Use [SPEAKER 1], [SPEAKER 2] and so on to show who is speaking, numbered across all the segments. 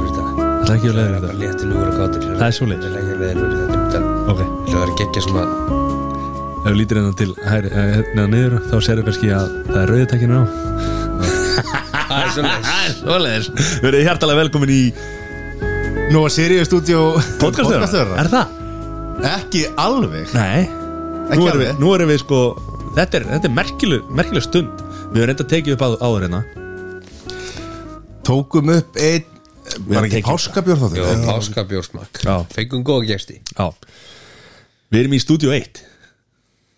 [SPEAKER 1] ekki á
[SPEAKER 2] Það er
[SPEAKER 1] leiðinu
[SPEAKER 2] bara
[SPEAKER 1] þetta
[SPEAKER 2] léttilegur og gátur
[SPEAKER 1] Það er
[SPEAKER 2] Það
[SPEAKER 1] svoleiðis.
[SPEAKER 2] er ekki leiðilegur í þetta umtal
[SPEAKER 1] Ok,
[SPEAKER 2] Það er geggja svona
[SPEAKER 1] ef við lítir hérna til hæri, eh, hérna niður þá serðu kannski að það er rauðitekinu á
[SPEAKER 2] Það er svona
[SPEAKER 1] Svoleiðis Verðið hjartalega velkomin í
[SPEAKER 3] Nú að Sirius Studio
[SPEAKER 1] podcastöður Er það?
[SPEAKER 3] Ekki alveg
[SPEAKER 1] Nei
[SPEAKER 3] Ekki
[SPEAKER 1] Nú erum við,
[SPEAKER 3] alveg.
[SPEAKER 1] nú erum við sko Þetta er, þetta er merkileg, merkileg stund Við höfum reynda að tekið upp á, áður hérna
[SPEAKER 3] Tókum upp einn Var ekki
[SPEAKER 1] tekið-
[SPEAKER 3] páskabjörn þá
[SPEAKER 2] Jó,
[SPEAKER 3] þau?
[SPEAKER 2] páskabjórsmak
[SPEAKER 1] Já.
[SPEAKER 2] Fengum góða gesti
[SPEAKER 1] Já Við erum í stúdíu 1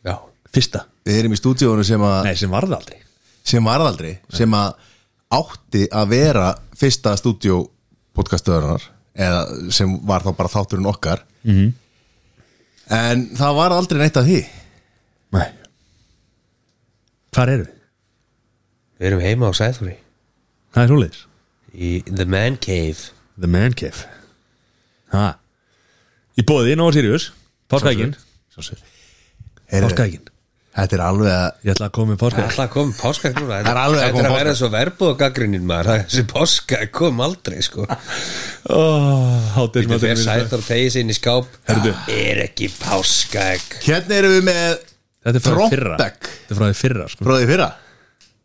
[SPEAKER 2] Já
[SPEAKER 1] Fyrsta
[SPEAKER 3] Við erum í stúdíónu sem, að-
[SPEAKER 1] Nei, sem varð aldrei
[SPEAKER 3] sem varðaldri Sem að átti að vera Fyrsta stúdíó podcastöðurnar Eða sem var þá bara þátturinn okkar -hmm. En það var aldrei neitt að því
[SPEAKER 1] Nei Hvar erum við?
[SPEAKER 2] Við erum heima á Sæðfúri
[SPEAKER 1] Það er svoleiðis
[SPEAKER 2] Í The Man Cave
[SPEAKER 1] The Man Cave Ha Í bóði, Nova Sirius Páskaækin
[SPEAKER 3] Heyrðu,
[SPEAKER 1] Páskaækin
[SPEAKER 3] Þetta er alveg að
[SPEAKER 1] Ég ætla að koma með
[SPEAKER 2] Það er
[SPEAKER 1] páskaækin
[SPEAKER 2] alltaf að koma páskak núna
[SPEAKER 3] Það er alveg að
[SPEAKER 2] Þetta
[SPEAKER 3] koma
[SPEAKER 2] er að vera svo verbuð á gaggrinnin maður Það er Þessi páska kom aldrei sko
[SPEAKER 1] Hátir
[SPEAKER 2] Þetta fer Sæðfúr þegið sinni í skáp
[SPEAKER 1] Herðu.
[SPEAKER 2] Er ekki páskak
[SPEAKER 3] Hérna erum við með
[SPEAKER 1] Þetta er frá því fyrra
[SPEAKER 3] Throwback.
[SPEAKER 1] Þetta er frá því fyrra sko.
[SPEAKER 3] Frá því fyrra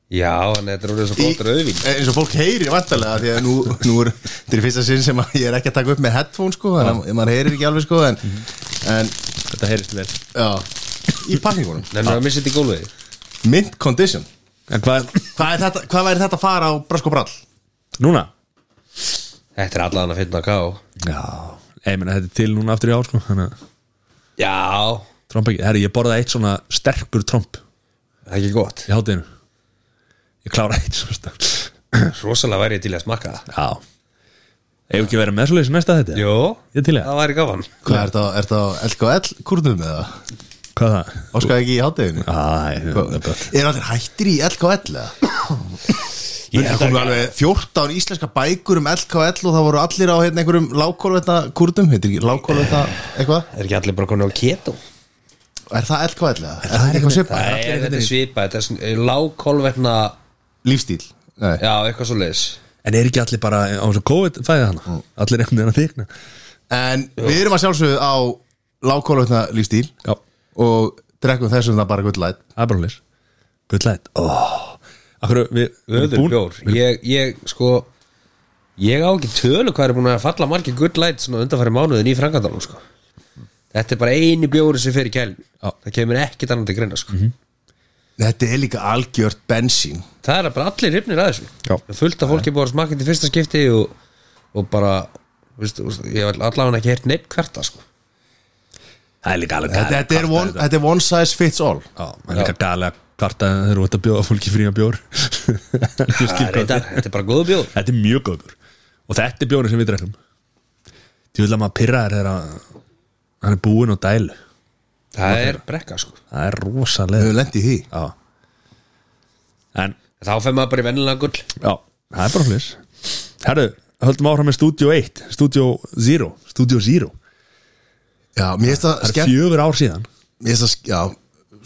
[SPEAKER 2] Já, en þetta er orðið svo
[SPEAKER 3] Í- eh,
[SPEAKER 2] gott rauðvín
[SPEAKER 3] eins og fólk heyri vantarlega því að nú, nú er þetta er í fyrsta sinn sem að ég er ekki að taka upp með headphone sko þannig að maður heyrir ekki alveg sko en,
[SPEAKER 2] Mhm.
[SPEAKER 3] en
[SPEAKER 1] Þetta heyrist vel
[SPEAKER 3] já, í pakningunum
[SPEAKER 2] Nefnir
[SPEAKER 1] Ah.
[SPEAKER 2] að missa þetta í gólfið
[SPEAKER 3] mint condition
[SPEAKER 1] En hvað
[SPEAKER 3] hvað, er þetta, hvað væri þetta að fara á brask og brall?
[SPEAKER 1] Núna?
[SPEAKER 2] Þetta er allan að finna að ká
[SPEAKER 1] Já Ég meina þetta er til núna aftur í ár sko Þannig að
[SPEAKER 2] Já,
[SPEAKER 1] Trompækin Herri, ég borðaði eitt svona sterkur tromp
[SPEAKER 2] það er ekki gott
[SPEAKER 1] Í hátinu Ég klára eitt sko, svona sterk
[SPEAKER 2] Rosalega væri ég til að smakka það
[SPEAKER 1] Já Ef ekki verið með svoleiðis í næsta þetta
[SPEAKER 2] Jó,
[SPEAKER 1] Ég til í það
[SPEAKER 2] það væri gafan
[SPEAKER 3] hvað er þetta, er þetta á LKL kurnum eða?
[SPEAKER 1] Hvað er það?
[SPEAKER 3] áskaði ekki í hátteginu?
[SPEAKER 1] Æ, það er gott.
[SPEAKER 3] er allir hættir í LKL eða?
[SPEAKER 2] Ég
[SPEAKER 3] Það
[SPEAKER 2] held
[SPEAKER 3] komu
[SPEAKER 2] að
[SPEAKER 3] alveg 14 íslenska bækur um LKL og það voru allir á hérna, einhverjum lágkólvetna kurdum, heitir ekki lágkólvetna eitthvað?
[SPEAKER 2] Er ekki allir bara konið á keto?
[SPEAKER 3] Er það LKL eða? Er það eitthvað svipað?
[SPEAKER 2] Nei, þetta er svipað, þetta er lágkólverna
[SPEAKER 3] Lífstíl? Nei.
[SPEAKER 2] Já, eitthvað svo leis
[SPEAKER 1] En er ekki allir bara á þessu COVID fæðið hana? Allir einhvern veginn að þykna
[SPEAKER 3] En við erum að sjálfsögðu á lágkólautna lífstíl
[SPEAKER 1] Já, það
[SPEAKER 3] og drekkum þessum það bara gull light
[SPEAKER 1] er bara hlis Good light oh. Akkur, við, við erum
[SPEAKER 2] Öður
[SPEAKER 1] búin-
[SPEAKER 2] bjór Ég, ég, sko Ég á ekki tölu hvað er búin að falla margir good light svona undanfæri mánuðin í frangatalum, sko Þetta er bara eini bjóri sem fer í kæl
[SPEAKER 1] Já.
[SPEAKER 2] Það kemur ekkit annað til greina, sko
[SPEAKER 3] Þetta er líka algjört bensín
[SPEAKER 2] það er bara allir rifnir að þessu
[SPEAKER 1] Já.
[SPEAKER 2] Það er fullt af fólki búið að smakka þetta í fyrsta skipti og, og bara veist, veist, ég hef allavega ekki heyrt neitt kvarta sko.
[SPEAKER 1] Það er líka alveg
[SPEAKER 3] Þetta,
[SPEAKER 1] galið
[SPEAKER 3] þetta, er one, þetta er one size fits all
[SPEAKER 1] Já, það er líka galið að kvarta þegar þú ert að bjóða fólki frí að bjór Ég skil
[SPEAKER 2] það er
[SPEAKER 1] hvað
[SPEAKER 2] þetta,
[SPEAKER 1] þetta er.
[SPEAKER 2] þetta er bara góðu bjóð
[SPEAKER 1] Þetta er mjög góð bjór Og þetta er bjórin sem við drekkum Því vil að maður pirra þér þegar að- hann er búinn á dælu
[SPEAKER 2] það er brekka sko.
[SPEAKER 1] Það er
[SPEAKER 3] Við
[SPEAKER 1] rosalega
[SPEAKER 3] höfum lent í því
[SPEAKER 1] Já En
[SPEAKER 2] þá fer maður bara í vennilega gull
[SPEAKER 1] Já, það er bara flis Herru, höldum áfram með Studio 1 Studio 0 Studio 0
[SPEAKER 3] Já, mér finnst það
[SPEAKER 1] Það er
[SPEAKER 3] skemmt
[SPEAKER 1] fjögur ár síðan
[SPEAKER 3] mér finnst það, sk- Já,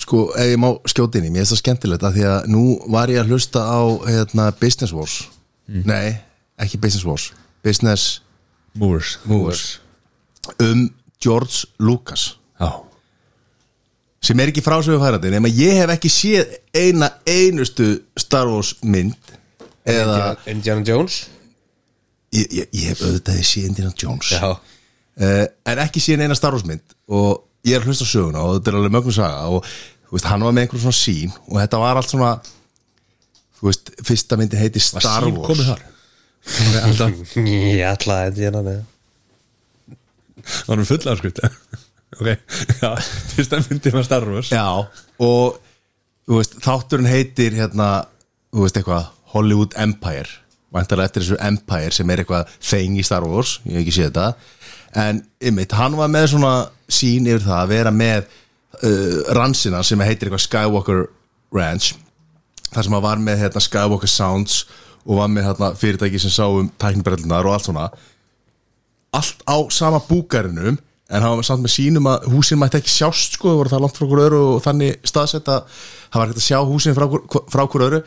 [SPEAKER 3] sko, ef ég má skjóti inn í mér finnst það skemmtilegt að því að nú var ég að hlusta á hérna, Business Wars Nei, ekki Business Wars Business
[SPEAKER 1] Moors
[SPEAKER 3] Wars um George Lucas
[SPEAKER 1] Já,
[SPEAKER 3] sem er ekki frásögufærandi nema ég hef ekki séð eina einustu Star Wars mynd eða
[SPEAKER 2] Indiana Jones
[SPEAKER 3] ég, ég, ég hef auðvitaði séð Indiana Jones
[SPEAKER 2] já,
[SPEAKER 3] uh, en ekki séð eina Star Wars mynd og ég er að hlusta á söguna og þetta er alveg mögnu saga og þú veist, hann var með einhverjum svona sín og þetta var allt svona þú veist, fyrsta myndin heiti Star
[SPEAKER 1] Sýn komið
[SPEAKER 3] Wars
[SPEAKER 1] þar Það var alltaf-
[SPEAKER 2] ég ætla að Indiana með
[SPEAKER 1] það var full afskrift Ok, já, fyrsta myndi var Star Wars
[SPEAKER 3] já, og þú veist, þátturinn heitir hérna, þú veist eitthvað Hollywood Empire vantarlega eftir þessu Empire sem er eitthvað þeng í Star Wars, ég hef ekki séð þetta en ymmit, hann var með svona sín yfir það að vera með uh, rannsina sem heitir eitthvað Skywalker Ranch þar sem hann var með hérna, Skywalker Sounds og var með hérna, fyrirtæki sem sá um tæknibrellunar og allt svona allt á sama búkarinum en hann var samt með sínum að húsin mætti ekki sjást sko, það voru það langt frá hver öru og þannig staðsett að það var ekkert að sjá húsin frá, hvor- frá hver öru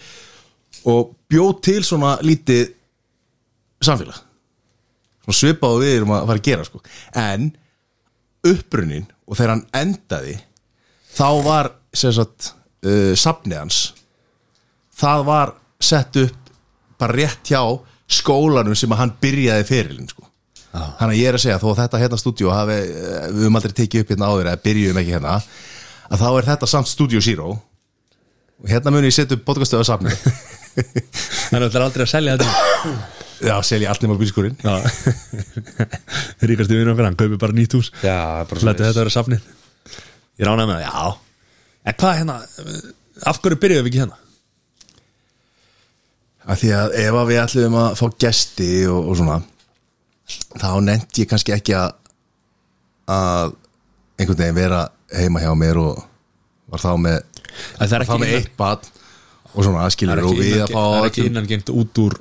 [SPEAKER 3] og bjóð til svona lítið samfélag svona svipað og við erum að fara að gera sko. en upprunin og þegar hann endaði þá var sem sagt uh, safnið hans það var sett upp bara rétt hjá skólanum sem að hann byrjaði ferilinn sko. þannig að ég er að segja þó að þetta hérna stúdíu hafi, eh, við höfum aldrei tekið upp hérna áður eða byrjuðum ekki hérna að þá er þetta samt Studio Zero og hérna muni ég setja upp podcastöðu safnið
[SPEAKER 1] Þannig að það er aldrei að selja þetta
[SPEAKER 3] Já, selja allt nema bílskúrin
[SPEAKER 1] Ríkast í vinnu okkar, hann kaupir bara nýtt hús
[SPEAKER 2] Já, bara
[SPEAKER 1] Lætu
[SPEAKER 2] svoleiðis.
[SPEAKER 1] þetta vera safnið Ég ránaði með það, já En hvað hérna, af hverju byrjuðum við ekki hérna?
[SPEAKER 3] Af því að ef að við ætlum að fá gesti og, og svona þá nefndi ég kannski ekki að að einhvern veginn vera heima hjá mér og var þá með,
[SPEAKER 1] En Það er
[SPEAKER 3] var þá
[SPEAKER 1] ekki
[SPEAKER 3] með
[SPEAKER 1] innan-
[SPEAKER 3] eitt bad og svona
[SPEAKER 1] það
[SPEAKER 3] aðskilur
[SPEAKER 1] er
[SPEAKER 3] og
[SPEAKER 1] ekki
[SPEAKER 3] við að
[SPEAKER 1] innan-
[SPEAKER 3] fá
[SPEAKER 1] það er ekki innangengt út úr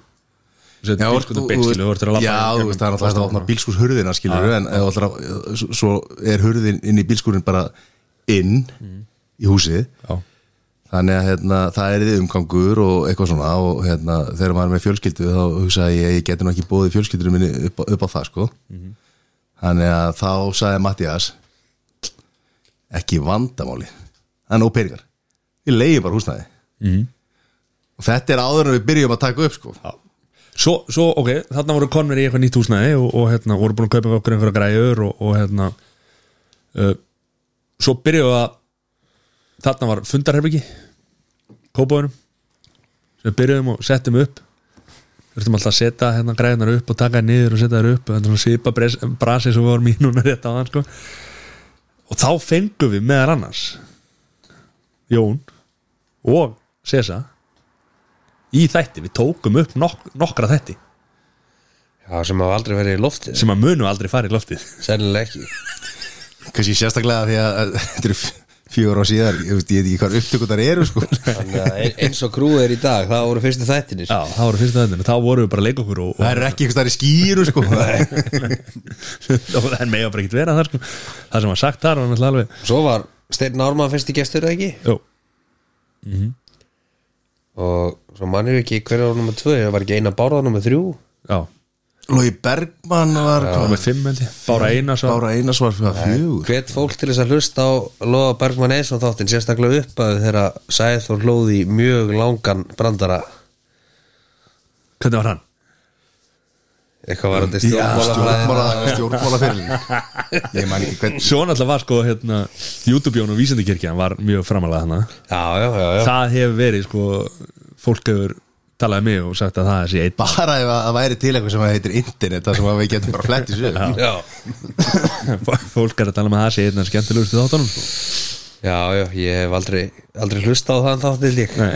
[SPEAKER 3] Já, þú-
[SPEAKER 1] Bílskutum
[SPEAKER 3] þú-
[SPEAKER 1] beinskilu, þú verður að labba hérna.
[SPEAKER 3] Já,
[SPEAKER 1] í
[SPEAKER 3] þú
[SPEAKER 1] gegnum
[SPEAKER 3] veist, það er alltaf að opna
[SPEAKER 1] plastofnana.
[SPEAKER 3] bílskús hurðina skilur en ef þú ætlar að, svo- svo er hurðin inn í bílskúrin bara inn
[SPEAKER 1] Mm.
[SPEAKER 3] í húsið
[SPEAKER 1] Já.
[SPEAKER 3] þannig að hérna, það er umgangur og eitthvað svona og hérna, þegar maður er með fjölskyldu þá hugsaði ég að ég geti nú ekki bóðið fjölskyldunum minni upp, á- upp á það sko þannig að þá sagði Mattias ekki vandamáli það er nóg peningar ég leiði bara húsnæði og þetta er áður en við byrjum að taka upp sko
[SPEAKER 1] Já. Svo, svo, ok, þarna voru konver í eitthvað nýtt húsnæði og, og hérna, voru búin að kaupa við okkur einhverja græjur og, og hérna uh, svo byrjuðu að þarna var fundarherbyggi kópaðunum sem við byrjuðum og settum upp þurftum alltaf að setja hérna græðunar upp og taka þær niður og setja þær upp þannig að svipa bres- brasi sem við vorum í núna rétt á þann sko. og þá fengum við meðar annars Jón og Sesa í þætti, við tókum upp nok nokkra þætti
[SPEAKER 2] Já, sem hafa aldrei verið í lofti
[SPEAKER 1] sem að munu aldrei fara í loftið
[SPEAKER 2] Sennilega ekki
[SPEAKER 3] kannski sérstaklega því að að þetta eru f- fjögur á síðar ég veist, ég veit ekki hvað upptökunar eru sko
[SPEAKER 2] Þannig að ein- eins og krúið er í dag, það voru fyrstu þættinir
[SPEAKER 1] Já, það voru fyrstu þættinu, þá vorum við bara að leika okkur og,
[SPEAKER 3] það
[SPEAKER 1] og,
[SPEAKER 3] eru ekki eitthvað í skýru sko
[SPEAKER 1] og það mega bara ekkert vera þar sko. það sem var sagt þar var náttúrulega alveg
[SPEAKER 2] Svo var Steinn Ármann fyrsti gestur eða ekki
[SPEAKER 1] Jó,
[SPEAKER 2] Og svo mannir ekki hverja var nummer tvö Var ekki eina bárða nummer þrjú
[SPEAKER 1] já,
[SPEAKER 3] Lói Bergman var
[SPEAKER 1] það
[SPEAKER 3] hvað,
[SPEAKER 1] var með fimm held ég Bára eina svo
[SPEAKER 3] Bára Einars var fyrir fjögur
[SPEAKER 2] Hvet fólk til þess að hlusta á Lóa Bergmann Eðsson þáttinn sérstaklega upp að þeirra sæð og hlóði mjög langan brandara
[SPEAKER 1] Hvernig var hann?
[SPEAKER 2] Eitthvað var þetta
[SPEAKER 3] Já,
[SPEAKER 2] stjórnmálafræðina
[SPEAKER 3] stjórnmála stjórnmálaferlin ég man ekki hvern
[SPEAKER 1] Svo náttúrulega var sko hérna, YouTube-jón og vísindikirkjan var mjög framalega hana
[SPEAKER 2] Já, já, já, já.
[SPEAKER 1] Það hefur verið sko fólk hefur talaði mig og sagt að það sé einn
[SPEAKER 3] bara ef að það væri til eitthvað sem heitir internet það sem að við getum bara flett í sög
[SPEAKER 2] Já,
[SPEAKER 1] fólk er að tala með það sé einn að skemmtilegustu þáttunum sko.
[SPEAKER 2] já, já, ég hef aldrei, aldrei hlusta á þann þáttið lík
[SPEAKER 1] Nei.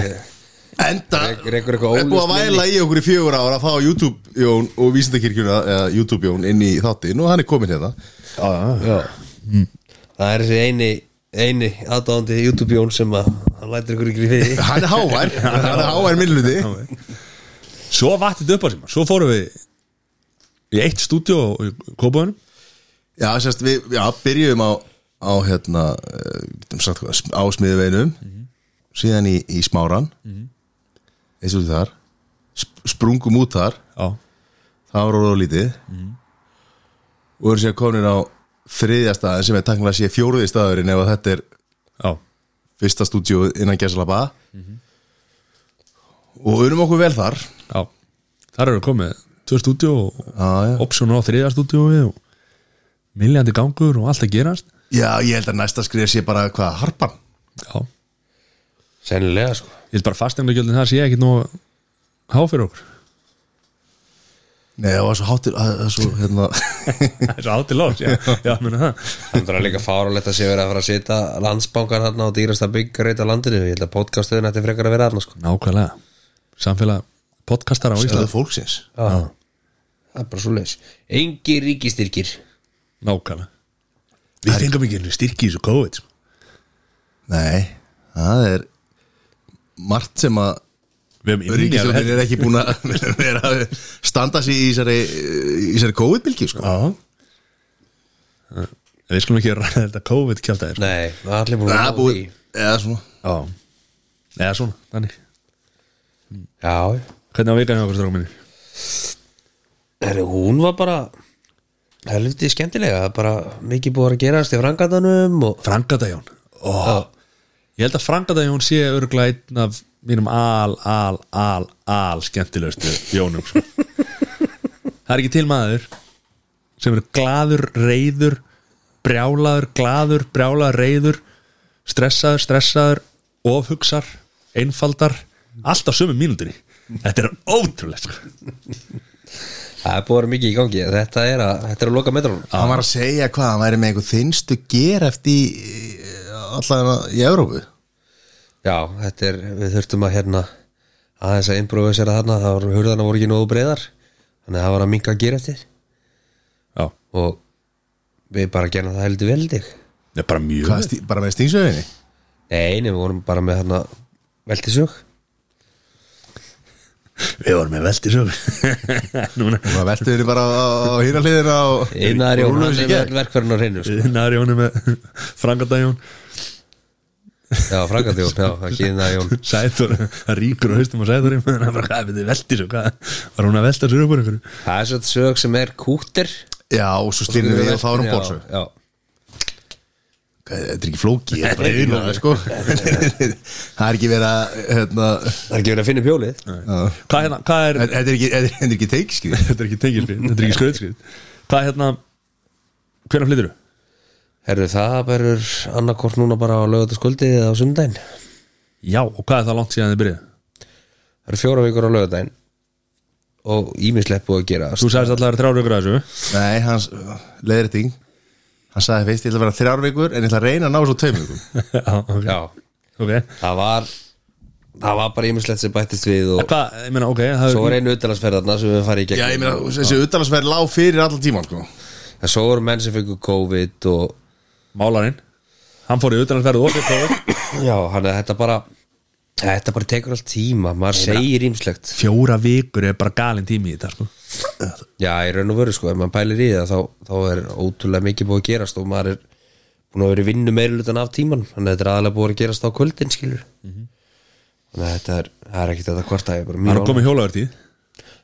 [SPEAKER 3] enda
[SPEAKER 2] Rekur-
[SPEAKER 3] er
[SPEAKER 2] rekur eitthvað
[SPEAKER 3] búið að
[SPEAKER 2] óljóst minni.
[SPEAKER 3] væla í okkur í fjögur ára að fá YouTube Jón og vísindakirkjuna eða YouTube Jón inn í þáttin og hann er komin hérna
[SPEAKER 2] Já. Það er þessi eini, eini aðdáðandi YouTube-jón sem að hann lætir ykkur ykkur í fyrir
[SPEAKER 3] hann er hávær, hann er hávær minnluti
[SPEAKER 1] Svo vatt þetta upp á síma Svo fórum við í eitt stúdíu í Kópaðunum
[SPEAKER 3] já, sérst, við já, byrjum á á hérna eh, getum sagt, hvað, á smiðuveinum síðan í, í smáran eins og þar sp- sprungum út þar
[SPEAKER 1] Já,
[SPEAKER 3] það var orðið lítið og eru sér komin á þriðja staðin sem er takkilega sé fjóruði staðurinn ef að þetta er
[SPEAKER 1] já
[SPEAKER 3] fyrsta stúdíu innan Gæsalaba og unum okkur vel þar
[SPEAKER 1] Já, þar eru komið tvö stúdíu
[SPEAKER 3] Já, já.
[SPEAKER 1] og option á þriðja stúdíu og miljandi gangur og allt að gerast
[SPEAKER 3] já, ég held að næsta skrif sé bara hvað, harpan
[SPEAKER 1] Já, ég
[SPEAKER 2] Sennilega, sko
[SPEAKER 1] held bara fastegnagjöldin það sé ekki nú há fyrir okkur
[SPEAKER 3] Nei, það var svo hátir, að, að svo, hérna,
[SPEAKER 1] Það er svo átti lóts, já, já, meni það
[SPEAKER 2] Þannig er líka fárulegt að sé verið að fara að setja landsbankan hérna á dýrasta byggreita landinu Ég held að podcastuðin ætti frekar að vera hérna, sko
[SPEAKER 1] Nákvæmlega, samfélag podcastar á
[SPEAKER 3] það
[SPEAKER 1] Ísland
[SPEAKER 3] er fólksins
[SPEAKER 2] Já Það er bara svo leis Engi ríkistyrkir
[SPEAKER 1] Nákvæmlega Við fengum ekki einu styrki í þessu COVID sko.
[SPEAKER 3] Nei, það er margt sem að
[SPEAKER 1] Við hefum inni að
[SPEAKER 3] Ríkistjónin er ekki búin að vera að standa sig í þessari, í þessari COVID-bylgi sko.
[SPEAKER 1] Já Eh, Við skulum ekki ræða þetta COVID kjáltaðir
[SPEAKER 2] Nei, það er allir búin
[SPEAKER 3] Það
[SPEAKER 2] að
[SPEAKER 3] er
[SPEAKER 2] ná
[SPEAKER 3] búið
[SPEAKER 2] því.
[SPEAKER 3] eða svona
[SPEAKER 1] Já Eða svona, þannig
[SPEAKER 2] Já,
[SPEAKER 1] Hvernig á vikan hjá okkur strákum minni?
[SPEAKER 2] Heru, hún var bara helviti skemmtilega það er bara mikið búið að gerast í frangatanum og
[SPEAKER 1] Frangadajón oh. Ég held að Frangadajón sé örgulega einn af mínum al, al, al, al skemmtilegustu jónum sko. Það er ekki til maður sem er glaður, reyður brjálaður, glaður, brjálaður, reyður stressaður, stressaður ofhugsar, einfaldar allt á sömu mínútinni Þetta er ótrúlegt sko.
[SPEAKER 2] það er búið að vera mikið í gangi þetta er að, þetta er að loka metrónum
[SPEAKER 3] Hann var að segja hvað, hann væri með einhver þinnstu gereft í eh, allavega í Evrópu
[SPEAKER 2] já, þetta er, við þurftum að hérna aðeins að improvisera þarna það var hurðana voru ekki nógu breyðar þannig að það var að minka að gera eftir
[SPEAKER 1] Já,
[SPEAKER 2] og við bara gerna það heldur vel þig
[SPEAKER 1] það er bara mjög
[SPEAKER 3] Hvað, stí- bara með stíngsöfinni
[SPEAKER 2] nei, nei, við vorum bara með hérna veltisug
[SPEAKER 1] Við vorum með veldi svo Núna
[SPEAKER 3] og það veltu henni bara á, á hýra hliðina og
[SPEAKER 2] Einar Jón,
[SPEAKER 3] Rúnar
[SPEAKER 2] hann
[SPEAKER 3] sér
[SPEAKER 2] er
[SPEAKER 3] í
[SPEAKER 2] vel
[SPEAKER 3] gegn.
[SPEAKER 2] verkfærin á hreinu sko.
[SPEAKER 1] Nærjón er með Frangadajón
[SPEAKER 2] Já, frangandi Jón, já, ekki Einar Jón
[SPEAKER 1] Sæþór, það ríkur og haustum á Sæþór í maður, hann bara, hvað er þið veldi svo, hvað var hún að velta sér upp úr einhverju
[SPEAKER 2] Það er svo sög sem er kúttir
[SPEAKER 3] já og svo stýrnum við og þá erum
[SPEAKER 2] Já,
[SPEAKER 3] bólsu
[SPEAKER 2] Já,
[SPEAKER 3] þetta er ekki flóki þetta er bara yfirnáður, sko. það er ekki verið að hérna,
[SPEAKER 2] það er ekki verið að finna upp hjólið
[SPEAKER 1] Hvað hérna, hvað er,
[SPEAKER 3] þetta er ekki, þetta er- þetta er ekki teikskið
[SPEAKER 1] þetta er ekki tengilskrið, þetta er ekki skröðskrið Hvað er hérna, hvernig flyttir þú?
[SPEAKER 2] Herðu, það verður annarkort núna bara á lögutaskvöldið eða á sundaginn Það
[SPEAKER 1] Já, og hvað er það langt síðan þið byrjað?
[SPEAKER 2] eru fjóra vikur á lögudaginn og ímislegt búið að gera
[SPEAKER 1] Þú sagðist alltaf að vera þrjár ykkur að þessu
[SPEAKER 3] nei, hans leðriting hann sagði fyrst, ég ætla að vera þrjár vikur en ég ætla að reyna að ná svo tveim vikum
[SPEAKER 1] Já, ok,
[SPEAKER 2] Já,
[SPEAKER 1] ok
[SPEAKER 2] það var það var bara ímislegt sem bættist við og
[SPEAKER 1] Hvað, ég meina, ok, það
[SPEAKER 2] svo
[SPEAKER 1] er
[SPEAKER 2] var einu utalansferðarna sem við farið í gegn
[SPEAKER 3] já, ég meina, þessi utalansverð lág fyrir allan tíman sko.
[SPEAKER 2] En svo voru menn sem fengur COVID og
[SPEAKER 1] málarinn Hann fór í utanlandsferð og okkur
[SPEAKER 2] Já, hann er þetta bara Þetta bara tekur allt tíma, maður segir ímslegt
[SPEAKER 1] Fjóra vikur er bara galin tími í þetta, sko
[SPEAKER 2] Já, í raun og veru sko, ef maður pælir í það þá, þá er ótrúlega mikið búið að gerast og maður er búin að vera í vinnu meirlutan af tíman þannig að þetta er aðalega búið að gerast á kvöldin skilur Þannig að þetta er, það er ekkit þetta hvort að ég bara mjög
[SPEAKER 1] Hann Mhm. er
[SPEAKER 2] ánægður.
[SPEAKER 1] komið hjólaður tíð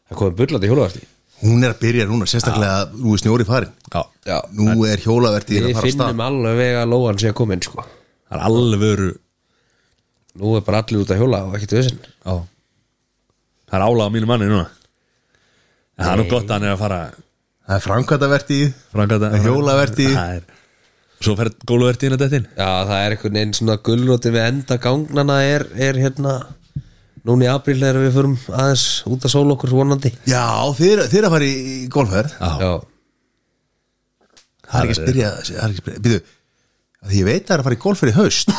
[SPEAKER 2] Það komið bullandi hjólavarti
[SPEAKER 3] hún er að byrja núna, sérstaklega nú er snjóri farin
[SPEAKER 1] Já,
[SPEAKER 2] Já,
[SPEAKER 3] nú er hjólavertið að
[SPEAKER 2] við
[SPEAKER 3] fara af stað
[SPEAKER 2] finnum alveg að lóan sé að koma inn sko
[SPEAKER 1] það er alveg
[SPEAKER 2] Nú er bara allir út að hjóla og ekkit vissinn
[SPEAKER 1] Já Það er álag á mínu manni núna En það er nú gott að hann er að fara
[SPEAKER 3] það er framkvæmdavertið
[SPEAKER 1] Frangata,
[SPEAKER 3] Það er hjólavertíð.
[SPEAKER 1] Það er- Svo fer góluvertíðin að dettin
[SPEAKER 2] Já, það er einhvern veginn svona gullróti við enda gangnana er, er hérna núna í apríl þegar við förum aðeins út að sóla okkur vonandi
[SPEAKER 3] já, þeir, þeir að fara í í golfverð
[SPEAKER 1] Já.
[SPEAKER 2] Já,
[SPEAKER 3] það er ekki að spyrja, það er ekki að spyrja býtu, af því ég veit að það er að fara í golfverð í haust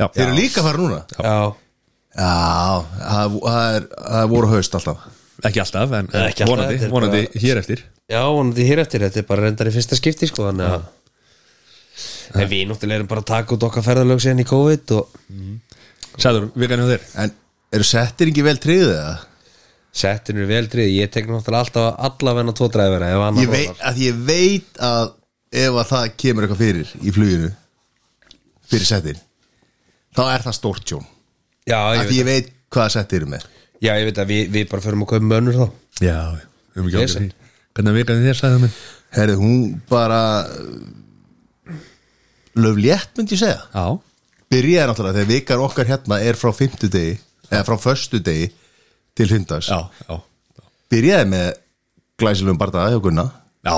[SPEAKER 1] Já,
[SPEAKER 3] þeir eru líka að fara núna
[SPEAKER 2] já, já.
[SPEAKER 3] Já, það það er, það er voru haust alltaf
[SPEAKER 1] Ekki alltaf, en
[SPEAKER 2] Nei, ekki alltaf,
[SPEAKER 1] vonandi,
[SPEAKER 2] þetta er
[SPEAKER 1] vonandi
[SPEAKER 2] bara-
[SPEAKER 1] hér eftir
[SPEAKER 2] vonandi hér eftir, þetta er bara reyndar í fyrsta skipti sko, þannig að En við náttúrulega erum bara að taka út okkar ferðalög síðan í COVID og
[SPEAKER 1] Sæður, vikan hjá þér
[SPEAKER 3] En eru settir ekki vel tryggðið það?
[SPEAKER 2] settin við vel drið Ég tek náttúrulega alltaf allavegna tvo dræfara ef annar
[SPEAKER 3] Ég veit,
[SPEAKER 2] rolar.
[SPEAKER 3] að ég veit að ef að það kemur eitthvað fyrir í fluginu fyrir settin þá er það stórt tjón
[SPEAKER 2] Já, ég
[SPEAKER 3] Af því
[SPEAKER 2] veit,
[SPEAKER 3] ég veit hvað settir eru með
[SPEAKER 2] já, ég veit að við, við bara förum að kaupa mönnur þá
[SPEAKER 1] Já, um ekki ákveð
[SPEAKER 2] Vesen.
[SPEAKER 1] því Hvernig er vikan hjá þér, Sæður minn
[SPEAKER 3] Herði, hún bara löflétt myndi ég segja
[SPEAKER 1] Já,
[SPEAKER 3] Byrjaði náttúrulega þegar vikar okkar hérna er frá fimmtudegi eða frá föstudegi til hundags
[SPEAKER 1] já, já
[SPEAKER 3] Byrjaði með glæsilegum bardaða hjá Gunna
[SPEAKER 1] Já,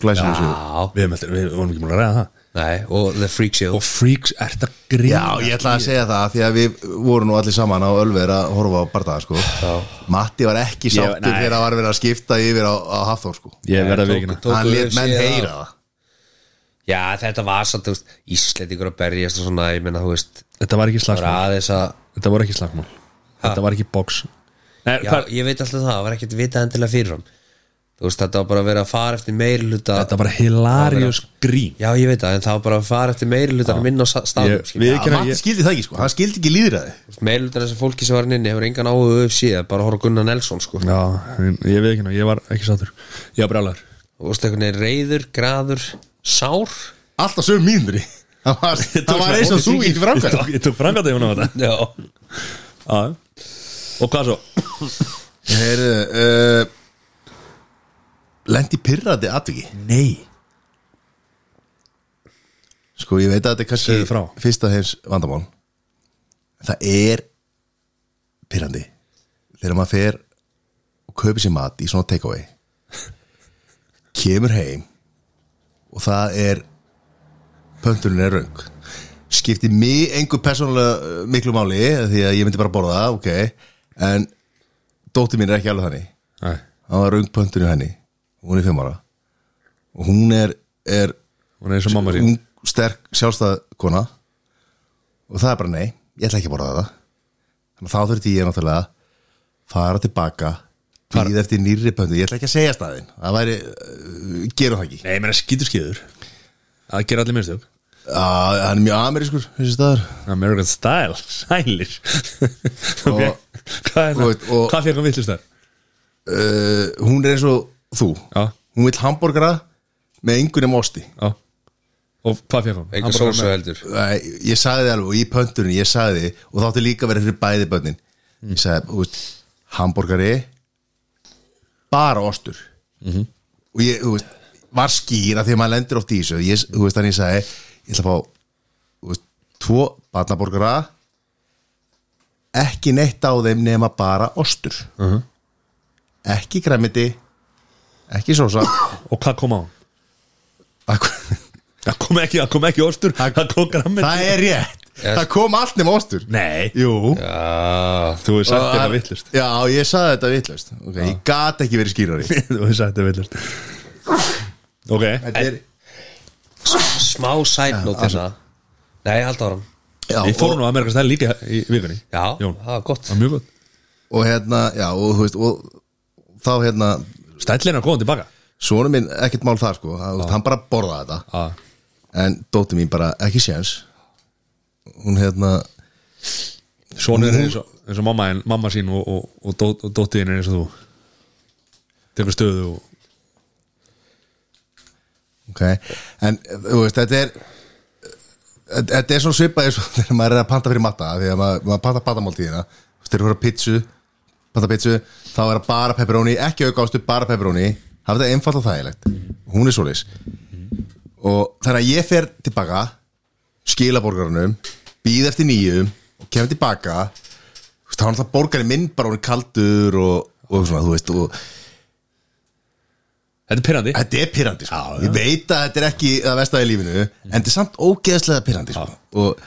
[SPEAKER 3] Glæsilegum sigur.
[SPEAKER 1] já. Við, erum eftir, við vorum ekki múin að ræða það
[SPEAKER 2] Nei, og The Freak Show
[SPEAKER 1] Og freaks, ert að grína
[SPEAKER 3] Já, ég ætla að segja það því að við vorum nú allir saman á Ölver að horfa á bardaða sko. Matti var ekki
[SPEAKER 1] Ég-
[SPEAKER 3] sáttur
[SPEAKER 1] nei.
[SPEAKER 3] þegar það var verið að skipta yfir á, á Hafþór sko.
[SPEAKER 1] Ég
[SPEAKER 2] Nei,
[SPEAKER 1] verða að
[SPEAKER 2] tók-
[SPEAKER 1] vikina
[SPEAKER 2] tók- Tóku
[SPEAKER 3] Hann
[SPEAKER 2] við
[SPEAKER 3] let menn
[SPEAKER 2] séð
[SPEAKER 3] heyra
[SPEAKER 2] á-
[SPEAKER 3] það
[SPEAKER 2] Já, þetta var samt, þú veist, Íslendingur að berjast og svona, ég meina, þú veist
[SPEAKER 1] Þetta var ekki
[SPEAKER 2] bara
[SPEAKER 1] slagsmál
[SPEAKER 2] aðeins að
[SPEAKER 1] Þetta var ekki slagsmál Þetta var ekki box Nei,
[SPEAKER 2] já,
[SPEAKER 1] hvað-
[SPEAKER 2] ég veit alltaf það, það var ekkert vitað endilega fyrir hann þú veist, þetta var bara að vera að fara eftir meiri hluta
[SPEAKER 1] Þetta var bara hilarious grín
[SPEAKER 2] já, ég veit það, en það var bara að fara eftir meiri hluta minn á sa-
[SPEAKER 1] Ég-
[SPEAKER 2] staðnum við...
[SPEAKER 1] við-
[SPEAKER 3] Já,
[SPEAKER 1] Viðurkenna,
[SPEAKER 3] Matti
[SPEAKER 1] ég-
[SPEAKER 3] skildi það ekki sko, hann skildi ekki líðræði
[SPEAKER 2] meiri hluta þessi fólki sem var hann inni hefur engan áhuga upp síðan, bara að horfa á Gunnar Nelson sko.
[SPEAKER 1] Já, en ég veit ekki ná, ég var ekki sattur Ég var brjálæður
[SPEAKER 2] þú veist, einhvern veginn reyður, graður sár
[SPEAKER 3] Alltaf sögum mínri Það var, það var eins og þú ekki
[SPEAKER 1] Ég
[SPEAKER 3] framkvæða
[SPEAKER 1] tók- Ég tók framkvæmt að ég hún á þetta
[SPEAKER 2] já,
[SPEAKER 1] Já. Og hvað svo?
[SPEAKER 3] eh, Heyrðu, uh, lendi pyrrandi atviki
[SPEAKER 1] Nei
[SPEAKER 3] Sko ég veit að þetta er
[SPEAKER 1] Segðu frá.
[SPEAKER 3] kannski fyrsta heims vandamál Það er pyrrandi þegar maður fer og kaupir sér mat í svona takeaway kemur heim og það er pönturinn er raung skipti mig engu persónulega uh, miklu máli því að ég myndi bara borða það, ok en dóttir mín er ekki alveg þannig
[SPEAKER 1] Nei,
[SPEAKER 3] hann var raung pönturinn henni hún er fimm ára og hún er, er
[SPEAKER 1] hún er eins og mamma sín
[SPEAKER 3] ung, sterk, sjálfstæð kona og það er bara nei ég ætla ekki að borða það þannig að þá þurfti ég náttúrulega að fara tilbaka býð eftir nýrri pöntu, ég ætla ekki að segja staðinn það væri, uh, gerum það ekki
[SPEAKER 1] Nei, menn er skýtur skýður Það gera allir minnstök
[SPEAKER 3] Ah, hann er mjög amerískur, þessi staðar
[SPEAKER 1] American style, sælir Ok,
[SPEAKER 3] Og-
[SPEAKER 1] hvað er það?
[SPEAKER 3] og- og-
[SPEAKER 1] Hvað fyrir hann villist þar?
[SPEAKER 3] uh, hún er eins og þú
[SPEAKER 1] Já.
[SPEAKER 3] hún vill hambúrgara með engunum osti
[SPEAKER 1] Já Og hvað fyrir hann?
[SPEAKER 2] Enga
[SPEAKER 1] Hamborgara
[SPEAKER 2] sósu
[SPEAKER 1] með-
[SPEAKER 2] heldur
[SPEAKER 3] Æ, ég sagði það alveg og í pöntunum ég sagði þið og þáttu líka að vera fyrir bæði bönnin ég sagði, þú veist, hambúrgari bara ostur og ég, þú veist, var skýr að því að maður lendir oft í þessu ég, þú veist, þannig ég sagði, ég ætla að fá þú veist, tvo batnabúrgara ekki neitt á þeim nema bara ostur ekki græmiti ekki sósa
[SPEAKER 1] Og hvað kom á? hann?
[SPEAKER 3] Akkur-
[SPEAKER 1] Það kom ekki, það kom ekki ostur Það kom grammet
[SPEAKER 3] það er rétt, það kom allt nema ostur
[SPEAKER 1] Nei,
[SPEAKER 3] jú
[SPEAKER 2] Já,
[SPEAKER 1] þú hefur sagt þetta
[SPEAKER 3] Og-
[SPEAKER 1] villist
[SPEAKER 3] Já, ég sagði þetta vittlust okay, Ég gat ekki verið skýrari
[SPEAKER 1] Þú hefur sagt þetta villist Ok,
[SPEAKER 3] Þetta er
[SPEAKER 2] smá sætnót þess að Nei, hald áram
[SPEAKER 3] já,
[SPEAKER 1] ég fór
[SPEAKER 3] og,
[SPEAKER 1] nú að American style líka í vikunni
[SPEAKER 2] Já,
[SPEAKER 1] Jón.
[SPEAKER 2] það var gott
[SPEAKER 1] Það var mjög gott
[SPEAKER 3] og hérna, já, og þú veist og, Þá hérna,
[SPEAKER 1] Stællin er að koma tilbaka
[SPEAKER 3] sonur minn ekkert mál það sko að, Hann bara borðaði þetta
[SPEAKER 1] ah.
[SPEAKER 3] En dóttir mín bara ekki séns Hún hérna
[SPEAKER 1] Sónur er eins og, eins og mamma, en, mamma sín og, og, og, dó, og dóttiðin er eins og þú Tekur stöðu og
[SPEAKER 3] Ok, en þú veist, þetta er Þetta er svona svipað eins og þegar maður er að panta fyrir matta Því að maður, maður panta patamáltíðina Þú veist, þeir eru að pizzu Panta pizzu, þá er það bara pepperoni Ekki aukástu, bara pepperoni Hafa þetta einfalt og þægilegt Hún er svoleiðis Og þannig að ég fer tilbaka Skila borgarunum, býð eftir nýjum Og kemur tilbaka Þú veist, þá er alltaf borgarinn minn bara hún kaldur Og, og svona, þú veist og,
[SPEAKER 1] Þetta er pirrandi
[SPEAKER 3] Þetta er pyrrandi sko. Ég veit að þetta er ekki það vest að í lífinu En þetta er samt ógeðslega pyrrandi sko. Og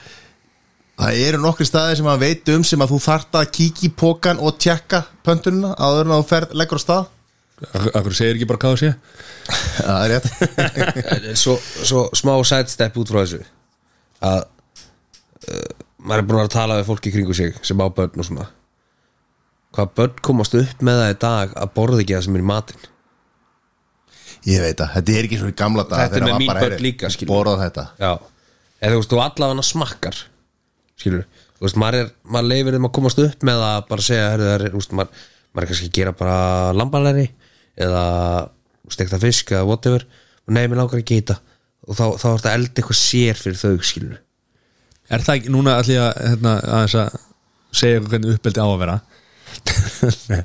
[SPEAKER 3] það eru nokkri staðir sem maður veit um sem að þú þart að kíkja í pókan og tjekka pöntununa áður en að þú ferð leggur á stað
[SPEAKER 1] Ak- Akkur segir ekki bara hvað það sé
[SPEAKER 3] Það er rétt
[SPEAKER 2] En Svo, svo smá sætstepp út frá þessu Að uh, Maður er búin að vera að tala við fólki í kringu sig Sem á börn og svona Hvað börn komast upp með það í dag Að borða ekki það sem er í matinn
[SPEAKER 3] Ég veit að þetta er ekki svo í gamla dag
[SPEAKER 2] Þetta er með mín börn líka, skilur.
[SPEAKER 3] Borða þetta
[SPEAKER 2] Já Eða þú veist, þú allavega smakkar Skilur, þú veist, maður, er, maður leifir þeim að komast upp með að bara segja herri, það er, þú veist, maður, maður er kannski að gera bara lambalæri eða stekta fisk eða whatever og nei, mér langar ekki í þetta og þá, þá er þetta eldi eitthvað sér fyrir þau skilur
[SPEAKER 1] Er það ekki, núna ætlum ég að, hérna, aðeins að segja ykkur hvernig uppbeldi á að vera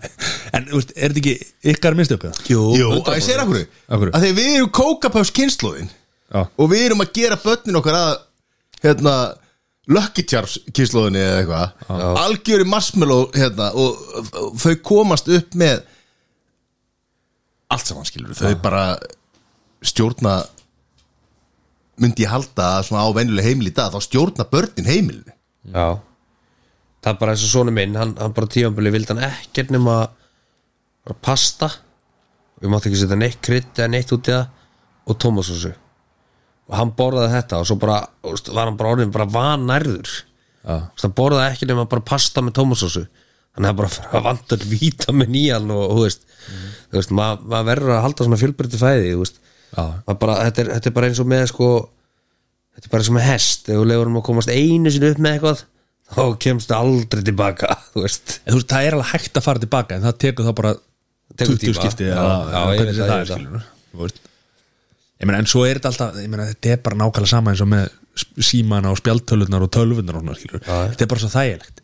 [SPEAKER 1] En, þú veist, er þetta ekki ykkar minnstöku?
[SPEAKER 2] Jú,
[SPEAKER 3] Jú, að ég segir akkur
[SPEAKER 1] Af hverju?
[SPEAKER 3] Að þegar við erum kókapöfs kynnslóðin
[SPEAKER 1] Já,
[SPEAKER 3] Og við erum að gera börnin okkar að Hérna Lökkitjarps kynnslóðinni eða eitthvað Algjöri marshmallow hérna og, og þau komast upp með Allt saman skilur Þau bara stjórna Myndi ég halda að svona á venjuleg heimil í dag Þá stjórna börnin heimilinu
[SPEAKER 2] Já Það er bara eins og svona minn, hann, hann bara tífambili vildi hann ekkert nema bara pasta við mátti ekki setja neitt krydd eða neitt út í það og tómasósu og hann borðaði þetta og svo bara þú veist, var hann bara orðin bara vanærður
[SPEAKER 1] já,
[SPEAKER 2] hann borðaði ekki nema bara pasta með tómasósu hann er bara að fara að vanda vítamin í hann og þú veist, þú veist maður ma maður verður að halda svona fjölbyrti fæði þú veist
[SPEAKER 1] já
[SPEAKER 2] Maður bara, þetta, er, þetta er bara eins og með sko, þetta er bara eins og með hest ef þú lefur um að komast einu sinni upp með eitthvað þá kemst það aldrei tilbaka þú veist,
[SPEAKER 1] En þú veist, það er alveg hægt að fara tilbaka En það tekur þá bara
[SPEAKER 2] Tekur
[SPEAKER 1] 20
[SPEAKER 2] tíma.
[SPEAKER 1] skipti
[SPEAKER 2] Já,
[SPEAKER 1] eða-
[SPEAKER 2] já,
[SPEAKER 1] eða
[SPEAKER 2] ég
[SPEAKER 1] hvernig
[SPEAKER 2] veit
[SPEAKER 1] sem
[SPEAKER 2] það, ég veit
[SPEAKER 1] það er,
[SPEAKER 2] það.
[SPEAKER 1] skilurðu. Þú veist. Ég meina, en svo er þetta alltaf Ég meina, þetta er bara nákvæmlega sama eins og með sp- símana og spjaltölurnar og tölvurnar og svona, skilur
[SPEAKER 2] Já.
[SPEAKER 1] Þetta er bara svo þægilegt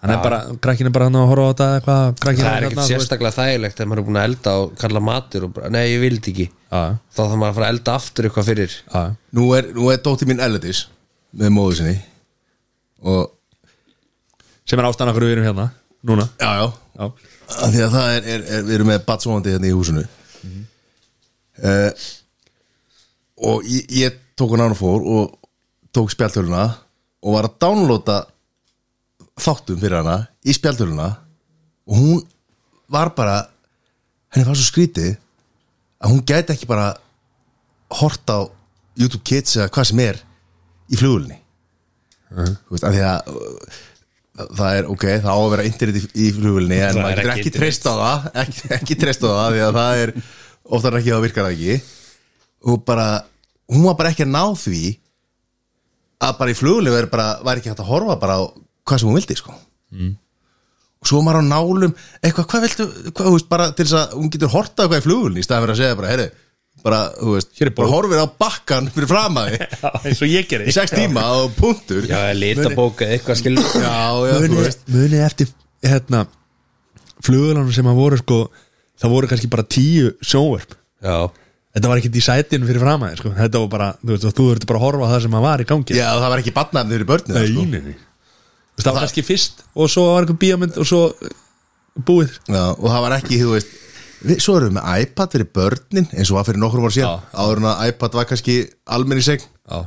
[SPEAKER 1] hann er bara, krakkin er bara hann að horfa á þetta eitthvað, krakkin
[SPEAKER 2] það er
[SPEAKER 1] hérna,
[SPEAKER 2] ekkert
[SPEAKER 1] þú veist.
[SPEAKER 2] sérstaklega þægilegt ef maður er búin að elda og kalla matur og bara, nei, ég vildi ekki
[SPEAKER 1] Já,
[SPEAKER 2] þá þarf maður að fara að elda aftur eitthvað fyrir
[SPEAKER 1] já,
[SPEAKER 3] Nú er, nú er dóttir mín Elodis með móðu sinni og
[SPEAKER 1] sem er ástæðan okkur við erum hérna núna,
[SPEAKER 3] já, já,
[SPEAKER 1] já,
[SPEAKER 3] að því að það er, er, er við erum með batsóandi hérna í húsinu mm og ég, ég tók hann án og fór og tók spjaltöluna og var að downloada þáttum fyrir hana í spjaltöluna og hún var bara henni var svo skrítið að hún gæti ekki bara hort á YouTube Kids eða hvað sem er í flugulni
[SPEAKER 2] Mhm.
[SPEAKER 3] þú veist, af því að uh, það er ok, það á að vera internet í, í flugulni en
[SPEAKER 2] Það er
[SPEAKER 3] maður er
[SPEAKER 2] ekki
[SPEAKER 3] ekki treyst á það ekki, ekki treyst á það, því að það er oftar en ekki það virkar það ekki og bara, hún var bara ekki að ná því að bara í flugulni var, bara, var ekki hægt að horfa bara á hvað sem hún vildi sko
[SPEAKER 1] Mm.
[SPEAKER 3] og svo var maður á nálum eitthvað, hvað viltu, hvað, þú veist, bara til þess að hún getur hortað eitthvað í flugulni í staðan fyrir að segja bara, herri, bara, þú veist
[SPEAKER 1] Hér er bók.
[SPEAKER 3] bara horfir á bakkan fyrir framaði
[SPEAKER 1] eins og ég
[SPEAKER 3] í
[SPEAKER 1] gerði
[SPEAKER 3] sex tíma og punktur
[SPEAKER 2] já, litabók eða eitthvað skilur
[SPEAKER 3] já, já, þú
[SPEAKER 1] munið,
[SPEAKER 3] veist
[SPEAKER 1] munið eftir hérna, flugulunum sem að voru sko, það voru kannski bara tíu sjóverp
[SPEAKER 2] já,
[SPEAKER 1] þetta var ekkert í sætinu fyrir framæði sko. þetta var bara, þú veist, og þú verður bara að horfa á það sem að var í gangi
[SPEAKER 3] já, það var ekki barnaðin fyrir börnið
[SPEAKER 1] Nei,
[SPEAKER 3] sko.
[SPEAKER 1] nei, nei. Þú veist, það var kannski fyrst og svo var eitthvað bíómynd og svo uh, búið
[SPEAKER 3] já, og það var ekki, þú veist við, svo erum við með iPad fyrir börnin eins og var fyrir nokkrum ára síðan
[SPEAKER 1] Já.
[SPEAKER 3] áður en að iPad var kannski almenni segn
[SPEAKER 1] Já,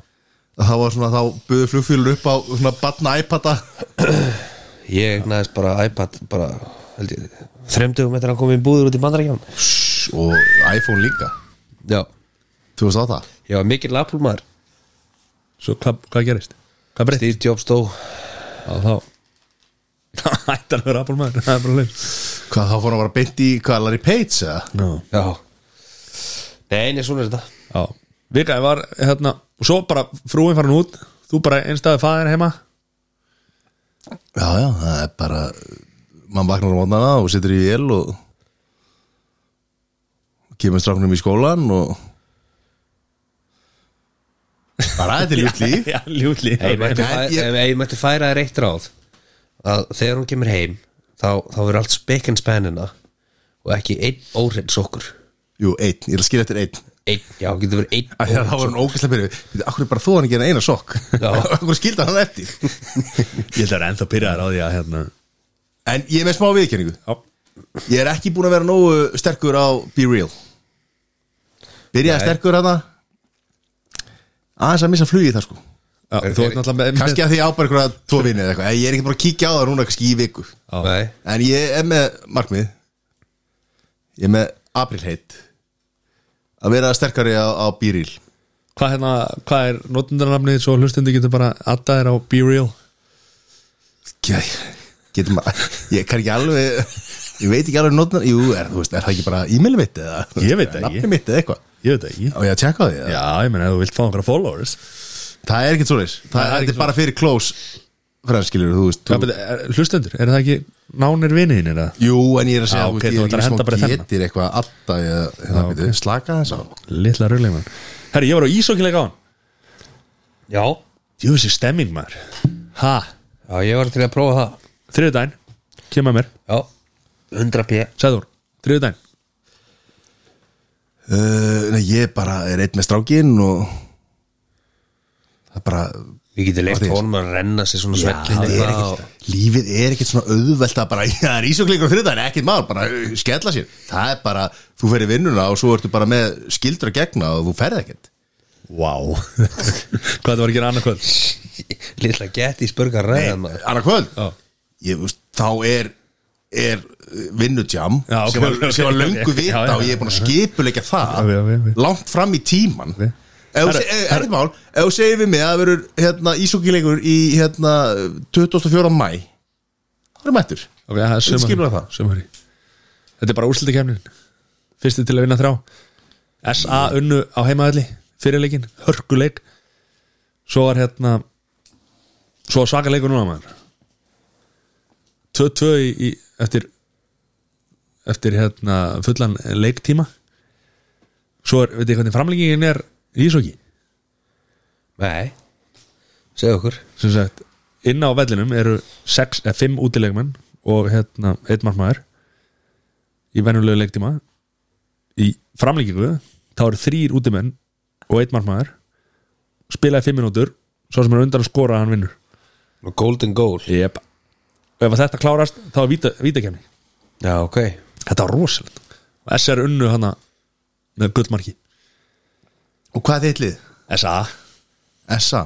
[SPEAKER 3] það var svona, þá buðu flugfýlur upp á svona barna iPada
[SPEAKER 2] ég næðist bara iPad bara, held ég, þremdugum eftir að hann kom í búður út í bandarækján
[SPEAKER 3] og iPhone líka
[SPEAKER 2] já,
[SPEAKER 3] þú veist á það
[SPEAKER 2] ég var mikill apulmaður
[SPEAKER 1] svo hvað, hvað gerist? Hvað breytti?
[SPEAKER 2] Steve Jobs dó
[SPEAKER 1] Já, þá Það hætti að vera Apple maður, það er bara leið
[SPEAKER 3] Hvað þá fór hann bara beint í hvað Larry Page eða?
[SPEAKER 1] Já,
[SPEAKER 2] já, nei, nei, svona er þetta
[SPEAKER 1] já Vika, ég var hérna og svo bara frúin farin út þú bara einstæði fæðir heima
[SPEAKER 3] Já, já, það er bara mann vaknar á mótnana og situr í vél og kemur strafnum í skólan og bara þetta er ljúft líf
[SPEAKER 1] Já, ljúli
[SPEAKER 2] Ef ég mætti
[SPEAKER 3] Nei,
[SPEAKER 2] fæ-
[SPEAKER 3] ég-
[SPEAKER 2] ef- ef ég mætti færa þér eitt ráð að þegar hún kemur heim þá, þá verður allt spekinn spennina hérna og ekki einn óhrinn sokkur
[SPEAKER 3] Jú, einn, ég er að skilja eftir einn
[SPEAKER 2] einn, já, getur verið einn
[SPEAKER 3] Af því að Það var hann ógæslega byrjuð Býtu, akkur er bara þú hann ekki en eina sokk
[SPEAKER 2] Já.
[SPEAKER 3] Akkur skildi hann eftir
[SPEAKER 1] Ég held að vera ennþá pyrraðar á því að hérna
[SPEAKER 3] En ég er með smá viðkynningu
[SPEAKER 1] Já,
[SPEAKER 3] Ég er ekki búin að vera nógu sterkur á Be Real Byrjaði sterkur hana aðeins að missa flugið það sko
[SPEAKER 1] já þú ert náttúrulega með
[SPEAKER 3] Kannski að því ábæra eitthvað tvo vinni eða eitthvað En Ég er ekki bara að kíkja á það núna kannski í viku
[SPEAKER 2] Nei,
[SPEAKER 3] En ég er með markmið Ég er með aprilheit Að vera sterkari á, á Be Real
[SPEAKER 1] Hvað, hérna, hvað er notundarnamnið svo hlustundi getur bara adda þér á Be Real
[SPEAKER 3] Gæ, Getum að Ég kann ekki alveg Ég veit ekki alveg notna Jú, er, þú veist, er það ekki bara e-mail mitt eða
[SPEAKER 1] Ég veit það ekki.
[SPEAKER 3] Nafni mitt eða eitthvað
[SPEAKER 1] Ég veit það ekki
[SPEAKER 3] Og ég að tjekka á því eða?
[SPEAKER 1] Já, ég meina, ef þú vilt fá einhverja followers
[SPEAKER 3] Það er ekkert svoleiðis Það,
[SPEAKER 1] það er
[SPEAKER 3] það er,
[SPEAKER 1] ekkert
[SPEAKER 3] er bara fyrir close Franskilur, þú veist
[SPEAKER 1] Hvað
[SPEAKER 3] þú,
[SPEAKER 1] betur- er- eh, Hlustendur, er það ekki nánir viniðin er það?
[SPEAKER 3] Jú, en ég er að segja
[SPEAKER 1] Já,
[SPEAKER 3] þú
[SPEAKER 1] ok,
[SPEAKER 3] veist, ég
[SPEAKER 1] þú
[SPEAKER 3] er
[SPEAKER 1] ætlar að henda bara í
[SPEAKER 3] ekki smá
[SPEAKER 1] þennan.
[SPEAKER 3] getir eitthvað alltaf ég, hérna, okay. Slaka þess á
[SPEAKER 1] Littla rögleikmann Herri, ég var á ísókileika á hann
[SPEAKER 2] já,
[SPEAKER 1] Jú, þessi stemming maður Ha,
[SPEAKER 2] já, ég var til að prófa það
[SPEAKER 1] þriðudaginn, kemur mér,
[SPEAKER 2] Já, 100 p
[SPEAKER 1] sæður Þriðudaginn,
[SPEAKER 3] uh, Nei, ég bara er einn með strákin og það er bara
[SPEAKER 2] Við getum leikt
[SPEAKER 3] Orðið.
[SPEAKER 2] honum að renna sér svona svellin hérna.
[SPEAKER 3] það er ekkert, Lífið er ekkert svona auðvelt að bara, já, það er ísoklingur og þriðan, ekkert maður, bara uh, skella sér Það er bara, þú ferir vinnuna og svo ertu bara með skildur að gegna og þú ferð ekkert
[SPEAKER 1] vá Hvað það var að gera annað kvöld
[SPEAKER 2] Lilla geti í spurga ræða maður
[SPEAKER 3] Anna kvöld
[SPEAKER 1] Já.
[SPEAKER 3] ég, þú veist, Þá er, er vinnutjám
[SPEAKER 1] Já, ok,
[SPEAKER 3] sem, var-
[SPEAKER 1] ok,
[SPEAKER 3] sem var
[SPEAKER 1] ok,
[SPEAKER 3] löngu
[SPEAKER 1] ok,
[SPEAKER 3] vita
[SPEAKER 1] já, já,
[SPEAKER 3] og ég er búin að
[SPEAKER 1] já, já.
[SPEAKER 3] skipuleika það
[SPEAKER 1] Já, já, já, já.
[SPEAKER 3] langt fram í tíman
[SPEAKER 1] Já.
[SPEAKER 3] Ef þú
[SPEAKER 1] Herra,
[SPEAKER 3] se- eh, ekkert mál, ef þú segir við mig að það verður hérna, ísókilegur í hérna, 24. mæ það er mættur
[SPEAKER 1] Ok, það er
[SPEAKER 3] Skipulega það.
[SPEAKER 1] sömari, sömari. Þetta er bara úrslutakefnin Fyrsti til að vinna þrá SA unnu á heimaðalli, fyrirleikin Hörkuleik Svo var hérna Svo var svaka leikur núna maður 2-2 í, í eftir eftir hérna fullan leiktíma Svo er, veit ég hvernig framlengingin er í Ísóki
[SPEAKER 2] Nei, segðu okkur
[SPEAKER 1] sem sagt inn á vellinum eru sex, eða fimm útilegmenn og hérna, einn markmaður í venjulegu leiktíma í framlíkingu þá eru þrýr útimenn og einn markmaður spilaði fimm mínútur svo sem er undan að skora hann vinnur
[SPEAKER 2] Golden goal
[SPEAKER 1] yep. og ef að þetta klárast þá er víta, vítakefni
[SPEAKER 2] Já, ok
[SPEAKER 1] þetta var rosalegt og SR unnu hana með gullmarki
[SPEAKER 3] Og hvað er þitt lið?
[SPEAKER 1] SA
[SPEAKER 3] SA?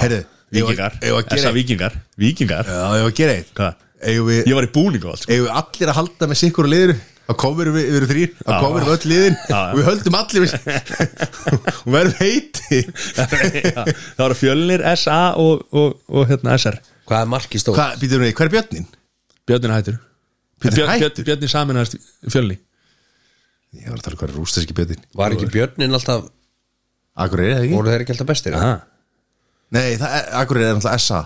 [SPEAKER 3] Herðu,
[SPEAKER 1] Víkingar,
[SPEAKER 3] eigum við
[SPEAKER 1] SA
[SPEAKER 3] að gera eitt?
[SPEAKER 1] Víkingar Víkingar,
[SPEAKER 3] Já, ég var að gera eitt
[SPEAKER 1] hvað?
[SPEAKER 3] Eigum við,
[SPEAKER 1] Ég var í búningu og allt sko.
[SPEAKER 3] eigum við allir að halda með sikkur og liður þá komur við yfir þrýr, þá
[SPEAKER 1] Já.
[SPEAKER 3] komur við öll liðin
[SPEAKER 1] Já, já.
[SPEAKER 3] og við höldum allir við og verðum heiti
[SPEAKER 1] Já, Það var fjölnir SA og, og, og hérna SR
[SPEAKER 2] Hvað er marki stóð?
[SPEAKER 3] Hvað, býtum við, hver er Björnin?
[SPEAKER 1] Björnir hættur
[SPEAKER 3] Björn er
[SPEAKER 1] Björn-
[SPEAKER 3] hættur?
[SPEAKER 1] Björn er saminast fjölni
[SPEAKER 3] Ég var að tala um hvað er rústarski Björnin
[SPEAKER 2] Var ekki björnin alltaf
[SPEAKER 3] Akkur er það ekki?
[SPEAKER 2] Voru þeir ekki alltaf bestir?
[SPEAKER 1] ah.
[SPEAKER 3] Nei, það er, akkur er náttúrulega SA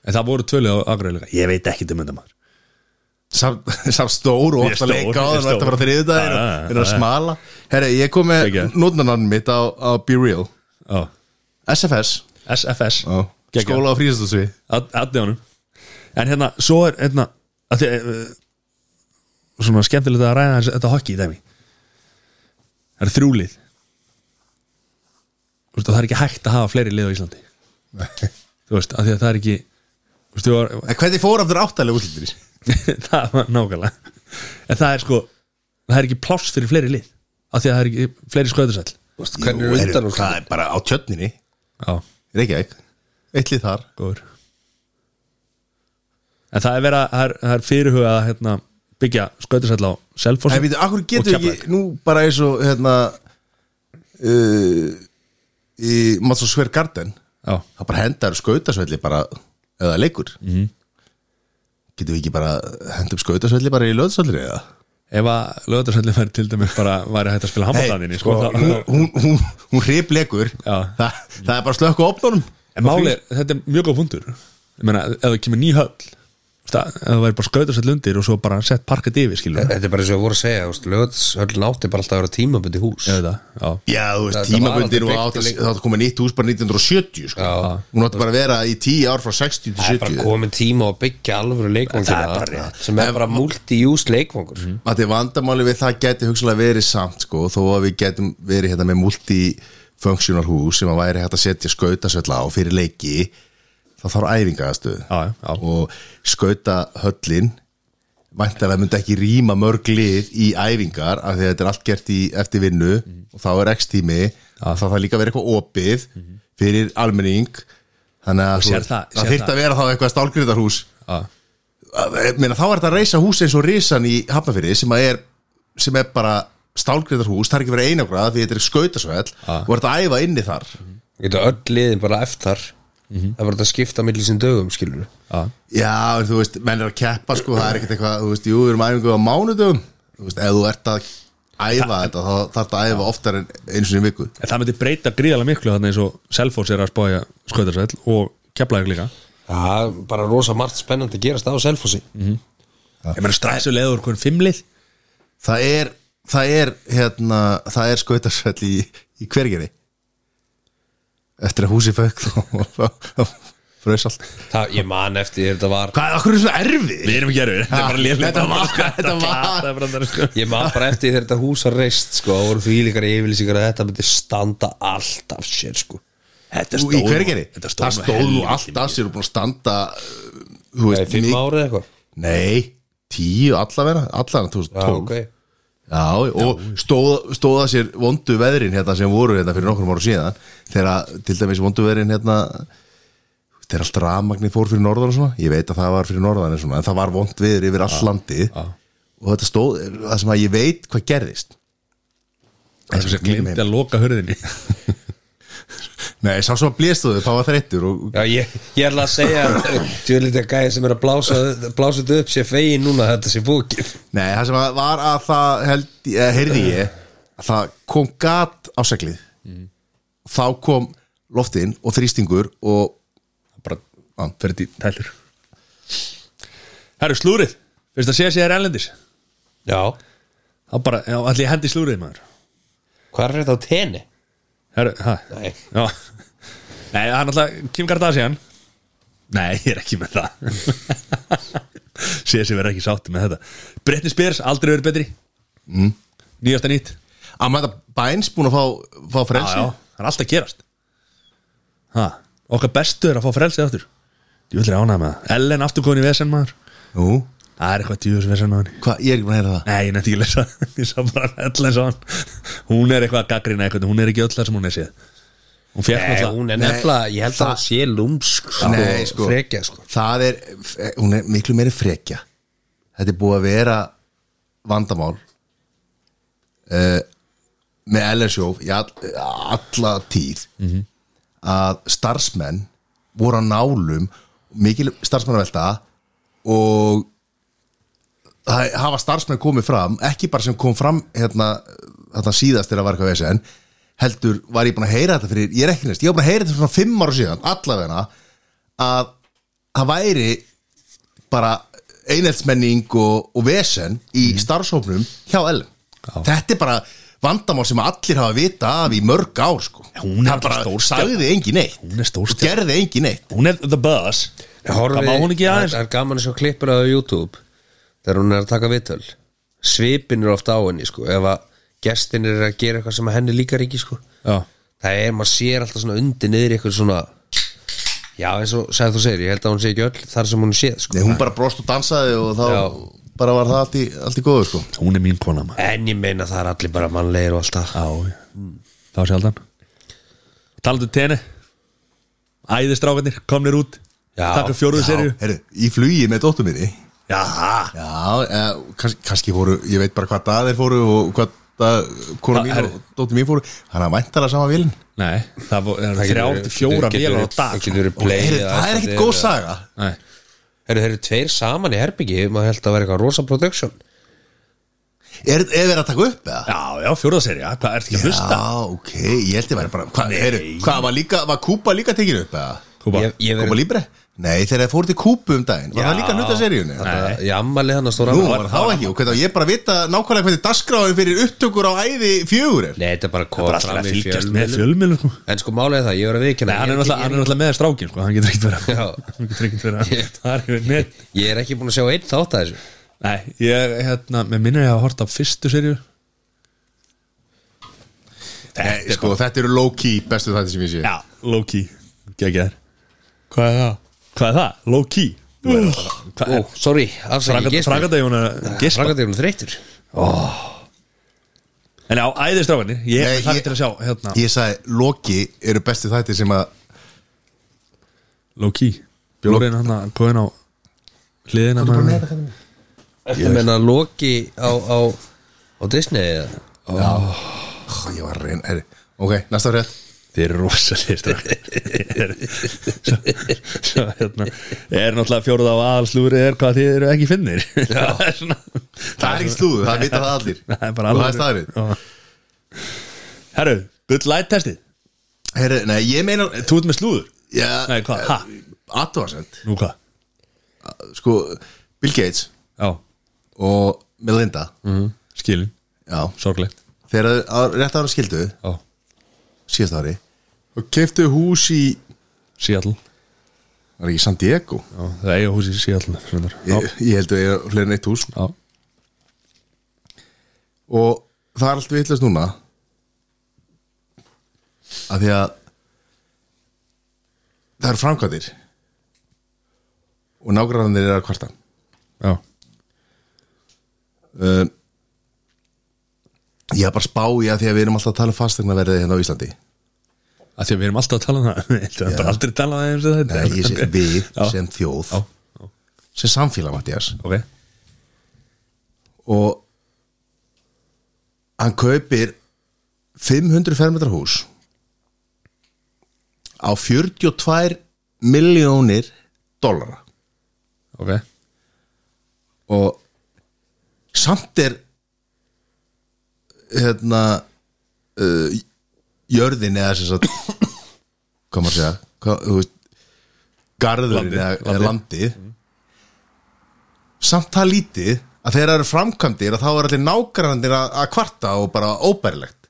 [SPEAKER 1] En það voru tvölið á Akureyri Ég veit ekki um þetta maður
[SPEAKER 3] Samt sam stór og
[SPEAKER 1] Ég er
[SPEAKER 3] ofta
[SPEAKER 1] stór, ég
[SPEAKER 3] leika á
[SPEAKER 1] er
[SPEAKER 3] þannig að þetta
[SPEAKER 1] stór.
[SPEAKER 3] var þriðið daginn
[SPEAKER 1] Já,
[SPEAKER 3] og
[SPEAKER 1] já,
[SPEAKER 3] er að
[SPEAKER 1] já.
[SPEAKER 3] smala Herri, ég kom með
[SPEAKER 1] Ekki.
[SPEAKER 3] nótnarnarn mitt á, á Be Real
[SPEAKER 1] ah.
[SPEAKER 3] SFS
[SPEAKER 1] SFS
[SPEAKER 3] Já.
[SPEAKER 1] Geggjað.
[SPEAKER 3] Skóla á frísastúsi
[SPEAKER 1] Allir honum En hérna, svo er hérna að því, uh, Svona skemmtilegt að ræða þessi- þetta hokki í dæmi Það er þrjúlið Þú veist, og það er ekki hægt að hafa fleiri lið á Íslandi Þú veist, af því að það er ekki Þú veist, þú var,
[SPEAKER 3] En hvernig fór aftur áttalega útlýttir?
[SPEAKER 1] það var nákvæmlega en það er sko, það er ekki pláss fyrir fleiri lið, af því að það er ekki fleiri sköðursæll
[SPEAKER 2] Þú veist, Hvernig eru undan úr
[SPEAKER 3] Það er bara á tjötninni
[SPEAKER 1] já,
[SPEAKER 3] Reykjavík Eitt lið þar
[SPEAKER 1] góður en það er verið að það er, það er fyrirhugað að hérna, byggja sköðursæll á Selfoss
[SPEAKER 3] En við þú, akkur getur
[SPEAKER 1] Og
[SPEAKER 3] ekki Nú bara eins og hérna uh, Í Mats og Sver Garden
[SPEAKER 1] já,
[SPEAKER 3] Það bara hendar skautasvelli bara Eða leikur
[SPEAKER 1] Mhm.
[SPEAKER 3] mm. Getum við ekki bara hendum skautasvelli bara í löðsvöldri eða?
[SPEAKER 1] ef að lögðarsællin væri til dæmis bara væri hægt að spila handbóltaninni sko,
[SPEAKER 3] hún,
[SPEAKER 1] sko,
[SPEAKER 3] hún, hún, hún hrip leikur
[SPEAKER 1] Já.
[SPEAKER 3] Þa, Það er bara slökku opnunum
[SPEAKER 1] en máli, þetta er mjög góð punktur ég meina, ef það kemur ný höll þú veist, að- ef það væri bara sköðursæll undir og svo bara sett parkað yfir, skilur
[SPEAKER 2] Þetta er bara eins og ég voru að segja Lögðshöllin átti bara alltaf að vera tímabundi hús
[SPEAKER 1] við já,
[SPEAKER 3] Já, þú
[SPEAKER 2] Þetta
[SPEAKER 3] veist,
[SPEAKER 2] var aldrei
[SPEAKER 3] tímabundir og
[SPEAKER 2] byggt
[SPEAKER 3] átt
[SPEAKER 2] í
[SPEAKER 3] að-
[SPEAKER 2] leik-
[SPEAKER 3] þá átt að koma nýtt hús bara 1970 sko.
[SPEAKER 2] Já.
[SPEAKER 3] Hún átti bara að vera í 10 ár frá 60 til
[SPEAKER 2] Það er bara
[SPEAKER 3] 70
[SPEAKER 2] komin tíma á að byggja alvöru leikvangur
[SPEAKER 1] Það er Mhm. bara rétt.
[SPEAKER 2] sem er bara multi-use leikvangur
[SPEAKER 3] að þið vandamáli við það geti hugsalega verið samt sko, þó að við getum verið hérna með multifunctional hús sem að væri hægt að setja skautasölla á fyrir leiki þá þarf æfingaðastöð
[SPEAKER 1] Já, já, já.
[SPEAKER 3] og skautahöllin væntalega myndi ekki rýma mörg lið í æfingar af því að þetta er allt gert í eftir vinnu
[SPEAKER 1] Mhm.
[SPEAKER 3] og þá er x tími þá þarf líka að vera eitthvað opið fyrir almenning þannig að þú-
[SPEAKER 1] Mhm. sér það- sér
[SPEAKER 3] það þyrfti
[SPEAKER 1] það.
[SPEAKER 3] að vera þá eitthvað stálgrindarhús
[SPEAKER 1] já
[SPEAKER 3] að- ég meina, þá er þetta að reysa hús eins og risan í Hafnafyrði sem að er sem er bara stálgreitar hús, það er ekki verið einagrað því þetta er skautasvæll og er þetta að æfa inni þar
[SPEAKER 1] Mhm.
[SPEAKER 2] Geta öll liðin bara eftar Það er bara þetta að skipta millir sín dögum skilur
[SPEAKER 1] já,
[SPEAKER 3] Já, en þú veist, menn er að keppa sko, það er ekkert eitthvað, þú veist, jú, við erum æfingu á mánudum, þú veist, ef þú ert að æfa þetta, þá þarf þetta að æfa oftar en eins og í viku
[SPEAKER 1] En það myndi breyta gríðalega miklu þannig eins og Selfoss er að spája skautarsæll og keflaðið líka
[SPEAKER 2] Það er bara rosa margt spennandi að gerast á Selfossi
[SPEAKER 1] Mhm. Ég meina stressu leiður um hvern fimmlið
[SPEAKER 3] Það er, það er hérna, það er skautasvæll í, í hvergeri eftir að húsi fögg þá fröðs allt
[SPEAKER 2] Það, ég man eftir því þetta var
[SPEAKER 3] Hvað, okkur er svo erfið?
[SPEAKER 1] Við erum ekki erfið, þetta er bara sko. lélega
[SPEAKER 3] Þetta var- þetta var-
[SPEAKER 2] Ég man bara eftir því þegar þetta hús að reist sko, það voru því líkar yfirlýsingar að þetta myndi standa allt af sér sko.
[SPEAKER 1] Þetta
[SPEAKER 3] Nú, í hverginni,
[SPEAKER 1] Þetta
[SPEAKER 3] það stóð nú allt af sér og búin að standa uh, þú
[SPEAKER 2] Það er
[SPEAKER 3] veist,
[SPEAKER 2] fimm
[SPEAKER 3] mik-
[SPEAKER 2] árið eitthvað
[SPEAKER 3] nei, tíu allavega allavega 2012
[SPEAKER 2] Já,
[SPEAKER 3] já,
[SPEAKER 2] ok.
[SPEAKER 3] og stóð, stóða sér vondu veðrin hérna sem voru hérna fyrir nokkrum ára síðan þegar að, til dæmis vondu veðrin hérna þegar allt rafmagnir fór fyrir norðan og svona, ég veit að það var fyrir norðan en, svona, en það var vond veður yfir all landið og þetta stóð, það sem að ég veit hvað gerðist
[SPEAKER 1] Það sem glimti að loka hörðinni
[SPEAKER 3] nei, sá svo að bléstuðu, það var þreyttur og
[SPEAKER 2] Já, ég, ég ætla að segja Tjóðlítið að gæði sem er að blása, blása þetta upp sé fegin núna að þetta sé búkið
[SPEAKER 3] Nei, það sem að var að það held, eh, heyrði ég að það kom gat á seglið
[SPEAKER 1] Mhm.
[SPEAKER 3] þá kom loftin og þrýstingur og
[SPEAKER 1] Bara á, fyrir því tælur Herru, slúrið Fyrst að sé að sé er ellendis
[SPEAKER 2] Já,
[SPEAKER 1] Það bara, já, allir ég hendi í slúrið maður
[SPEAKER 2] hvað er þetta á tenni?
[SPEAKER 1] Herru, hæ
[SPEAKER 2] Nei.
[SPEAKER 1] Já Nei, það er náttúrulega Kim Kardashian Nei, ég er ekki með það Sér sem verður ekki sátti með þetta Britney Spears, aldrei verið betri mm. Nýjasta nýtt Já,
[SPEAKER 3] Amanda Bynes búin að fá, fá frelsi
[SPEAKER 1] já, það er alltaf að gerast ha, Okkar bestu er að fá frelsið aftur Ég vil þér ánæða með það Ellen aftur komin í vesen maður
[SPEAKER 3] Jú,
[SPEAKER 1] Það er eitthvað djúðis vesen á henni
[SPEAKER 3] hvað, ég er ekki búin að heyra það
[SPEAKER 1] Nei, ég nefndi ekki að lesa Ég sá bara Ellen sá hann Hún er eitthvað að gaggrina eitthvað Hún er ekki öll það sem hún er séð Hún fekk
[SPEAKER 2] Nei,
[SPEAKER 1] náttúrulega
[SPEAKER 2] hún er nefnilega, ég held að það sé lúmsk sko,
[SPEAKER 3] Nei, sko.
[SPEAKER 2] frekja sko
[SPEAKER 3] Það er, hún er miklu meiri frekja Þetta er búið að vera vandamál uh, með LSJó í all, alla tíð að starfsmenn voru á nálum mikil starfsmennavelta og það hafa starfsmenn komið fram ekki bara sem kom fram hérna, hérna síðast þegar var eitthvað vesen heldur var ég búin að heyra þetta fyrir ég er ekki næst, ég var búin að heyra þetta fyrir svona fimm ára síðan allavegna að það væri bara einheltsmenning og, og vesen í
[SPEAKER 1] Mhm.
[SPEAKER 3] starfshófnum hjá Ellen þetta er bara vandamál sem allir hafa vita af í mörg ár sko.
[SPEAKER 1] Hún er
[SPEAKER 3] það bara
[SPEAKER 1] stórstjarna.
[SPEAKER 3] sagði engin neitt
[SPEAKER 1] Hún er
[SPEAKER 3] og
[SPEAKER 1] stórstjarna.
[SPEAKER 3] gerði engin neitt
[SPEAKER 1] Hún er the buzz Það má hún ekki aðeins
[SPEAKER 2] Það er gaman að sjá klippur á YouTube þegar hún er að taka viðtöl svipin er ofta á henni sko ef að gestin er að gera eitthvað sem að henni líkar ekki sko
[SPEAKER 1] Já
[SPEAKER 2] það er, maður sér alltaf svona undir niður eitthvað svona já eins og sagði þú segir, ég held að hún sé ekki öll þar sem hún sé sko
[SPEAKER 3] Nei, hún bara brost og dansaði og þá
[SPEAKER 2] Já.
[SPEAKER 3] bara var það allt í, allt í góðu sko.
[SPEAKER 1] Hún er mín kona maður
[SPEAKER 2] en ég meina það er allir bara mannlegir og alltaf
[SPEAKER 1] Já,
[SPEAKER 2] Mm.
[SPEAKER 1] það var sjaldan Talandu um tenni Æðistrákarnir, komnir út
[SPEAKER 2] Já.
[SPEAKER 1] Takk um fjóruðu serju
[SPEAKER 3] Heru, í flugi með dóttur minni
[SPEAKER 1] Já,
[SPEAKER 3] Já, eða, kannski, kannski fóru, ég veit bara hvað dag þeir fóru og hvað dag kona
[SPEAKER 1] Já,
[SPEAKER 3] mín
[SPEAKER 1] herru.
[SPEAKER 3] og dóttir mín fóru Þannig að væntar það sama vilin
[SPEAKER 1] nei, það var þrjá til fjóra vélar á dag sko.
[SPEAKER 2] það getur verið play
[SPEAKER 3] Heru,
[SPEAKER 2] eða
[SPEAKER 3] Það er
[SPEAKER 2] eitthvað
[SPEAKER 3] ekkit
[SPEAKER 2] eða-
[SPEAKER 3] góð saga
[SPEAKER 1] Nei,
[SPEAKER 2] Heyrðu, þeir eru tveir saman í herbyggi maður held að vera eitthvað rosa production
[SPEAKER 3] Er er verið að taka upp eða?
[SPEAKER 1] Já, já, fjóruðu serja, hvað ertu ekki að hlusta?
[SPEAKER 3] ok, ég held ég væri bara Hvað, heru, hvað var, líka, var Kúpa líka tekinu upp eða?
[SPEAKER 1] Kúba,
[SPEAKER 2] ég, ég
[SPEAKER 3] Kúpa
[SPEAKER 2] verið
[SPEAKER 3] Libre? Nei, þegar þeir fóru til Kúpu um daginn Var það líka hluta seríunni?
[SPEAKER 2] Þetta- í ammali hann að stóra
[SPEAKER 3] Nú,
[SPEAKER 2] afmæli.
[SPEAKER 3] var það ekki, og hvernig á ég bara að vita nákvæmlega hvernig dagskráin fyrir upptökur á æði fjögur er
[SPEAKER 2] Nei, þetta er bara að
[SPEAKER 1] bara
[SPEAKER 2] koma
[SPEAKER 1] alltaf
[SPEAKER 2] fram
[SPEAKER 1] að
[SPEAKER 2] í
[SPEAKER 1] fylgjast með
[SPEAKER 2] fjölmiðlum
[SPEAKER 1] fjölmiðlum sko.
[SPEAKER 2] En sko málega það, ég verið að
[SPEAKER 1] Nei,
[SPEAKER 2] viðkynna
[SPEAKER 1] hann er náttúrulega hann er náttúrulega með strákin, sko, hann getur ekkert verið
[SPEAKER 2] Já.
[SPEAKER 1] Hann getur ekkert verið að- það er ekki verið
[SPEAKER 2] Ég er ekki búin að sjá einn þátt að þessu
[SPEAKER 1] Nei, ég, hérna, með minnir ég að horta á fyrstu serju
[SPEAKER 3] Nei, sko, þetta eru low-key bestu þetta sem ég sé
[SPEAKER 1] Já, low key Gekkjaður Hvað er það? Hvað er það? Low key Þú verður bara- Hvað
[SPEAKER 2] Ó,
[SPEAKER 1] er
[SPEAKER 2] sorry, afsækki
[SPEAKER 1] það?
[SPEAKER 2] gespa
[SPEAKER 1] Frangadagjóna Gispa
[SPEAKER 2] Frangadegurinn þreytur
[SPEAKER 1] En á æðistrákanir Ég
[SPEAKER 3] Nei,
[SPEAKER 1] er það
[SPEAKER 3] ég-
[SPEAKER 1] til að sjá hérna
[SPEAKER 3] Ég sagði, Loki eru bestu þættir sem að
[SPEAKER 1] Low key Bjórinn hann að Kóðin á Hliðina maður.
[SPEAKER 2] Ég menna Loki á, á, á Disney eða
[SPEAKER 3] Ó, Ég var að reyna, herri Ok, næsta frétt
[SPEAKER 1] Þeir eru rosalegir strákanir Svo svo, hérna Er náttúrulega fjóruð á aðalslúri Er hvað þið eru ekki finnir Það er svona
[SPEAKER 3] Það er ekki slúðu, það vita það allir
[SPEAKER 1] Það er bara
[SPEAKER 3] Og
[SPEAKER 1] alveg
[SPEAKER 3] það er staðrið
[SPEAKER 1] Herru, good light testið
[SPEAKER 3] Herri, nei, ég meina
[SPEAKER 1] Þú ert með slúður
[SPEAKER 3] ja,
[SPEAKER 1] Nei, hvað? Ha?
[SPEAKER 3] Atvarsend
[SPEAKER 1] Nú hvað?
[SPEAKER 3] Sko, Bill Gates
[SPEAKER 1] Já,
[SPEAKER 3] og Melinda
[SPEAKER 1] Mm. Mhm. skilin
[SPEAKER 3] Já,
[SPEAKER 1] Sorglegt
[SPEAKER 3] þegar þau á- rétt ára skildu
[SPEAKER 1] Já,
[SPEAKER 3] Síðast ári Og keftu hús í
[SPEAKER 1] Seattle
[SPEAKER 3] Var ekki San Diego?
[SPEAKER 1] Já, það eiga hús í Seattle reyndar. Já,
[SPEAKER 3] Ég, ég held að ég er fleiri en eitt hús
[SPEAKER 1] já,
[SPEAKER 3] og það er allt vitlust núna að því að það eru framkvæmdir og nágræðanir eru að kvarta
[SPEAKER 1] já
[SPEAKER 3] um, ég er bara að spá í að því að við erum alltaf að tala um fastegnaverðið hérna á Íslandi
[SPEAKER 1] að Því að við erum alltaf að tala um það Við erum bara aldrei að tala um það eins og þetta
[SPEAKER 3] Nei, ég sé, við
[SPEAKER 1] Já.
[SPEAKER 3] sem þjóð
[SPEAKER 1] Já,
[SPEAKER 3] sem samfélag Mattias
[SPEAKER 1] ok
[SPEAKER 3] og hann kaupir 500 fermetra hús á 42 miljónir dollara
[SPEAKER 1] Ok,
[SPEAKER 3] og samt er hérna uh, jörðin eða sem sagt hvað maður að segja hvað, þú veist, garðurinn
[SPEAKER 1] Landið,
[SPEAKER 3] eða landið, landið. samt það lítið að þegar það eru framkvæmdir að þá eru allir nágrandir að, að kvarta og bara óbærilegt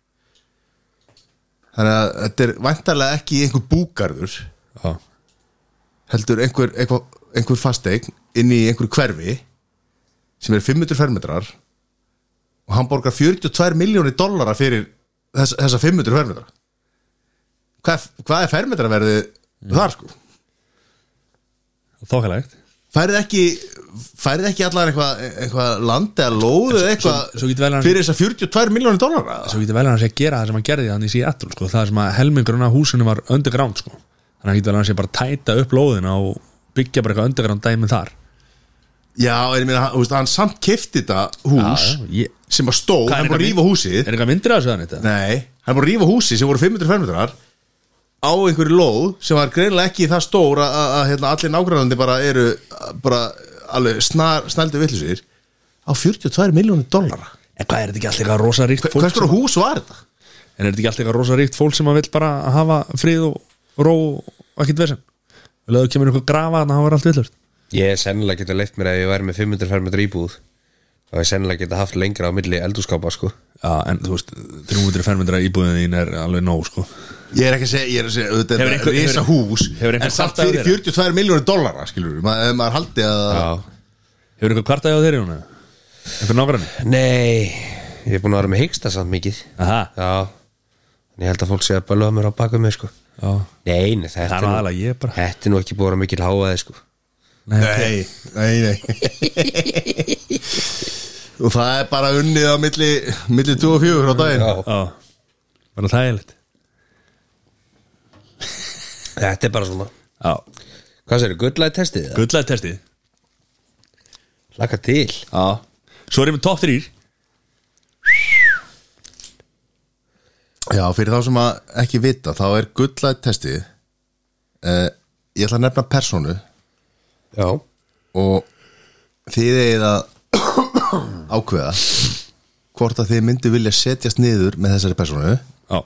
[SPEAKER 3] þannig að þetta er væntarlega ekki einhver búgarður
[SPEAKER 1] já
[SPEAKER 3] heldur einhver, einhver, einhver fasteign inn í einhver hverfi sem er 500 fermetrar og hann borgar 42 miljónir dollara fyrir þess, þessa 500 fermetra hvað, hvað er fermetraverði
[SPEAKER 1] Mm.
[SPEAKER 3] þar sko
[SPEAKER 1] þókalegt
[SPEAKER 3] færið ekki færið ekki allar eitthvað eitthva land eða lóð eða
[SPEAKER 1] svo getur vel
[SPEAKER 3] eitthvað
[SPEAKER 1] hann-
[SPEAKER 3] fyrir þess 42 miljónir dollara
[SPEAKER 1] svo getur vel hann sé að gera það sem hann gerði hann í Seattle sko, það sem að helmingurinn af húsinu var underground sko, þannig að getur vel hann sé bara að tæta upp lóðina og byggja bara eitthvað underground dæmi þar
[SPEAKER 3] já, en ég meina, hann, þú veist, hann samt kefti þetta
[SPEAKER 1] Já,
[SPEAKER 3] hús
[SPEAKER 1] já, ég-
[SPEAKER 3] sem var stóð,
[SPEAKER 1] Hvað, er
[SPEAKER 3] hann er búin að
[SPEAKER 1] eitthvað
[SPEAKER 3] rífa húsið
[SPEAKER 1] er eitthvað myndir að þessu þannig þetta?
[SPEAKER 3] Nei, hann er búin að rífa húsi sem voru 500 fermetrar á einhverju lóð sem var greinlega ekki það stór að, að, að hérna, allir nágrænandi bara eru að, bara alveg snar, snældu villusir á 42 miljónir dollara
[SPEAKER 1] En hvað er þetta ekki alltaf eitthvað rosa ríkt
[SPEAKER 3] Hver-
[SPEAKER 1] fólk
[SPEAKER 3] Hvers konar hús var þetta?
[SPEAKER 1] sem, En er þetta ekki alltaf eitthvað rosa ríkt fólk sem að vill bara hafa frið og ró og ekkert vesen Vel að þú kemur einhver grafa þannig að það var allt villur
[SPEAKER 2] Ég er sennilega geta leift mér að ég væri með 500 fermetra íbúð þá er sennilega geta haft lengra á milli eldúskápa sko
[SPEAKER 1] Já, en þú veist, 300 fermyndra íbúðin þín er alveg nóg sko
[SPEAKER 3] Ég er ekki að segja, ég er að segja auðvitað
[SPEAKER 1] Hefur
[SPEAKER 3] er
[SPEAKER 1] einhver-
[SPEAKER 3] þetta risa
[SPEAKER 1] hefur-
[SPEAKER 3] hús
[SPEAKER 1] hefur einhver
[SPEAKER 3] en samt
[SPEAKER 1] kvartað
[SPEAKER 3] fyrir
[SPEAKER 1] yfir þér?
[SPEAKER 3] 42 miljónir dollara skilur við, maður, maður haldi að
[SPEAKER 2] Já.
[SPEAKER 1] Hefur einhver kvartaði á þeirri hún? Einhver nágranni?
[SPEAKER 2] Nei, ég er búin að vera með hyggsta samt mikið
[SPEAKER 1] Aha,
[SPEAKER 2] Já, en ég held að fólk sé að bölva mér á baku mig sko
[SPEAKER 1] já
[SPEAKER 2] Nei, nei, þetta
[SPEAKER 1] Það er
[SPEAKER 2] er nú-
[SPEAKER 1] aðalega ég bara
[SPEAKER 2] Þetta er nú ekki búið að vera mikil háaði sko
[SPEAKER 1] Nei,
[SPEAKER 3] Nei, nei, nei Og það er bara unnið á milli, milli 2 og 4 á daginn
[SPEAKER 2] Já.
[SPEAKER 1] Já, bara þægilegt
[SPEAKER 2] Þetta er bara svona
[SPEAKER 1] Já,
[SPEAKER 2] Hvað sér, gullæði testið það?
[SPEAKER 1] gullaði testið
[SPEAKER 2] Laka til
[SPEAKER 1] Já Svo er ég með top 3
[SPEAKER 3] Já, fyrir þá sem að ekki vita þá er gullætt testið uh, ég ætla að nefna personu
[SPEAKER 2] Já
[SPEAKER 3] og þið eigið að ákveða hvort að þið myndu vilja setjast niður með þessari personu
[SPEAKER 1] Já,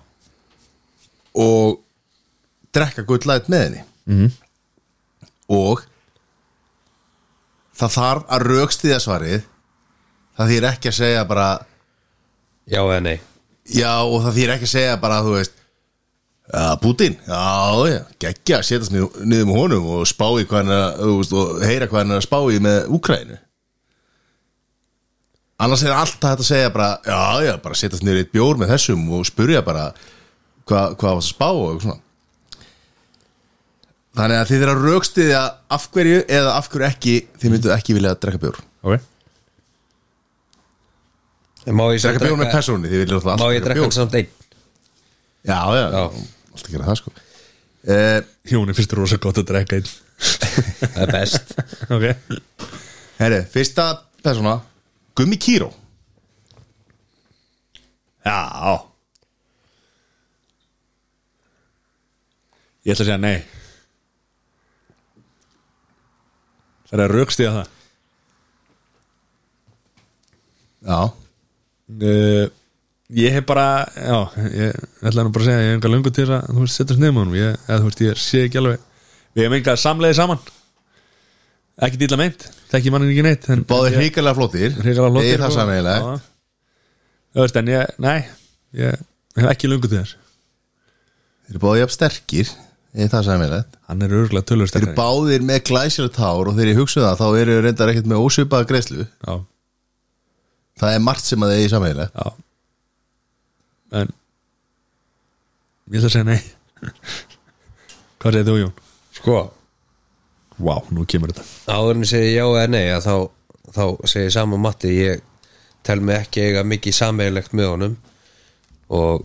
[SPEAKER 3] og drekka gullætt með henni mm -hmm. og það þarf að rökstiðja svarið það þýr ekki að segja bara
[SPEAKER 2] Já eða nei
[SPEAKER 3] Já, og það þýr ekki að segja bara, þú veist Já, Putin, já, já, geggja að setjast niður, niður með honum og spá í hvað hann er að, þú veist, og heyra hvað hann er að spá í með Úkrænu Annars er alltaf hægt að segja bara, já, já, bara setjast niður í eitt bjór með þessum og spurja bara hvað, hvað var að spá og eitthvað svona Þannig að þið þeirra raukstiðja af hverju eða af hverju ekki, þið mynduð ekki vilja að drekka bjór
[SPEAKER 1] ok
[SPEAKER 2] En Má ég samt
[SPEAKER 3] Drekka bjór með
[SPEAKER 2] drekka
[SPEAKER 3] persóni, þið viljum alltaf
[SPEAKER 2] Má
[SPEAKER 3] alltaf
[SPEAKER 2] ég drekka hann samt einn?
[SPEAKER 3] Já, já,
[SPEAKER 2] Já.
[SPEAKER 3] alltaf gera það sko Eh,
[SPEAKER 1] Hjóni finnst rosa gott að drekka einn
[SPEAKER 2] Það er best
[SPEAKER 1] Ok
[SPEAKER 3] Herri, fyrsta persóna Gummi Kíró
[SPEAKER 1] Já Ég ætla að segja nei Það er að raukstíða það
[SPEAKER 3] Já
[SPEAKER 1] uh, Ég hef bara Já, ég ætla nú bara að segja að Ég hef enga löngu til þess að þú veist setjast nefnum honum Ég, eða, þú veist, ég sé ekki alveg Við hefum enga samleiði saman Ekki dýla meint, þekki mannin ekki neitt en- en
[SPEAKER 3] Báðir
[SPEAKER 1] ég-
[SPEAKER 3] hrikalega flottir
[SPEAKER 1] hrikalega flottir
[SPEAKER 3] Ég er það
[SPEAKER 1] og-
[SPEAKER 3] sameiginlega
[SPEAKER 1] Já. Þú veist, en ég, nei Ég hef ekki löngu til þess
[SPEAKER 3] Þeir eru báðir jafn sterkir Ég er það sameiginlega
[SPEAKER 1] Hann er örgulega tölur
[SPEAKER 3] Þeir eru báðir með glæsjöld hár og þegar ég hugsa um það þá eru þeir reyndar ekkert með ósvipaða greiðslu
[SPEAKER 1] Já,
[SPEAKER 3] Það er margt sem að þeir eru sameiginlega
[SPEAKER 1] já En Ég ætla að segja nei Hvað segir þú Jón?
[SPEAKER 2] Sko
[SPEAKER 1] Vá, nú kemur þetta
[SPEAKER 2] Áður en ég segi já eða nei að þá, þá segi ég sama um Matti Ég tel mig ekki eiga mikið sameigilegt með honum Og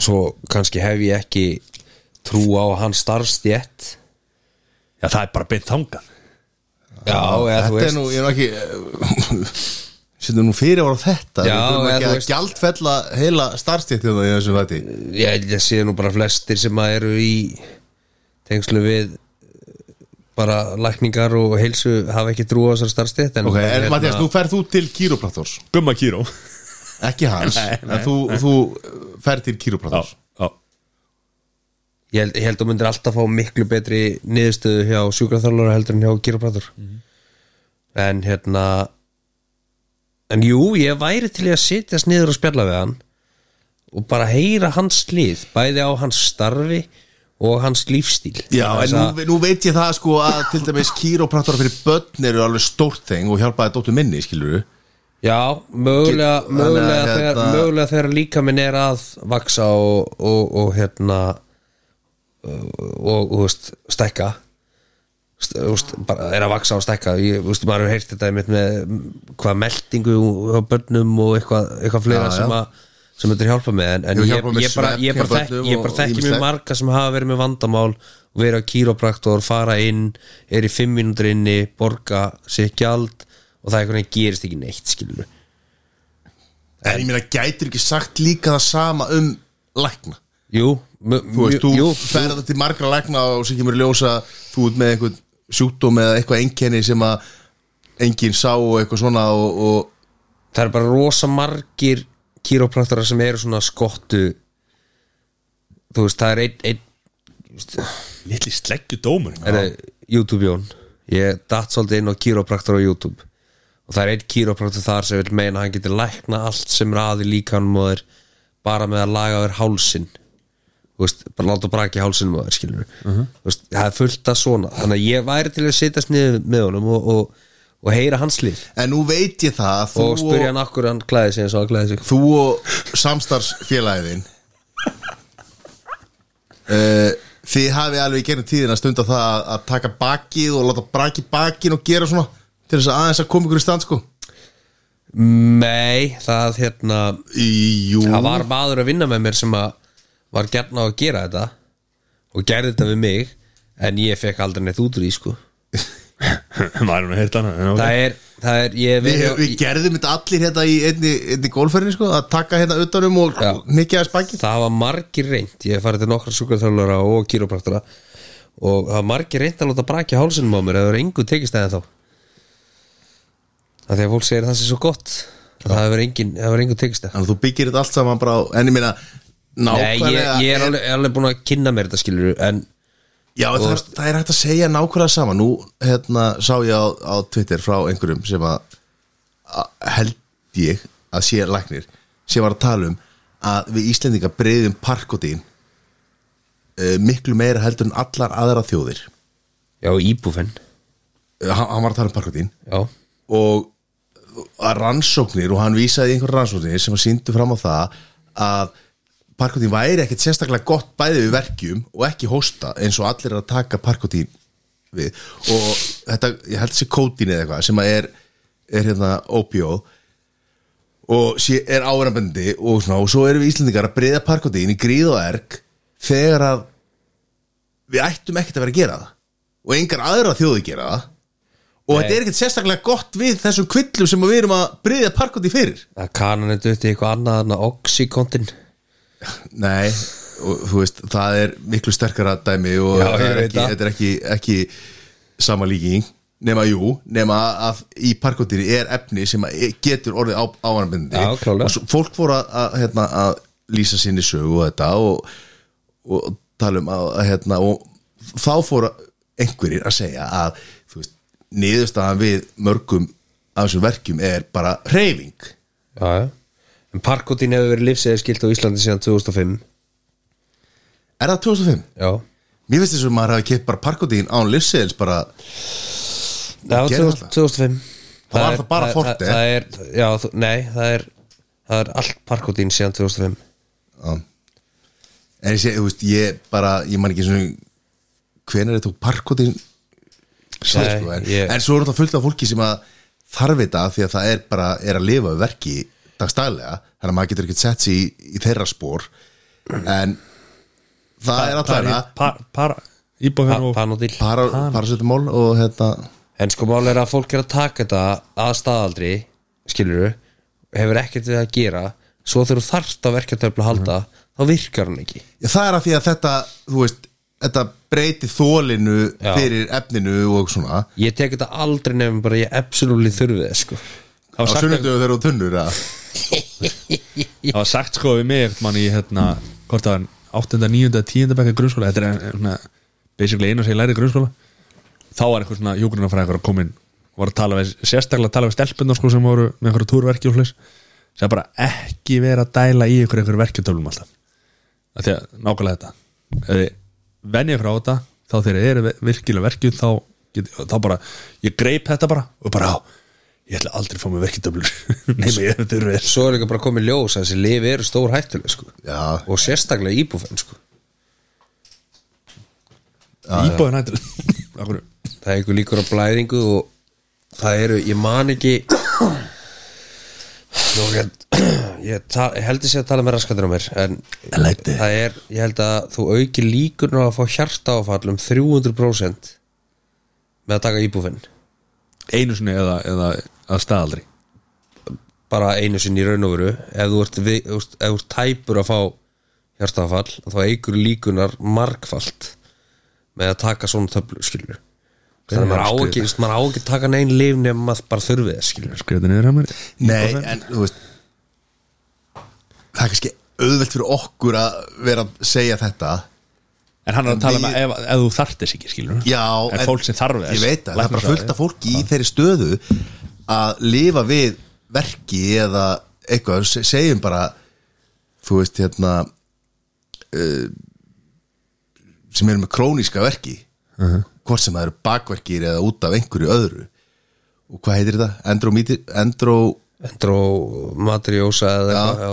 [SPEAKER 2] Svo kannski hef ég ekki Trú á hans starfstjett
[SPEAKER 1] Já, það er bara beint þangað
[SPEAKER 2] Já, eða þú
[SPEAKER 3] Þetta er
[SPEAKER 2] veist
[SPEAKER 3] nú, ég er nú ekki Sýndum nú fyrir ára þetta
[SPEAKER 2] Já,
[SPEAKER 3] Við þurfum
[SPEAKER 2] eða
[SPEAKER 3] ekki
[SPEAKER 2] þú
[SPEAKER 3] að
[SPEAKER 2] veist-
[SPEAKER 3] gjaldfella heila starfstéttið í þessu fætti
[SPEAKER 2] Ég held að sé nú bara flestir sem að eru í tengslu við eh, bara lækningar og heilsu hafa ekki trú á þessar starfstétt en,
[SPEAKER 3] Ok, en
[SPEAKER 2] hérna,
[SPEAKER 3] Mattias, nú ferð þú til kírópraktors
[SPEAKER 1] Gumma kýró
[SPEAKER 3] Ekki hans, en þú, þú ferð til kírópraktors
[SPEAKER 1] já
[SPEAKER 2] ég, held, ég held að þú myndir alltaf fá miklu betri niðurstöðu hjá sjúkraþjálfara heldur en hjá gyroprátur
[SPEAKER 3] Mhm.
[SPEAKER 2] en hérna en jú, ég væri til í að sitjast niður og spjalla við hann og bara heyra hans slið bæði á hans starfi og hans lífstíl
[SPEAKER 3] Já,
[SPEAKER 2] Vegna
[SPEAKER 3] en
[SPEAKER 2] þess að-
[SPEAKER 3] nú, nú veit ég það sko að til dæmis kýróprattar fyrir börn eru alveg stórt þeng og hjálpaði dóttu minni, skilur við
[SPEAKER 2] Já, mögulega,
[SPEAKER 3] Get-
[SPEAKER 2] mögulega,
[SPEAKER 3] þannig að
[SPEAKER 2] þegar,
[SPEAKER 3] hérna-
[SPEAKER 2] mögulega þegar líkaminn er að vaksa og, og, og hérna og, og veist, stækka St- þú veist, bara er að vaksa og stækka ég, þú veist, maður hefur heyrt þetta einmitt með mm, hvað meldingu á börnum og eitthvað, eitthvað fleira
[SPEAKER 3] Já, já.
[SPEAKER 2] sem að sem þetta er hjálpa með en, en
[SPEAKER 3] Hefur
[SPEAKER 2] ég,
[SPEAKER 3] hjálpað með
[SPEAKER 2] ég, bara,
[SPEAKER 3] svefn
[SPEAKER 2] ég bara
[SPEAKER 3] hjá
[SPEAKER 2] þekki,
[SPEAKER 3] börnum
[SPEAKER 2] ég bara
[SPEAKER 3] og
[SPEAKER 2] þekki
[SPEAKER 3] ýmislegt.
[SPEAKER 2] mjög marga sem hafa verið með vandamál vera kýrópraktor, fara inn er í fimm mínútur inni, borga sér gjald og það einhvern veginn gerist ekki neitt skilur
[SPEAKER 3] En ég meina, gætir ekki sagt líka það sama um lækna
[SPEAKER 2] Jú, mjö,
[SPEAKER 3] Þú veist, þú
[SPEAKER 2] jú,
[SPEAKER 3] ferð til margra lækna og sér kemur í ljós að þú ert með einhvern sjúkdóm eða eitthvað einkenni sem að enginn sá og eitthvað svona og, og
[SPEAKER 2] það er bara rosa margir kýrópraktara sem eru svona skottu þú veist, það er einn ein,
[SPEAKER 1] Lítli sleggju dómur
[SPEAKER 2] er YouTube Jón ég datt svolítið inn á kýrópraktara á YouTube og það er einn kýrópraktur þar sem vil meina að hann getur lækna allt sem er aði líkanum og þér bara með að laga þér hálsin þú veist, bara láta braki hálsinum á þér skilur þú veist, það er fullt að svona þannig að ég væri til að sitja sniðu með honum og, og, og heyra hans lið
[SPEAKER 3] en nú veit ég það að þú
[SPEAKER 2] og spyrja hann akkur hann klæði sig eins og hann klæði sig
[SPEAKER 3] þú og samstarfsfélagiðin uh, þið hafi alveg í gerum tíðin að stunda það að, að taka bakið og láta braki bakin og gera svona til þess að aðeins að koma ykkur í stand sko
[SPEAKER 2] Nei, það hérna
[SPEAKER 3] í, jú,
[SPEAKER 2] Það var maður að vinna með mér sem að var gert á að gera þetta og gerði þetta við mig en ég fekk aldrei neitt út úr því sko
[SPEAKER 1] Maður er nú heyrt annað en ok.
[SPEAKER 2] Það er, það er, ég hef
[SPEAKER 3] Við,
[SPEAKER 2] verið-
[SPEAKER 3] við gerðum þetta allir hérna í einni, einni gólferðinni sko, að taka hérna utanum og
[SPEAKER 2] Já.
[SPEAKER 3] mikið að spakið
[SPEAKER 2] Það hafa margir reynd Ég hef farið til nokkra sjúkarþjálfara og kýrópraktora og það hafa margir reynd að láta brakja hálsinum á mér eða það er engu tekist eða þá Það því að fólk segir það sé svo gott það hefur engin, það hefur engu tekist eða
[SPEAKER 3] Þannig að þú byggir þetta allt saman bara á, en ég meina
[SPEAKER 2] Nei, ég,
[SPEAKER 3] nákvæmlega
[SPEAKER 2] ég er alveg, alveg búin að kynna mér þetta skilur en
[SPEAKER 3] já, það, er, það er hægt að segja nákvæmlega saman nú hérna sá ég á, á Twitter frá einhverjum sem að, að held ég að sé læknir sem var að tala um að við Íslendinga breyðum parkotín uh, miklu meira heldur en allar aðra þjóðir
[SPEAKER 2] Já, íbúfenn
[SPEAKER 3] uh, hann, hann var að tala um parkotín
[SPEAKER 2] Já,
[SPEAKER 3] og að rannsóknir og hann vísaði í einhver rannsóknir sem að síndu fram á það að parkotín væri ekkert sérstaklega gott bæði við verkjum og ekki hósta eins og allir er að taka parkotín við og þetta, ég held þessi kótín eða eitthvað sem að er, er hérna ópjóð og sé, er áverðanbendi og, svona, og svo erum við Íslendingar að breyða parkotín í gríð og erg þegar að við ættum ekkert að vera að gera það og engar aðra þjóði gera það og þetta er ekkert sérstaklega gott við þessum kvillum sem við erum að breyða parkotín fyrir
[SPEAKER 2] að kanan er dutt í eitthvað annað en að oxykontin
[SPEAKER 3] Nei, og, þú veist, það er miklu sterkara dæmi og
[SPEAKER 2] Já,
[SPEAKER 3] það
[SPEAKER 2] ég
[SPEAKER 3] er
[SPEAKER 2] veit
[SPEAKER 3] ekki,
[SPEAKER 2] það.
[SPEAKER 3] þetta er ekki, ekki sama líking nema jú, nema að í parkotíri er efni sem að e, getur orðið á, áanbindi
[SPEAKER 2] Já, klálega.
[SPEAKER 3] og svo, fólk voru að, að, hérna, að lýsa sinni sögu og þetta og, og tala um að, að hérna, og þá fóru einhverjir að segja að þú veist, niðurstaðan við mörgum af þessum verkjum er bara reyfing
[SPEAKER 2] Já, já En parkotín hefur verið lífsæði skilt á Íslandi síðan 2005
[SPEAKER 3] Er það 2005?
[SPEAKER 2] Já
[SPEAKER 3] Mér finnst þess að maður hafi keitt bara parkotín án livsseðils bara
[SPEAKER 2] Það var
[SPEAKER 3] Gerðu það?
[SPEAKER 2] 2005
[SPEAKER 3] Það var
[SPEAKER 2] er-
[SPEAKER 3] það bara eh?
[SPEAKER 2] það-
[SPEAKER 3] Forte.
[SPEAKER 2] Það er, já, þú- nei, það er það er allt parkotín síðan 2005
[SPEAKER 3] Já. En ég sé, þú veist, ég bara ég man ekki svona hvenær ég tók parkotín
[SPEAKER 2] Nei,
[SPEAKER 3] sér, sko, en,
[SPEAKER 2] ég-
[SPEAKER 3] en svo er þetta fullt af fólki sem að þarf þetta af því að það er bara er að lifa við verki dagstælega þannig að maður getur ekkert sett sér í, í þeirra spór en það er alltaf
[SPEAKER 1] Par-
[SPEAKER 3] hérna
[SPEAKER 1] par- par- Íbúfenn og
[SPEAKER 2] Panodil
[SPEAKER 3] para, parasetamól og hérna
[SPEAKER 2] En sko mál er að fólk er að taka þetta að staðaldri, skilur hefur ekkert við að gera svo þegar þú þarft að verka að halda þá virkar hann ekki
[SPEAKER 3] Já, það er af því að þetta, þú veist þetta breyti þólinu
[SPEAKER 2] Já.
[SPEAKER 3] fyrir efninu og svona
[SPEAKER 2] Ég tek þetta aldrei nefnum bara ég absolutt þurfið þess sko
[SPEAKER 1] Það var
[SPEAKER 3] á
[SPEAKER 1] sagt
[SPEAKER 3] sunnundu þegar þú tunnur að
[SPEAKER 1] það var sagt sko við mig mann í hérna, hvort það er 8. 9. 10. bekka grunnskóla þetta er eh, svona, basically einu sem ég lærið grunnskóla þá var einhver svona hjúgrunafræðingur að koma inn og var að tala við, sérstaklega að tala við stelpunar sko sem voru með einhverju túrverki og hlis sem bara ekki vera að dæla í einhverju einhverju verkjutöflum alltaf af því að nákvæmlega þetta ef þið venja frá þetta þá þegar þeir eru virkilega verkjum þá, get, þá bara, ég greip þetta bara og bara á, ég ætla aldrei að fá mér verkjadöflur nema ég þurfi þess
[SPEAKER 2] Svo er líka bara komið ljós að þessi lifi eru stór hættuleg sko.
[SPEAKER 3] Já.
[SPEAKER 2] og sérstaklega íbúfenn sko.
[SPEAKER 1] íbúðin hættur Af hverju?
[SPEAKER 2] það er ykkur líkur á blæðingu og það eru, ég man ekki Nú, ég, ég, ta, ég held ég sé að tala með raskatur á mér en
[SPEAKER 1] læti.
[SPEAKER 2] það er, ég held að þú auki líkur á að fá hjartaáfall um 300% með að taka íbúfenn
[SPEAKER 1] einu sinni eða, eða að staðaldri
[SPEAKER 2] bara einu sinni í raun og veru ef þú ert, við, ef þú ert, ef þú ert tæpur að fá hjartafall þá eigur líkunar margfalt með að taka svona töflu skilur þannig að maður á ekki, þú veist, maður á ekki að taka neinn lif nefnum maður bara þurfið þess skilur
[SPEAKER 1] skrifa þetta niður hjá mér
[SPEAKER 3] Nei, en þú veist Það er kannski auðvelt fyrir okkur að vera að segja þetta
[SPEAKER 1] en hann er að
[SPEAKER 3] En
[SPEAKER 1] tala
[SPEAKER 3] við-
[SPEAKER 1] um að ef, ef þú þarft þess ekki skilur
[SPEAKER 3] Já,
[SPEAKER 1] en, fólk sem þarf þess
[SPEAKER 3] Ég veit að það er bara
[SPEAKER 1] læknisfræði.
[SPEAKER 3] fullt af fólki í þeirri stöðu að lifa við verki eða eitthvað, se- segjum bara þú veist hérna uh, sem eru með króníska verki
[SPEAKER 1] Uh-huh.
[SPEAKER 3] hvort sem það eru bakverkir eða út af einhverju öðru og hvað heitir þetta? Endromíti, endró
[SPEAKER 2] endur og matriósa eða eitthvað já.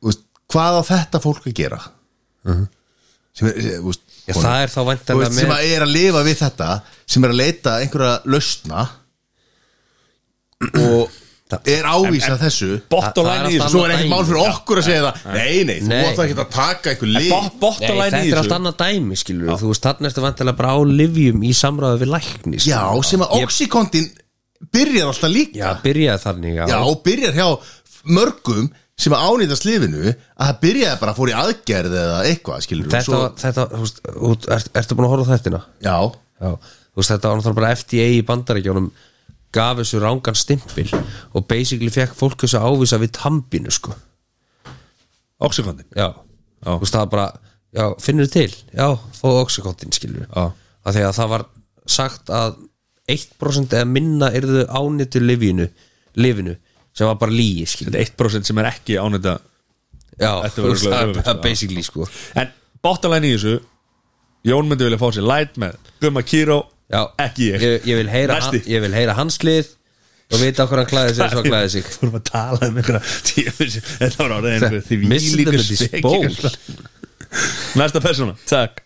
[SPEAKER 3] þú veist, hvað á þetta fólk að gera?
[SPEAKER 1] Uh-huh.
[SPEAKER 3] sem er, sem, þú veist,
[SPEAKER 2] Já, það er þá
[SPEAKER 3] þú veist,
[SPEAKER 2] væntanlega
[SPEAKER 3] sem
[SPEAKER 2] með
[SPEAKER 3] að er að lifa við þetta sem er að leita einhverja lausna og er ávísa þessu
[SPEAKER 2] Það-
[SPEAKER 1] bottom
[SPEAKER 2] það er
[SPEAKER 1] line í
[SPEAKER 2] allt
[SPEAKER 1] þessu
[SPEAKER 3] svo er ekkert mál fyrir okkur að segja það nei, nei, þú
[SPEAKER 2] Nei.
[SPEAKER 3] átt ekki að taka einhver lið
[SPEAKER 1] Bo- bottom
[SPEAKER 2] Nei,
[SPEAKER 1] line
[SPEAKER 2] þetta
[SPEAKER 1] í
[SPEAKER 2] er allt
[SPEAKER 1] þessu
[SPEAKER 2] annað dæmi skilur þú veist, þannig ertu vantilega bara á livjum í samræðu við lækni skilurðu.
[SPEAKER 3] já, sem að
[SPEAKER 2] Ég-
[SPEAKER 3] oxykontin byrjar alltaf líka
[SPEAKER 2] Já, byrjaði þannig
[SPEAKER 3] já, og byrjar hjá mörgum sem að ánýtast lifinu að það byrjaði bara að fór í aðgerð eða eitthvað, skilur
[SPEAKER 2] Þetta,
[SPEAKER 3] svo,
[SPEAKER 2] þetta, þú veist, út- ert, ertu búin að horfa á þættina?
[SPEAKER 3] já,
[SPEAKER 2] Já, þú veist þetta var náttúrulega bara FDA í bandaríkjónum gaf þessu rángan stimpil og basically fekk fólk þessu ávisa við tambinu sko
[SPEAKER 1] oxykondi
[SPEAKER 2] já, þú veist það var bara já, finnur til, já, fá oxykontin skilur
[SPEAKER 1] Já.
[SPEAKER 2] af því að það var sagt að 1% eða minna yrðu ánýttu lifinu, lifinu sem var bara líi skilur
[SPEAKER 1] þetta er 1% sem er ekki ánægða
[SPEAKER 2] já,
[SPEAKER 1] Þetta
[SPEAKER 2] þú
[SPEAKER 1] var
[SPEAKER 2] veist það
[SPEAKER 1] örugglega
[SPEAKER 2] er bara
[SPEAKER 1] öfugt, já.
[SPEAKER 2] basically sko
[SPEAKER 1] en bottom line í þessu Jón myndi vilja fá sér light með Gumma Kíró,
[SPEAKER 2] já,
[SPEAKER 1] ekki ég
[SPEAKER 2] ég, ég vil heyra, hann,
[SPEAKER 1] Næsti.
[SPEAKER 2] ég vil heyra hanslið og vita okkur hann klæði sig eins og hann klæði sig
[SPEAKER 1] Þú erum að tala um einhverja tífis Þetta var orðið einhverja því
[SPEAKER 2] Missir
[SPEAKER 1] líka
[SPEAKER 2] þetta í spól
[SPEAKER 1] Næsta persóna, takk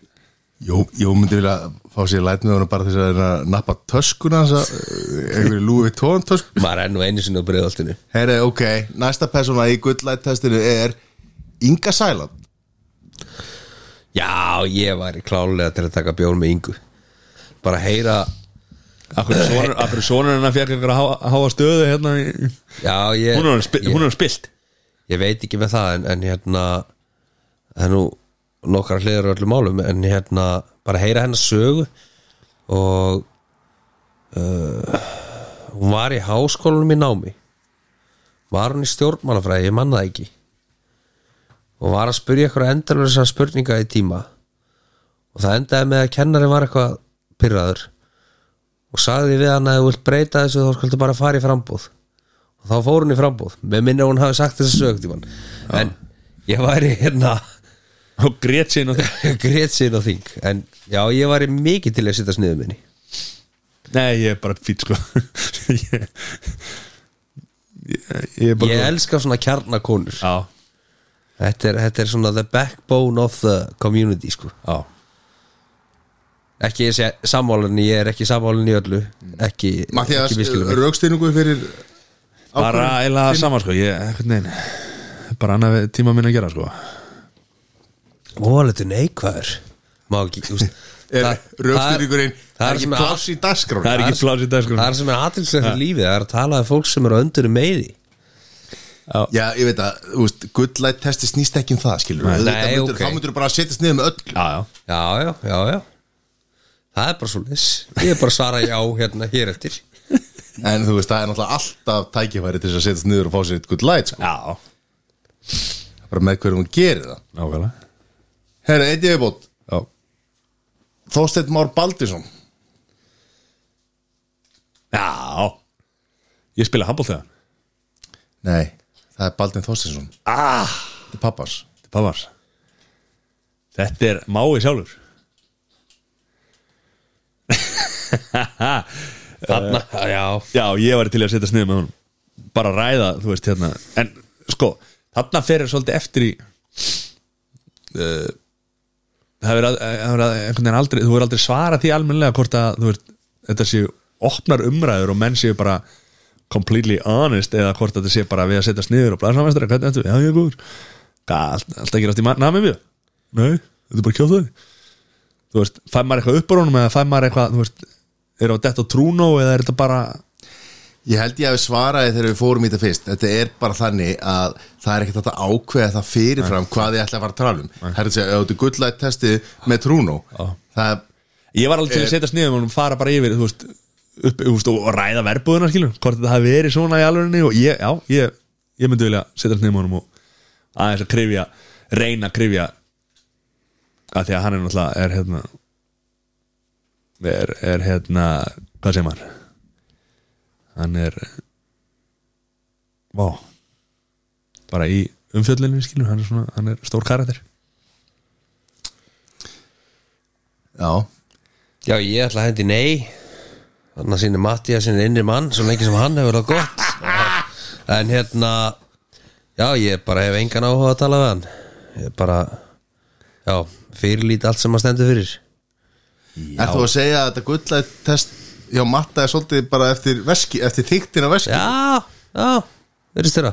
[SPEAKER 3] Jó, jó myndi vilja fá sér læt með honum bara þess að reyna að nappa töskuna þessa, eh, einhverju lúfi tón töskuna
[SPEAKER 2] maður er nú einu sinni á breiðaltinu
[SPEAKER 3] Herri, ok, næsta persóna í gullættestinu er Inga Sæland
[SPEAKER 2] já, ég væri klálega til að taka bjórn með yngu bara heyra
[SPEAKER 1] Akkur sonur, akkur sonur hennar fekk einhverja há- háa stöðu hérna í,
[SPEAKER 2] já, ég,
[SPEAKER 1] hún, er spi,
[SPEAKER 2] ég,
[SPEAKER 1] hún er spilt
[SPEAKER 2] ég veit ekki með það en, en hérna það er nú nokkar hliður á öllum málum en hérna, bara heyra hennar sögu og uh, hún var í háskólanum í námi var hún í stjórnmálafræði, ég manna það ekki og var að spyrja eitthvað endalverðsa spurninga í tíma og það endaði með að kennari var eitthvað pyrraður og sagði við hann að ef þú vilt breyta þessu þá skaldu bara fara í frambúð og þá fór hún í frambúð með minni að hún hafi sagt þessu sögt í mann en ég væri hérna
[SPEAKER 1] og grét sín og þig
[SPEAKER 2] grét sín og þing en já, ég væri mikið til að sitta sniðum minni
[SPEAKER 1] Nei, ég er bara fýt sko ég, ég, ég er bara
[SPEAKER 2] ég elska svona kjarnakonur
[SPEAKER 1] Já,
[SPEAKER 2] þetta er, þetta er svona the backbone of the community sko
[SPEAKER 1] já
[SPEAKER 2] ekki þessi sammálinni, ég er ekki sammálinni í öllu ekki,
[SPEAKER 3] Mattias,
[SPEAKER 2] ekki miskilum mig.
[SPEAKER 3] raukstyrningu fyrir
[SPEAKER 1] Bara
[SPEAKER 3] ákvörðun?
[SPEAKER 1] eiginlega sama sko Ég, einhvern veginn Bara annað við tíma minn að gera sko
[SPEAKER 2] Móletu neikvæður Má ekki, þú veist
[SPEAKER 3] er
[SPEAKER 2] það-
[SPEAKER 3] raukstyrningurinn
[SPEAKER 2] það
[SPEAKER 3] það
[SPEAKER 2] er
[SPEAKER 3] er ekki
[SPEAKER 2] sem er-
[SPEAKER 3] pláss í
[SPEAKER 1] Það
[SPEAKER 3] dagskráni
[SPEAKER 1] er ekki plás í dag sko
[SPEAKER 2] Það er sem er aðtilslega fyrir lífið, það er að tala um fólk sem eru öndur meði
[SPEAKER 3] Já, ég veit að, þú veist, gullætt testi snýst ekki um það, skilur við
[SPEAKER 2] Nei,
[SPEAKER 3] myndir,
[SPEAKER 2] ok.
[SPEAKER 3] Þá myndir bara að setjast niður með öll
[SPEAKER 1] Já, já
[SPEAKER 2] Já, já, já, já Það er bara svo leys Ég er bara að svara já hérna hér eftir
[SPEAKER 3] En þú veist, það er náttúrulega alltaf tækifæri til þess að setjast niður og fá sér eitt gullætt sko.
[SPEAKER 1] Já,
[SPEAKER 3] Bara með hverjum hún gerir það
[SPEAKER 1] nákvæmlega
[SPEAKER 3] Herra, eitt ég viðbót
[SPEAKER 1] Já,
[SPEAKER 3] Þósteinn Már Baldinsson
[SPEAKER 1] já. Ég spila handbólt þegar
[SPEAKER 3] Nei, það er Baldin Þósteinsson
[SPEAKER 1] Ah,
[SPEAKER 3] Þetta er pappas
[SPEAKER 1] það var Þetta er mái sjálfur
[SPEAKER 2] Þarna, já
[SPEAKER 1] Já, ég var til í að setja sniðum með honum Bara ræða, þú veist, hérna En sko, þarna ferir svolítið eftir í uh, Það er að, eh, það er að einhvern veginn aldrei Þú er aldrei svara því almennilega hvort að þú veist, Þetta séu opnar umræður og menn séu bara completely honest eða hvort þetta sé bara við að setja sniður og blæðsamvæstur, hvernig þetta, já ég er góður Allt- Allt að gerast í namið við Nei, þetta er bara kjóðaði þú veist, fæ maður eitthvað upp á honum eða fæ maður eitthvað, þú veist, er á detta trúnó eða er þetta bara
[SPEAKER 3] Ég held ég að við svaraði þegar við fórum í þetta fyrst Þetta er bara þannig að það er ekkert hægt að ákveða það fyrirfram hvað ég ætla að fara að tala um Það er að segja, ef þetta er gullætt testið með Trúno Það er,
[SPEAKER 1] Ég var alveg til að setja sniðum og fara bara yfir þú veist, upp, þú veist, og og ræða verbúðuna skilur, hvort þetta hafi verið svona í alvörinni og ég, já, ég, ég myndi vilja setja sniðum honum og aðeins að krifja reyna að krifja að því að hann er náttúrulega er hérna er, er hérna hvað segir maður hann er vá bara í umfjöllinu skilur, hann er svona hann er stór karakter
[SPEAKER 3] já,
[SPEAKER 2] Já, ég ætla að hendi nei Þannig að sýnir Matti að sýnir innri mann Svo lengi sem hann hefur það gott En hérna Já, ég bara hef engan áhuga að tala við hann Ég bara Já, fyrirlít allt sem maður stendur fyrir
[SPEAKER 3] er þú að segja að þetta gullætt test Já, matta er svolítið bara eftir, veski, eftir þyktin á veski
[SPEAKER 2] Já, já, verðist þeirra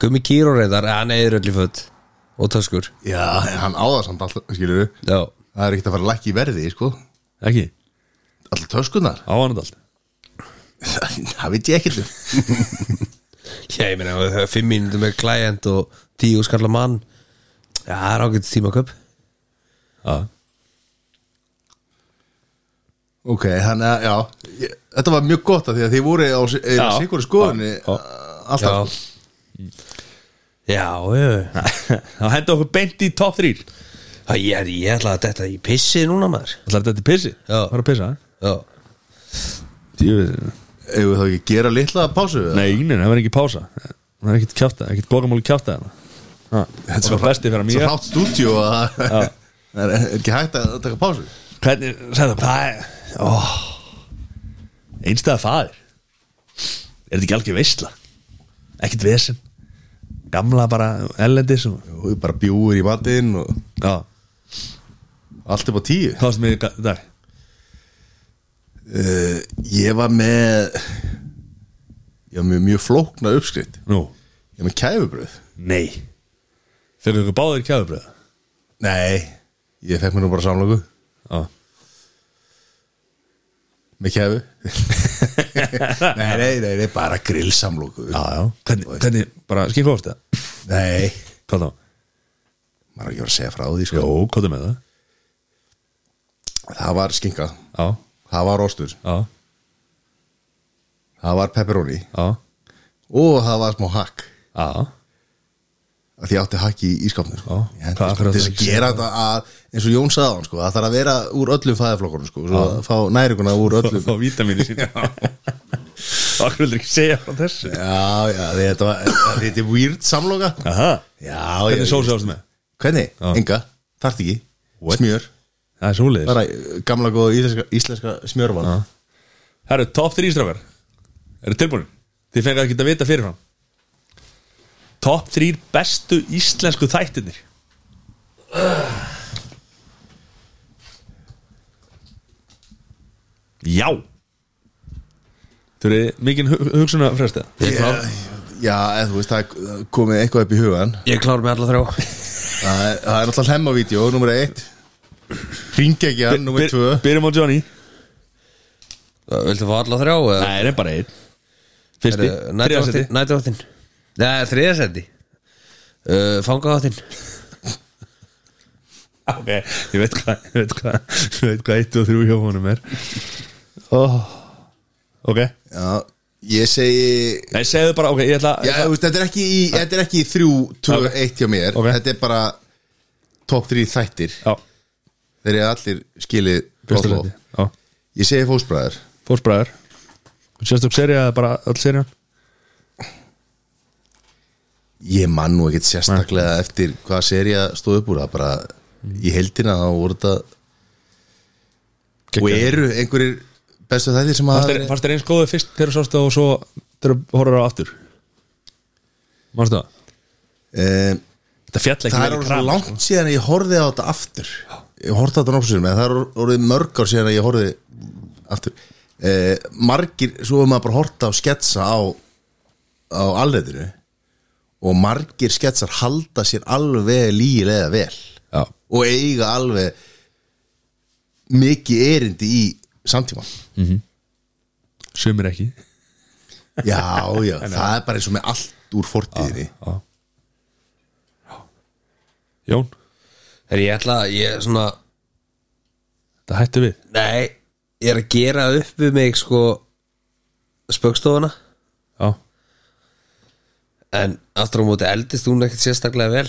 [SPEAKER 2] Gummi Kíró reyndar, að neyður öll í föt Og töskur
[SPEAKER 3] Já, en hann áða samt alltaf, skilur við
[SPEAKER 2] Já,
[SPEAKER 3] Það er ekkert að fara að lækki í verði, sko
[SPEAKER 1] ekki,
[SPEAKER 3] Alltaf töskunar
[SPEAKER 1] á hann þetta allt
[SPEAKER 3] Það veit ég ekkert um
[SPEAKER 2] já ég meina, það er fimm mínútur með klæjent og tíu skallar mann Já, það er ágætt tímaköp
[SPEAKER 1] Já.
[SPEAKER 3] Ok, þannig að, já, ég, þetta var mjög gott að því að þið voru á
[SPEAKER 1] Já.
[SPEAKER 3] sikur skoðunni uh,
[SPEAKER 1] Já.
[SPEAKER 3] alltaf
[SPEAKER 2] Já Já, já
[SPEAKER 1] þá henda okkur beint í top 3 Það
[SPEAKER 2] Æ, Ég, er- ég ætla að þetta í pissi núna maður
[SPEAKER 1] er þetta til pissi
[SPEAKER 2] Já.
[SPEAKER 1] Það er að pissa eh?
[SPEAKER 2] Já,
[SPEAKER 1] Djöfull.
[SPEAKER 3] Ef við þá ekki gera litla pásu eða?
[SPEAKER 1] Nei, neina, það verður ekki pása Það er ekkert kjáta, ekkert gogamóli kjáta Þetta er svo besti fyrir
[SPEAKER 3] Svo
[SPEAKER 1] mér
[SPEAKER 3] hlátt stúdíu að það er er ekki hægt að taka pásu
[SPEAKER 1] Hvernig, sagði það, hvað er oh. Einstæða faðir Er þetta ekki algjör veistla Ekkert vesen Gamla bara ellendis og...
[SPEAKER 3] og við bara bjúir í matinn og
[SPEAKER 1] Já,
[SPEAKER 3] allt upp á tíu
[SPEAKER 1] hvað varstu með í ga- dag?
[SPEAKER 3] uh, Ég var með ég var með mjög flókna uppskritt
[SPEAKER 1] Nú,
[SPEAKER 3] ég var með kæfubröð
[SPEAKER 1] nei Fyrir ykkur báðir kjáðubröða
[SPEAKER 3] Nei, ég fekk mér nú bara samlóku
[SPEAKER 1] Já,
[SPEAKER 3] með kæfu nei, nei, nei, nei, bara grillsamlóku
[SPEAKER 1] já, já Hvernig, hvernig bara skikku ofst það?
[SPEAKER 3] Nei,
[SPEAKER 1] Hvað þá?
[SPEAKER 3] maður er ekki að fara að segja frá því sko.
[SPEAKER 1] Jó, hvað með það?
[SPEAKER 3] Það var skinka,
[SPEAKER 1] Já,
[SPEAKER 3] það var ostur
[SPEAKER 1] já,
[SPEAKER 3] það var pepperoni
[SPEAKER 1] já
[SPEAKER 3] og það var smá hakk
[SPEAKER 1] Já,
[SPEAKER 3] að því ég átti hakk í ískapnum sko.
[SPEAKER 1] Já,
[SPEAKER 3] Ég held
[SPEAKER 1] hvað
[SPEAKER 3] að sko,
[SPEAKER 1] akkurat
[SPEAKER 3] til þess
[SPEAKER 1] það
[SPEAKER 3] að
[SPEAKER 1] ekki
[SPEAKER 3] gera þetta að, eins og Jón sagði á hann sko, það þarf að vera úr öllum fæðaflokkunum sko, svo að fá nærikuna úr
[SPEAKER 1] fá,
[SPEAKER 3] öllum
[SPEAKER 1] fá vítamínu sín Okkur vildur ekki segja frá þessu
[SPEAKER 3] Já, já, þetta var þetta er weird samloka Já,
[SPEAKER 1] Aha,
[SPEAKER 3] já
[SPEAKER 1] hvernig sósu ástu með?
[SPEAKER 3] Hvernig? Enga, þarft ekki
[SPEAKER 1] What?
[SPEAKER 3] Smjör,
[SPEAKER 1] Það er svoleiðis
[SPEAKER 3] bara eh, gamla góða íslenska, íslenska smjörvan
[SPEAKER 1] Það eru top 3 strafgar Eru tilbúin? Þið fengar ekki að vita fyrirfram Top 3 bestu íslensku þættirnir Já Þú eru mikið hugsuna frestið
[SPEAKER 2] ég er klár
[SPEAKER 3] Já, eða þú veist, það er- það er komið eitthvað upp í hugan
[SPEAKER 2] Ég er klár með alla þrjá
[SPEAKER 3] Það er, það er náttúrulega hemmavídeó, nummer eitt Ringja ekki hann, nummer tvö
[SPEAKER 1] Byrjum á Johnny
[SPEAKER 2] Viltu fá alla þrjá? eða?
[SPEAKER 1] Nei, það er bara einn Fyrsti,
[SPEAKER 2] Eru-
[SPEAKER 1] þriðja
[SPEAKER 2] næturvaktin-
[SPEAKER 1] seti.
[SPEAKER 2] Næturvaktin Nei, þriðasendi uh, Fangavaktin
[SPEAKER 1] Ok, ég veit hvað ég veit hvað, ég veit hvað 1 og 3 hjá honum er oh. Ok Nei,
[SPEAKER 3] Já, ég segi
[SPEAKER 1] segðu bara, ok, ég ætla
[SPEAKER 3] Já, þú veist, þetta er ekki í, þetta er ekki í 3, 2, 1 hjá mér
[SPEAKER 1] Ok.
[SPEAKER 3] Þetta er bara top 3 þættir
[SPEAKER 1] já
[SPEAKER 3] Þeir eru allir skilið gott
[SPEAKER 1] fyrsta
[SPEAKER 3] lof
[SPEAKER 1] seti Já,
[SPEAKER 3] Ég segi fósbræður
[SPEAKER 1] fórsbræður Sérstök serið eða bara öll serið
[SPEAKER 3] Ég man nú ekkit sérstaklega eftir hvaða serið stóð upp úr Það bara,
[SPEAKER 1] Mm.
[SPEAKER 3] í heildina þá voru þetta og eru einhverjir bestu þættir sem að
[SPEAKER 1] Fannst þér- Fannst þér eins góðu fyrst þegar þú sást það og svo þegar þú horfður á aftur Manstu það?
[SPEAKER 3] um,
[SPEAKER 1] Þetta fjall ekki
[SPEAKER 3] það
[SPEAKER 1] vel
[SPEAKER 3] er
[SPEAKER 1] í
[SPEAKER 3] sko. orðið svo
[SPEAKER 1] kram, sko.
[SPEAKER 3] langt síðan að ég horfið á þetta aftur ég horfði á þetta nokkuð sér en það er orðið mörg ár síðan að ég horfið aftur eh, margir, svo er maður bara horta á sketsa á, á alreitinu og margir sketsar halda sér alveg lígilega vel
[SPEAKER 1] Já.
[SPEAKER 3] og eiga alveg mikið erindi í samtímann
[SPEAKER 1] Sumir ekki
[SPEAKER 3] Já, já, það er bara eins og með allt úr fortíðinni
[SPEAKER 1] Jón,
[SPEAKER 2] Þegar ég ætla að ég svona
[SPEAKER 1] þetta hættu við
[SPEAKER 2] Nei, ég er að gera upp við mig sko spöggstofuna
[SPEAKER 1] Já,
[SPEAKER 2] en aftur á móti eldist hún ekkert sérstaklega vel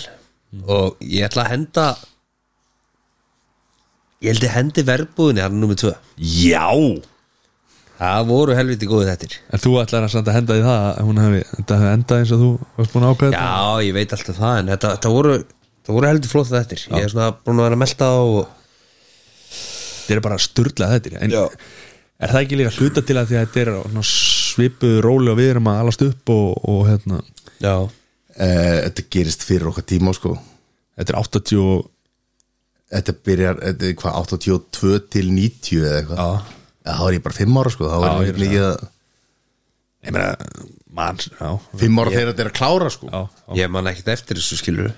[SPEAKER 2] og ég ætla að henda ég held ég hendi verbúðinni hann nummer tvö
[SPEAKER 1] Já.
[SPEAKER 2] það voru helviti góði þettir
[SPEAKER 1] En þú ætlar að samt að henda því það að hún hefði, þetta hefði endað eins og þú varst búin að ákveða þetta?
[SPEAKER 2] já, ég veit alltaf það en þetta, þetta voru það voru heldur flótt þettir ég er svona búin að vera að melta á og
[SPEAKER 1] Þetta er bara styrlað þetta En er það ekki líka hluta til að því að þetta er svona svipuð róli og við erum að alast upp og, og hérna
[SPEAKER 2] já,
[SPEAKER 3] Eh, Þetta gerist fyrir okkar tíma sko
[SPEAKER 1] Þetta er 80 og
[SPEAKER 3] Þetta byrjar, þetta er hvað, 82 til 90 eða eitthvað
[SPEAKER 1] Já.
[SPEAKER 3] Já, þá er ég bara 5 ára sko, þá
[SPEAKER 1] Já,
[SPEAKER 3] er
[SPEAKER 1] ég
[SPEAKER 3] ég
[SPEAKER 1] er
[SPEAKER 3] líka að
[SPEAKER 1] Ég meina, mann, já
[SPEAKER 3] 5 ára þegar þetta er að klára sko
[SPEAKER 1] Já, já
[SPEAKER 2] ég man ekkert eftir þessu skilur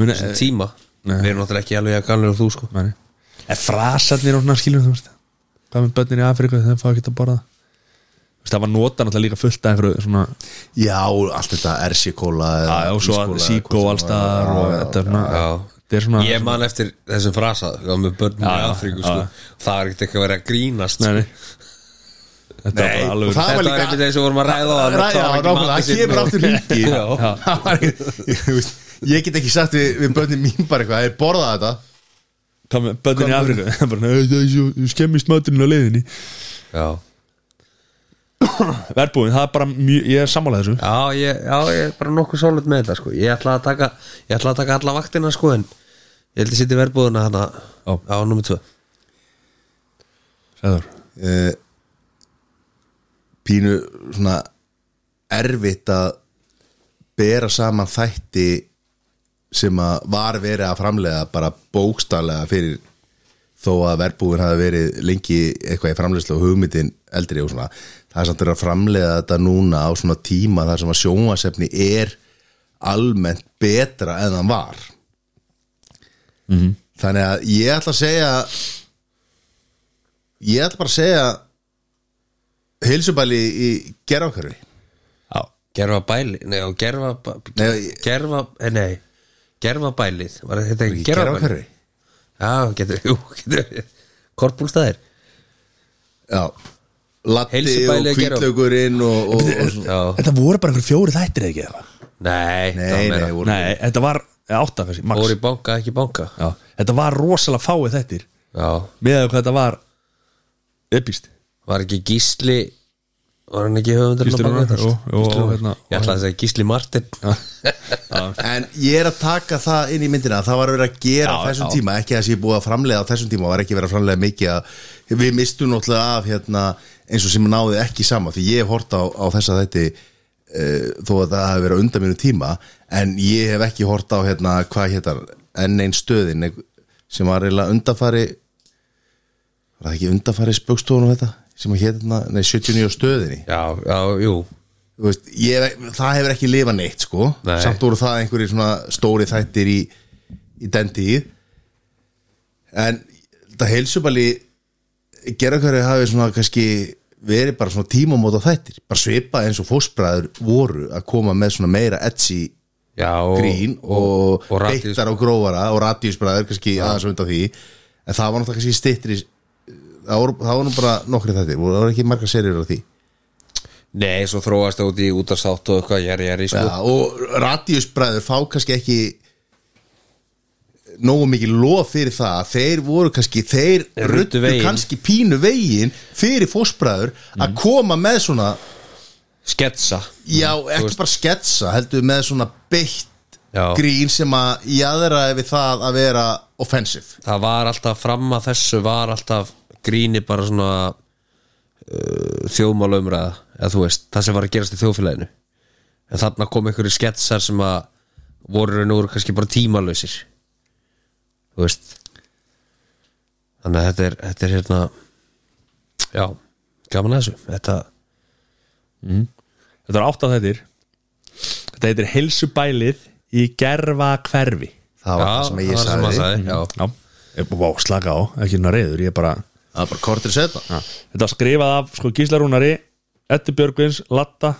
[SPEAKER 1] Muna,
[SPEAKER 2] sem tíma,
[SPEAKER 1] nei.
[SPEAKER 2] við erum náttúrulega ekki alveg að gamlega þú sko
[SPEAKER 1] Mæni. En frasarnir og svona skilur þú veist Hvað með börnir í Afrika þegar það fá ekki að borða Þú veist, Það var nota náttúrulega líka fullt af einhverju svona
[SPEAKER 3] Já, allt þetta RC-kóla
[SPEAKER 1] Já, og svo að síkó allstaðar og þetta er svona Þetta er svona
[SPEAKER 2] ég man eftir þessum frasa sko, með börnum í
[SPEAKER 1] Já, já,
[SPEAKER 2] Afríku
[SPEAKER 1] já.
[SPEAKER 2] sko. það er ekkert eitthvað að vera að grínast
[SPEAKER 1] Nei,
[SPEAKER 2] sko.
[SPEAKER 1] nei Þetta er bara alveg
[SPEAKER 3] og það
[SPEAKER 2] þetta
[SPEAKER 3] var
[SPEAKER 2] var
[SPEAKER 3] líka
[SPEAKER 2] ekkert eins og vorum að ræða á
[SPEAKER 3] Já,
[SPEAKER 2] þetta var ekki matið
[SPEAKER 3] nákvæmlega, það
[SPEAKER 2] sinn
[SPEAKER 3] kemur
[SPEAKER 2] og-
[SPEAKER 3] aftur hringi
[SPEAKER 2] Já.
[SPEAKER 3] Það var ekki- ég- þú veist, Ég get ekki sagt við, við börnum mín bara eitthvað, þeir borða þetta
[SPEAKER 1] Hvað með börnir í Afrika Það er bara, "Nei, það er svo- skemmist maturinn á leiðinni
[SPEAKER 2] já,
[SPEAKER 1] Verbúin, það er bara mjög, ég er sammálað þessu
[SPEAKER 2] já, ég, já, ég er bara nokkuð svolít með þetta sko. ég ætla að taka ég ætla að taka alla vaktina sko en ég held ég sitt í verðbúðuna hana
[SPEAKER 1] Já.
[SPEAKER 2] á nummer 2
[SPEAKER 1] Sæður
[SPEAKER 3] Eh, pínu svona erfitt að bera saman þætti sem að var verið að framlega bara bókstallega fyrir þó að verbúin hafi verið lengi eitthvað í framleyslu og hugmyndin eldri og svona það er samt verið að framlega þetta núna á svona tíma þar sem að sjónvasefni er almennt betra en hann var -hmm. þannig að ég ætla að segja ég ætla bara að segja heilsubæli í gerafkörfi
[SPEAKER 1] Já,
[SPEAKER 2] gerfa bæli, nei, og gerfa
[SPEAKER 3] Nei, ég-
[SPEAKER 2] gerfa, eh, nei gerfa bælið, var þetta ekki gerfa bælið
[SPEAKER 3] gerafkörfi
[SPEAKER 2] já, getur, jú, getur korpúlstaðir
[SPEAKER 3] já Latti
[SPEAKER 2] Heilsubæli
[SPEAKER 3] og
[SPEAKER 2] í Gerald.
[SPEAKER 3] kvítlaugurinn og, og, og svona.
[SPEAKER 2] já,
[SPEAKER 1] þetta voru bara einhver fjóri þættir eða ekki eða
[SPEAKER 2] nei, það var
[SPEAKER 1] eitthvað?
[SPEAKER 3] Nei,
[SPEAKER 2] meira.
[SPEAKER 3] nei, voru
[SPEAKER 1] Nei, þetta var eða átta kannski, max
[SPEAKER 2] Fór í banka, ekki banka
[SPEAKER 1] Já, Þetta var rosalega fáið þættir
[SPEAKER 2] Já,
[SPEAKER 1] með að hvað þetta var epist
[SPEAKER 2] var ekki Gísli Var hann ekki höfundur
[SPEAKER 1] Gísli Rúnar, jú, jú, og hérna-
[SPEAKER 2] Ég ætla að segja Gísli Martin
[SPEAKER 3] En ég er að taka það inn í myndina Það var að vera að
[SPEAKER 1] Já,
[SPEAKER 3] gera á þessum
[SPEAKER 1] já.
[SPEAKER 3] tíma Ekki að það sé búið að framlega á þessum tíma Það var ekki verið að framlega mikið að, Við mistum náttúrulega af hérna, eins og sem náði ekki sama Því ég hef hort á, á þessa þætti uh, Þó að það hafi verið undan mínu tíma En ég hef ekki hort á hérna, Hvað hétar enn einn stöðin einhver- Sem var eiginlega undanfari Var það ekki undanfari spöggstofun og þetta Sem að hérna, nei 79 stöðinni
[SPEAKER 2] Já, já, jú
[SPEAKER 3] Þú veist, ég, það hefur ekki lifað neitt sko
[SPEAKER 2] Nei.
[SPEAKER 3] samt voru það einhverjir svona stóri þættir í, í den tíð en það heilsubali gerðakværi hafi svona kannski verið bara svona tímamóta þættir bara svipa eins og fósbræður voru að koma með svona meira edsi
[SPEAKER 2] Já, og,
[SPEAKER 3] grín og,
[SPEAKER 2] og radíus-
[SPEAKER 3] beittar og grófara og radíusbræður kannski aðeins undan því en það var náttúrulega kannski stittri það voru, það voru nú bara nokkri þættir það voru ekki margar serjur á því
[SPEAKER 2] Nei, svo þróast það út í útarsátt og eitthvað Jæri, jæri, sko
[SPEAKER 3] Já, og radíusbræður fá kannski ekki nógu mikið lof fyrir það þeir voru kannski, þeir
[SPEAKER 2] Þeir ruddu
[SPEAKER 3] ruttu
[SPEAKER 2] veginn. Mhm.
[SPEAKER 3] kannski pínu veginn fyrir fósbræður að koma með svona
[SPEAKER 2] Sketsa Mhm.
[SPEAKER 3] já, ekki bara sketsa, heldur með svona beitt
[SPEAKER 2] Já.
[SPEAKER 3] grín sem að jaðraði við það að vera offensive
[SPEAKER 2] það var alltaf fram að þessu var alltaf gríni bara svona uh, þjóðmálumræða eða þú veist, það sem var að gerast í þjóðfélaginu en þarna kom einhverju sketsar sem að voru nú kannski bara tímalösir þú veist þannig að þetta er, þetta er hérna já, gaman að þessu þetta,
[SPEAKER 1] Þetta er átt að þetta er Þetta heitir heilsubælið í gerfa hverfi
[SPEAKER 3] það var það sem
[SPEAKER 2] það
[SPEAKER 3] ég
[SPEAKER 2] var
[SPEAKER 3] sagði Mhm.
[SPEAKER 2] sagði, já.
[SPEAKER 1] Já, ég, vá, slaka á, ekki hérna reyður Ég er bara,
[SPEAKER 3] það var bara kortir setna
[SPEAKER 1] ja. þetta var skrifað af sko Gíslarúnari, Eddi Björgvins Latta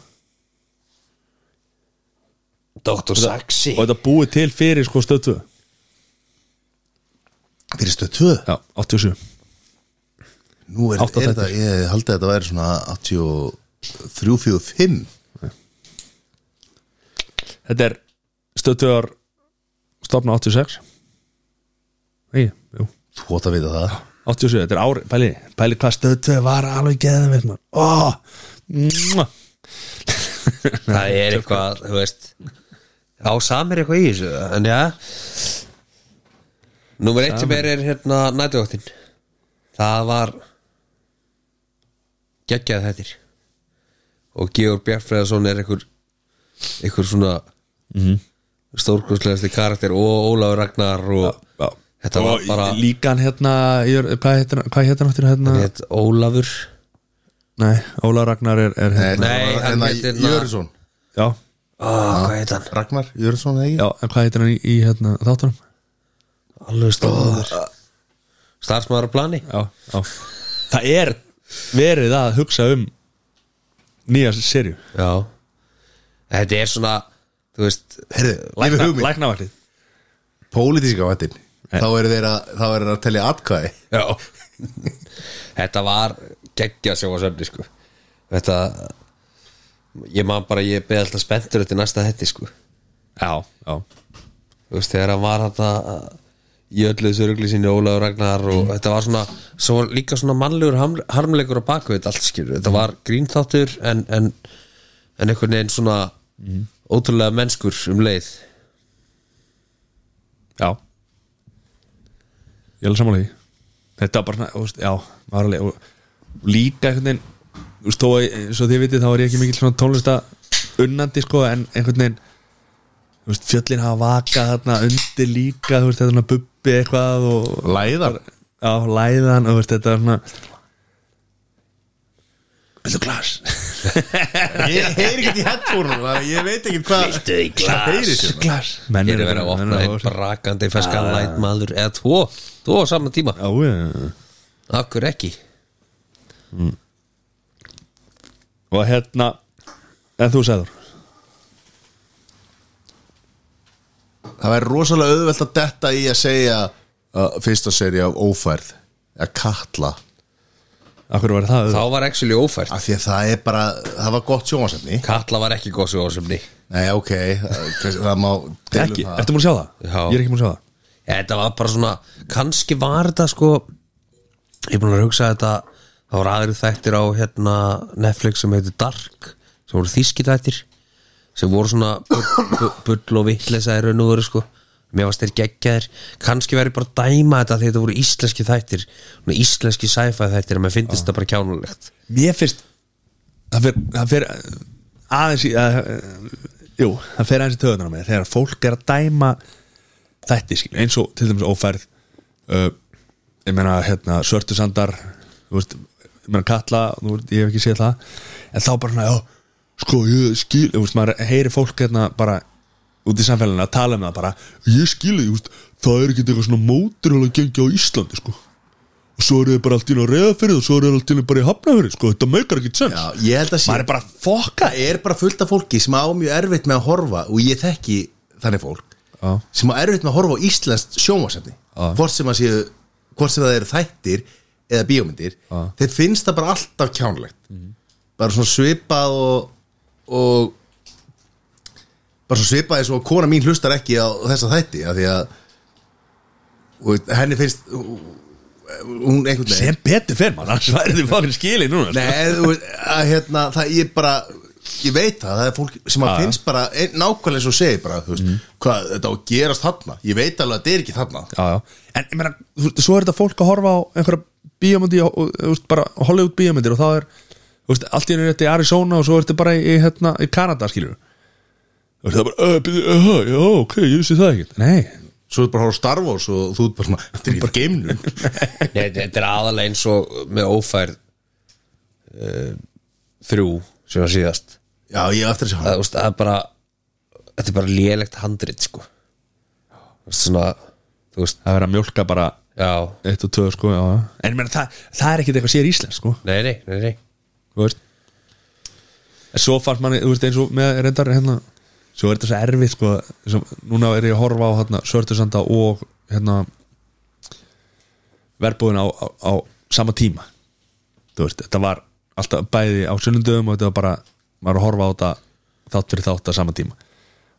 [SPEAKER 2] Dr. Saxi
[SPEAKER 1] og þetta búið til fyrir sko stöðtu
[SPEAKER 3] fyrir stöð 2
[SPEAKER 1] Já, 87
[SPEAKER 3] nú er, er
[SPEAKER 1] 88.
[SPEAKER 3] þetta, ég haldi að þetta væri svona 83, 45
[SPEAKER 1] Þetta er stöðtuðar stopna 86 Nei, jú
[SPEAKER 3] þú átt að vita það
[SPEAKER 1] 87, þetta er ári, pæli, pæli hvað stöðtuð var alveg geðum við mann Ó, mwah.
[SPEAKER 2] það er eitthvað, þú veist á samir eitthvað í þessu en já Númer eitt sem er, er hérna nætuvaktin það var geggjað hættir og Georg Bjartfræðarsson er einhver einhver svona mm -hmm. karakter og Ólafur Ragnar og
[SPEAKER 1] Já.
[SPEAKER 2] þetta var
[SPEAKER 1] Og
[SPEAKER 2] bara
[SPEAKER 1] líka hann hérna, ég er- hvað heitir hann- hvað heitir hann aftur hérna,
[SPEAKER 2] hét Ólafur
[SPEAKER 1] nei, Óla Ragnar er, er hérna,
[SPEAKER 2] Nei,
[SPEAKER 3] það var
[SPEAKER 2] hann
[SPEAKER 3] hérna
[SPEAKER 2] heitir-
[SPEAKER 3] Jörsson
[SPEAKER 1] já,
[SPEAKER 2] oh, hvað heit hann?
[SPEAKER 3] Ragnar Jörsson eða ekki
[SPEAKER 1] já, en hvað heitir hann í, í hérna, þáttunum
[SPEAKER 2] Alveg stóður starfsmaður á plani
[SPEAKER 1] já, já. það er verið að hugsa um nýja serju
[SPEAKER 2] Já Þetta er svona, þú veist
[SPEAKER 3] herðu, lifið hugmynd
[SPEAKER 1] læknavaklið
[SPEAKER 3] pólitíska vatnin þá eru þeir að, þá eru þeir að telja atkvæði
[SPEAKER 2] Já Þetta var geggja sjá að sömni sko Þetta Ég man bara, ég beði alltaf spenntur þetta næsta þetta sko
[SPEAKER 1] já, já,
[SPEAKER 2] Þú veist, þegar hann var þetta í öllu þessu rugli sinni Ólaður Ragnar og þetta var svona, svo var líka svona mannlegur harm- harmleikur á baku þetta allt skilur þetta var grínþáttur en, en, en einhvern veginn svona ótrúlega mennskur um leið
[SPEAKER 1] já ég er alveg samanlega þetta var bara svona, þú veist, já var alveg, og líka einhvern veginn þú veist, þó að, eins og þið vitið, þá er ég ekki mikill svona tónlista unnandi, sko, en einhvern veginn þú veist, fjöllin hafa vakað þarna undir líka, þú veist, þetta er svona bubbi eitthvað og,
[SPEAKER 3] læðar
[SPEAKER 1] já, læðan og veist, þetta er svona Viltu glas?
[SPEAKER 3] ég heyri ekki í headphone ég veit ekki hvað
[SPEAKER 2] Viltu í glas?
[SPEAKER 3] það heyri sér
[SPEAKER 1] glas
[SPEAKER 2] Ég er að vera að opna einn brakandi ferskan ah. maður eða tvo, tvo á saman tíma
[SPEAKER 1] Já, já.
[SPEAKER 2] Akkur ekki
[SPEAKER 1] og hérna en þú sagður
[SPEAKER 3] það væri rosalega auðvelt að detta í að segja uh, fyrsta seri af ófærð að katla
[SPEAKER 1] Akkur var það
[SPEAKER 2] Þá var actually ófært
[SPEAKER 3] af því að það er bara, það var gott sjónvarsefni
[SPEAKER 2] Katla var ekki góð sjóðsumni
[SPEAKER 3] nei ok, það, það má deila um
[SPEAKER 1] ekki,
[SPEAKER 3] það.
[SPEAKER 1] ertu múin að sjá það?
[SPEAKER 2] Já.
[SPEAKER 1] Ég er ekki múin að sjá það
[SPEAKER 2] Þetta var bara svona kannski var þetta sko Ég er búin að hugsa þetta Það voru aðri þættir á hérna Netflix sem heitir Dark sem voru þýski þættir sem voru svona bu- bu- bull og vitleisa í raun og veru sko Mér varst þeir geggjaðir Kannski verið bara að dæma þetta því þetta voru íslenski þættir svona Íslenski sci-fi þættir að mér finnist þetta bara kjánulegt
[SPEAKER 1] Mér finnst það fer, það fer aðeins í að, jú, það fer aðeins í töðunar með þegar fólk er að dæma þetta skil, eins og til dæmis ófærð uh, ég meina hérna svörtusandar þú veist, ég meina kalla, þú veist, ég hef ekki séð það en þá bara svona, já sko, ég skil, þú veist, maður heyri fólk hérna bara út í samfélaginu að tala um það bara, ég skil, þú veist það er ekki eitthvað svona móturhjóla gengi á Íslandi sko og svo eru þið bara allt í einu að reyða fyrir og svo eru þið allt í einu bara í hafna fyrir sko, þetta meikar ekki sens
[SPEAKER 3] Já, ég held að sé
[SPEAKER 1] maður er bara fokka
[SPEAKER 3] það er bara fullt af fólki sem á mjög erfitt með að horfa og ég þekki þannig fólk
[SPEAKER 1] Já.
[SPEAKER 3] sem á erfitt með að horfa á íslenskt sjónvarsefni hvort sem, að séu, hvort sem það eru þættir eða bíómyndir þeir finnst það bara alltaf kjánlegt bara svona svipað og, og bara svona svipað eins og kona mín hlustar ekki á þessa þætti af því að og henni finnst hún einhvern veginn
[SPEAKER 1] sem betur fyrir maður, annars væri þið fokkin skilið núna sko.
[SPEAKER 3] Nei, þú veist, að hérna, það ég bara ég veit það, það er fólk sem að
[SPEAKER 1] Já.
[SPEAKER 3] finnst bara ein, nákvæmlega svo segi bara, þú veist, hvað þetta á að gerast þarna ég veit alveg að þetta er ekki þarna
[SPEAKER 1] já, já. en ég meina, þú veist, svo er þetta fólk að horfa á einhverja bíómyndi og, og, þú veist, bara Hollywood bíómyndir og það er þú veist, allt í einu er þetta í Arizona og svo er þetta bara í, í, hérna, í Kanada skilur og það er bara, uh, byrju, uh, já, ok, ég vissi það ekki nei,
[SPEAKER 3] svo er bara að horfa á Star Wars og þú er bara svona þetta er ekki bara geimnum
[SPEAKER 2] Nei, þetta þetta er aðalega eins og með ófærð uh, þrjú sem var síðast
[SPEAKER 3] já, ég á eftir að sjá
[SPEAKER 2] það,
[SPEAKER 3] hann
[SPEAKER 2] þú veist, það er bara þetta er bara lélegt handrit sko þú veist svona þú veist,
[SPEAKER 1] það er að mjólka bara
[SPEAKER 2] já,
[SPEAKER 1] eitt og tvö sko, já, já. en ég meina, það, það er ekkit eitthvað sér íslensk sko
[SPEAKER 2] nei, nei, nei, nei.
[SPEAKER 1] þú veist en svo fannst manni, þú veist, eins og með reyndar hérna, svo er þetta svo erfitt sko, sem, núna er ég að horfa á hérna, Sörtusanda og hérna verbúðin á, á, á sama tíma þú veist, þetta var alltaf bæði á sunnundum og þetta var bara maður að horfa á þetta þátt fyrir þátt á sama tíma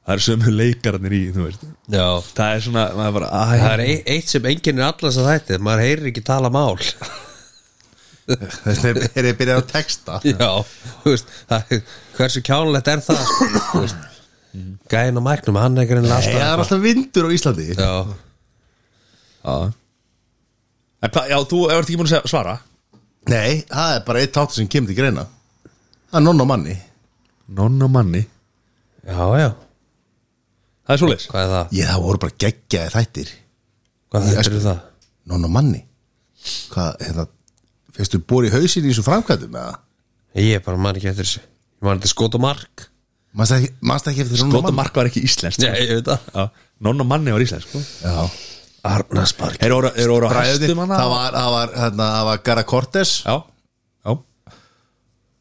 [SPEAKER 1] það er sömu leikarnir í, þú veist
[SPEAKER 2] já
[SPEAKER 1] það er svona, maður bara, æ,
[SPEAKER 2] það er eitt, eitt sem enginn er allans að þætti maður heyrir ekki tala mál
[SPEAKER 3] þess vegna er ég byrjað að texta
[SPEAKER 2] já, þú veist það, hversu kjánlegt er það sko, þú veist gæðin á mæknum, hann er ekki reynilega
[SPEAKER 3] Nei, það er
[SPEAKER 2] alltaf
[SPEAKER 3] alltaf vindur á Íslandi
[SPEAKER 2] já,
[SPEAKER 1] já En hvað, já, þú ert ekki búin að segja- svara
[SPEAKER 3] nei, það er bara eitt tátur sem kemur til greina það er nonn á manni
[SPEAKER 1] Nonna manni,
[SPEAKER 2] já, já,
[SPEAKER 1] það er svoleiðis
[SPEAKER 2] hvað er það
[SPEAKER 3] ég það voru bara geggjaði þættir
[SPEAKER 2] hvað
[SPEAKER 3] Ég
[SPEAKER 2] þetta
[SPEAKER 3] sko-
[SPEAKER 2] eru það
[SPEAKER 3] nonn á manni hvað, hérna, fyrstu bóri í hausin í þessu framkvæmdum eða?
[SPEAKER 2] ég bara man ekki eftir þessu ég man þetta skot og mark
[SPEAKER 3] Manstu ekki- manstu ekki eftir nonn á
[SPEAKER 1] Blóta
[SPEAKER 3] manni
[SPEAKER 1] mark var ekki íslenskt
[SPEAKER 2] já, ég veit það
[SPEAKER 1] Já, Nonna manni var sko. íslensk
[SPEAKER 3] Já.
[SPEAKER 2] Arnarspark
[SPEAKER 1] Þeir voru, þeir voru á
[SPEAKER 3] Bræðurnir,
[SPEAKER 1] hæstum hana
[SPEAKER 3] það var, það var, hérna, það var Gara Cortes
[SPEAKER 1] Já, já,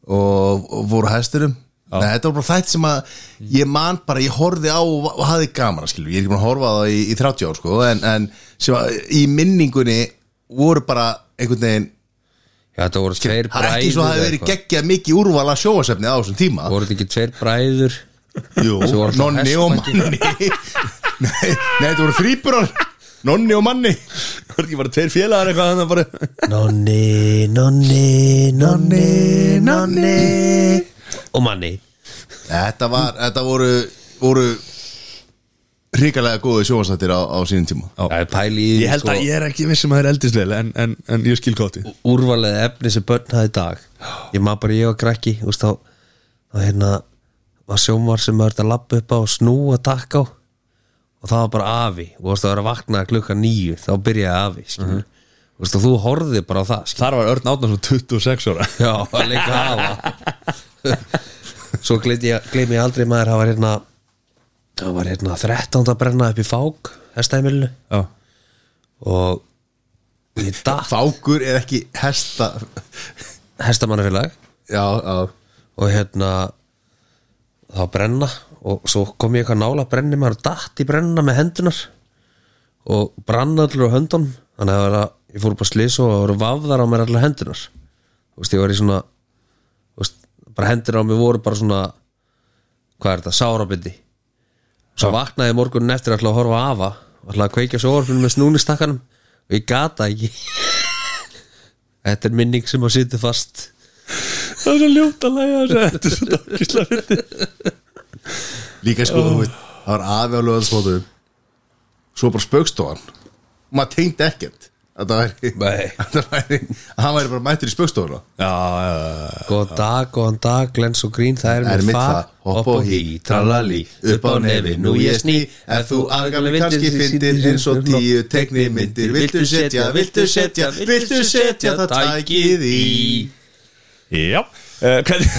[SPEAKER 3] og, og voru á hæsturum Nei, þetta var bara þætt sem að ég man bara, ég horfði á og, og hafði gaman skilur, ég er ekki búin að horfa á það í, í 30 ár sko, en, en sem að í minningunni voru bara einhvern veginn,
[SPEAKER 2] Já, þetta voru tveir
[SPEAKER 3] það er ekki
[SPEAKER 2] bræður
[SPEAKER 3] svo að
[SPEAKER 2] eða
[SPEAKER 3] það hefði verið
[SPEAKER 2] eitthvað.
[SPEAKER 3] geggjað mikið úrvala sjóasefni á þessum tíma
[SPEAKER 2] Voru þetta ekki tveir bræður
[SPEAKER 3] Jú,
[SPEAKER 2] Sem voru alltaf
[SPEAKER 3] nonni og
[SPEAKER 2] hestbaki.
[SPEAKER 3] manni Nei, nei, þetta voru þrýburar Nonni og manni
[SPEAKER 1] það var ekki bara tveir félagar eitthvað þannig að bara
[SPEAKER 2] Nonni, nonni, nonni
[SPEAKER 3] Nonni
[SPEAKER 2] Og manni
[SPEAKER 3] Þetta var, þetta voru, voru hrikalega góði sjóasættir á, á sínum tíma
[SPEAKER 2] Það er pæli í því, sko.
[SPEAKER 1] Ég held að ég er ekki vissum að þeir eldist vel en, en, en ég skil kóti
[SPEAKER 2] Úrvalið efni sem börn hafði í dag Ég maður bara ég var krakki Þú veist þá Þá hérna Var sjómar sem maður þetta lappa upp á og Snúa takk á Og það var bara afi Og þú veist það var að vakna klukka nýju Þá byrjaði afi mm -hmm. Þú veist að þú horfði bara á það skilur.
[SPEAKER 1] Þar var Örn Átnarsson 26 ára
[SPEAKER 2] Já, að leika hafa Svo gleymi ég, gleymi ég aldrei maður Það var hérna Það var hérna 13. að brenna upp í fák Hestæmilinu
[SPEAKER 1] Já,
[SPEAKER 2] Og ég datt
[SPEAKER 3] Fákur er ekki hesta
[SPEAKER 2] Hestamannafélag
[SPEAKER 3] Já, já
[SPEAKER 2] Og hérna Það var brenna Og svo kom ég eitthvað nála að brenni maður og Datt í brennina með hendunar Og brann allur á höndun Þannig að það var að Ég fór upp á slis og það voru vafðar á mér allar hendunar Þú veist, ég var í svona Þú veist, bara hendur á mér voru bara svona hvað er þetta, sárabindi svo vaknaði ég morgunin eftir ætla að horfa á afa ætla að kveikja sjóarfinu með snúnistakkanum og ég gata ekki þetta er minning sem að sýti fast
[SPEAKER 1] það er svo ljótt að læja Þetta er svo dagislega fyndi
[SPEAKER 3] Líka sko, þú veist, það var afi á löðansmótuðum Svo bara spaukstofan Og maður tengdi ekkert Þetta væri,
[SPEAKER 2] Nei.
[SPEAKER 3] þetta væri Hann væri bara mættur í spaukstofuna
[SPEAKER 1] Já, já,
[SPEAKER 2] góðan dag, góðan dag, glens og grín það er,
[SPEAKER 3] Það er mitt
[SPEAKER 2] far.
[SPEAKER 3] fag, hopp og hí, tralali, upp á nefi, nú ég sný Ef þú aðgæmlega kannski fyndir eins
[SPEAKER 2] hérna?
[SPEAKER 3] og tíu tekni myndir Viltu setja, viltu setja, viltu setja það tækið í
[SPEAKER 1] já Já, uh, hvernig,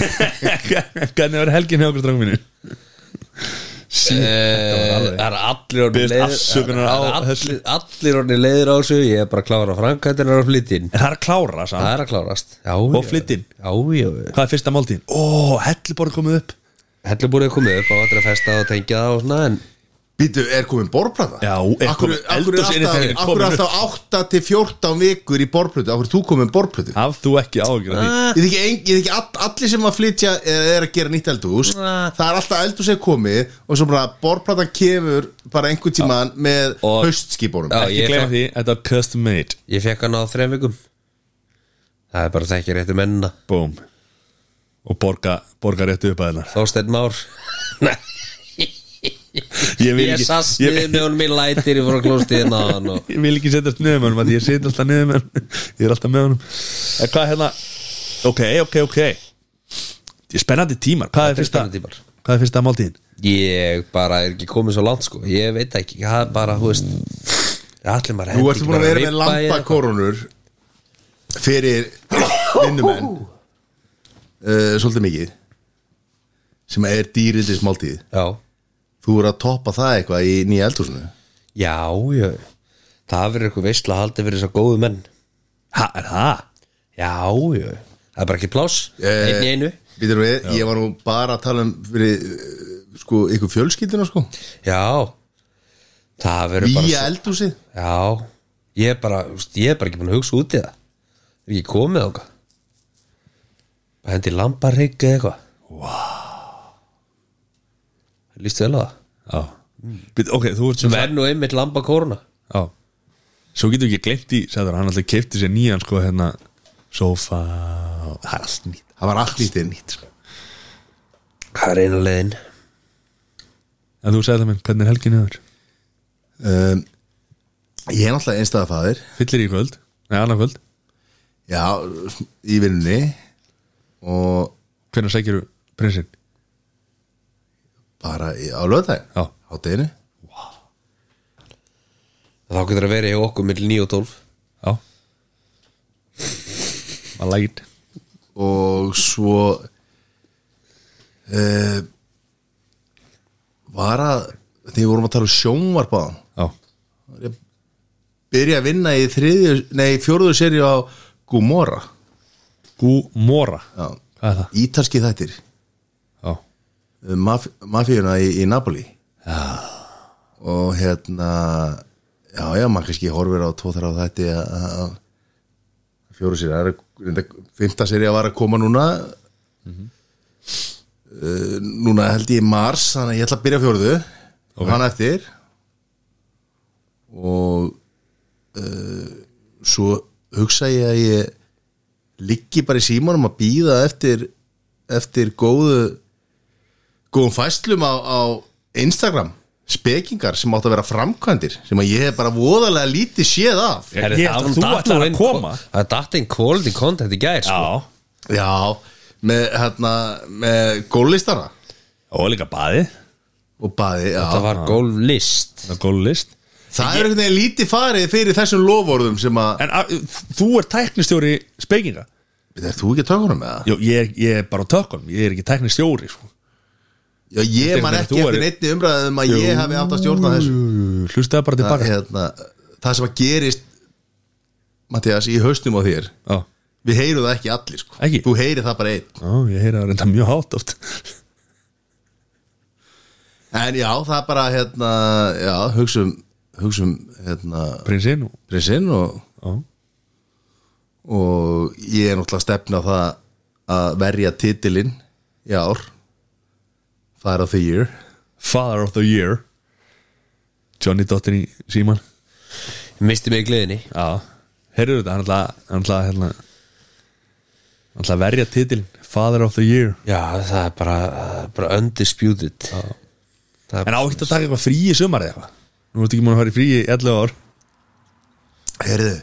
[SPEAKER 1] hvernig var helgin hjá okkur strangum mínu?
[SPEAKER 2] Eh, Það er allir orðin
[SPEAKER 1] Biðst afsökunar á þessu.
[SPEAKER 2] allir, allir orðin leiðir á þessu Ég er bara að klára framkvæmdunar á flytinn
[SPEAKER 1] En Eh, það er að klára samt
[SPEAKER 2] Það er að klárast já,
[SPEAKER 1] Og
[SPEAKER 2] já.
[SPEAKER 1] flytinn?
[SPEAKER 2] Já, já, já
[SPEAKER 1] Hvað er fyrsta máltíðin? Ó, helluborð komið upp
[SPEAKER 2] Hellu búið að koma upp á allir að festa og tengja það og svona En
[SPEAKER 3] Býtu, er komin borplata?
[SPEAKER 1] Já, er
[SPEAKER 3] Akkur
[SPEAKER 1] komin-
[SPEAKER 3] akkur er
[SPEAKER 1] eldhúsinnréttingin
[SPEAKER 3] alltaf-
[SPEAKER 1] komin
[SPEAKER 3] akkur er alltaf 8 til 14 vikur í borplötu Akkur er þú komin borplötu?
[SPEAKER 1] Haf þú ekki ágjur að því?
[SPEAKER 3] Ég þykki, ein, ég þykki all, allir sem að flytja eða er að gera nýtt eldhús
[SPEAKER 2] Ah.
[SPEAKER 3] Það er alltaf eldhús er komið Og svo bara borplatan kemur bara einhvern tíman með
[SPEAKER 2] Og-
[SPEAKER 3] haustskipónum
[SPEAKER 2] Já,
[SPEAKER 1] Ekki
[SPEAKER 2] ég
[SPEAKER 1] gleyma
[SPEAKER 2] fekk-
[SPEAKER 1] því, þetta var custom made
[SPEAKER 2] ég fekk hann á þreim vikum Það er bara að þekki réttu mennina
[SPEAKER 1] Boom og borga, borga réttu upp að hennar
[SPEAKER 2] Þorsteinn Már Nei,
[SPEAKER 1] ég vil
[SPEAKER 2] ég
[SPEAKER 1] ekki,
[SPEAKER 2] sast
[SPEAKER 1] ég,
[SPEAKER 2] niður með honum í lætir ég fór að klósti hérna á hann og
[SPEAKER 1] ég vil ekki setjast niður með honum af því ég setjast alltaf niður með honum ég er alltaf með honum en hvað hérna, ok, ok, ok ég er spennandi tímar hvað er,
[SPEAKER 2] Þetta er
[SPEAKER 1] fyrsta,
[SPEAKER 2] spennandi tímar.
[SPEAKER 1] hvað er fyrsta máltíðin?
[SPEAKER 2] ég bara er ekki komið svo langt sko ég veit ekki, það er bara, þú veist allir maður hendi
[SPEAKER 3] Nú ertu
[SPEAKER 2] ekki
[SPEAKER 3] búin að
[SPEAKER 2] bara
[SPEAKER 3] vera með
[SPEAKER 2] ribba í eitthvað.
[SPEAKER 3] lampakorunur fyrir vinnumenn uh, svolítið mikið sem er dýrindis máltíð
[SPEAKER 2] já,
[SPEAKER 3] þú eru að toppa það eitthvað í nýja eldhúsinu
[SPEAKER 2] já, já það verður eitthvað veistla haldið fyrir þess að góðu menn
[SPEAKER 1] ha, er það?
[SPEAKER 2] já, já, það er bara ekki pláss
[SPEAKER 3] Eh,
[SPEAKER 2] einn í einu
[SPEAKER 3] Býtur við, ég var nú bara að tala um fyrir eh, sko, ykkur fjölskyldina sko
[SPEAKER 2] já, það verður bara
[SPEAKER 3] nýja eldhúsið
[SPEAKER 2] Já, ég er bara, þú veist, ég er bara ekki búin að hugsa út í það Er ekki komið þangað Bara hendi lambarrygg eða eitthvað Vá wow. Lýstu vel á það
[SPEAKER 1] já Bíddu, ok, þú ert sem
[SPEAKER 2] Sem er nú einmitt lambakóruna
[SPEAKER 1] já svo getur ekki glemt í, sagður hann alltaf keipti sér nýjan sko hérna sofa og- það er allt nýtt
[SPEAKER 3] það var allt nýtt sko. inn
[SPEAKER 2] Það er einu leiðin
[SPEAKER 1] en þú segði það minn, hvernig er helgin hefur?
[SPEAKER 3] um, ég er náttúrulega einstæðafaðir
[SPEAKER 1] fyllir í kvöld, neða annar kvöld
[SPEAKER 3] já, í vinnunni og
[SPEAKER 1] hvernig sækir þú prinsinn?
[SPEAKER 3] bara í- á lögðag
[SPEAKER 1] Já.
[SPEAKER 3] á deginu
[SPEAKER 2] Þá getur að vera hjá okkur mill 9 og 12
[SPEAKER 1] já I like it
[SPEAKER 3] og svo uh, var að þegar við vorum að tala um sjónvarpaðan
[SPEAKER 1] já,
[SPEAKER 3] byrja að vinna í þriðju, nei, fjórðu serið á Gumora
[SPEAKER 1] Gúmóra
[SPEAKER 3] já.
[SPEAKER 1] hvað er það?
[SPEAKER 3] ítalski þættir
[SPEAKER 1] já,
[SPEAKER 3] um maf mafíuna í, í Napoli já. og hérna já, já, maður kannski horfir á tvo þar á þætti að- að fjóru sér það er reyndar- fimmta sér að var að koma núna mm núna held ég í mars þannig að ég ætla að byrja á fjórðu og hann eftir og uh, svo hugsa ég að ég liggi bara í símanum að býða eftir eftir góðu góðum fæslum á, á Instagram spekingar sem átt að vera framkvæmdir sem að ég hef bara voðalega lítið séð af
[SPEAKER 1] Ég- ég held að þú ætlar að koma.
[SPEAKER 2] Það er datin quality content í gær sko.
[SPEAKER 1] já
[SPEAKER 3] já, með, hérna, með gólistana
[SPEAKER 1] og líka baði,
[SPEAKER 3] og baði, já
[SPEAKER 2] Það var golf list
[SPEAKER 1] það er góð list
[SPEAKER 3] það er einhvern veginn lítið farið fyrir þessum loforðum sem að,
[SPEAKER 1] en a, þú er tæknistjóri spekinga
[SPEAKER 3] er þú ekki að tökunum með það?
[SPEAKER 1] Jó, ég, ég er bara á tökum, ég er ekki tæknistjóri sko.
[SPEAKER 3] Já, ég man
[SPEAKER 1] Þú
[SPEAKER 3] ekki
[SPEAKER 1] er-
[SPEAKER 3] eftir neittni umræðum að ég hafi átt að stjórna þessu
[SPEAKER 1] hlustaði bara
[SPEAKER 3] það,
[SPEAKER 1] tilbaka
[SPEAKER 3] hérna, það sem að gerist Mattias, í haustum á þér
[SPEAKER 1] já,
[SPEAKER 3] við heyrum það ekki allir sko.
[SPEAKER 1] Ekki?
[SPEAKER 3] þú heyrir það bara einn
[SPEAKER 1] já, ég heyra það reynda mjög hátt oft
[SPEAKER 3] En já, það er bara hérna, já, hugsum hugsum, hérna,
[SPEAKER 1] prinsinn og
[SPEAKER 3] prinsinn og,
[SPEAKER 1] já,
[SPEAKER 3] og ég er náttúrulega að stefna á það að verja titilinn í ár Fire of the Year
[SPEAKER 1] father of the year Johnny Dottin í síman
[SPEAKER 2] Misti mig í gleðinni
[SPEAKER 1] Já, heyrðu þetta, hann ætla hann ætla, hérna, hann ætla að verja titilin Father of the Year
[SPEAKER 2] Já, það er bara, bara undisputed Já Það er
[SPEAKER 1] En á ekkert að taka eitthvað frí í sumar eða eitthvað Nú ertu ekki múin að fara í frí í 11 ár
[SPEAKER 3] Heyrðu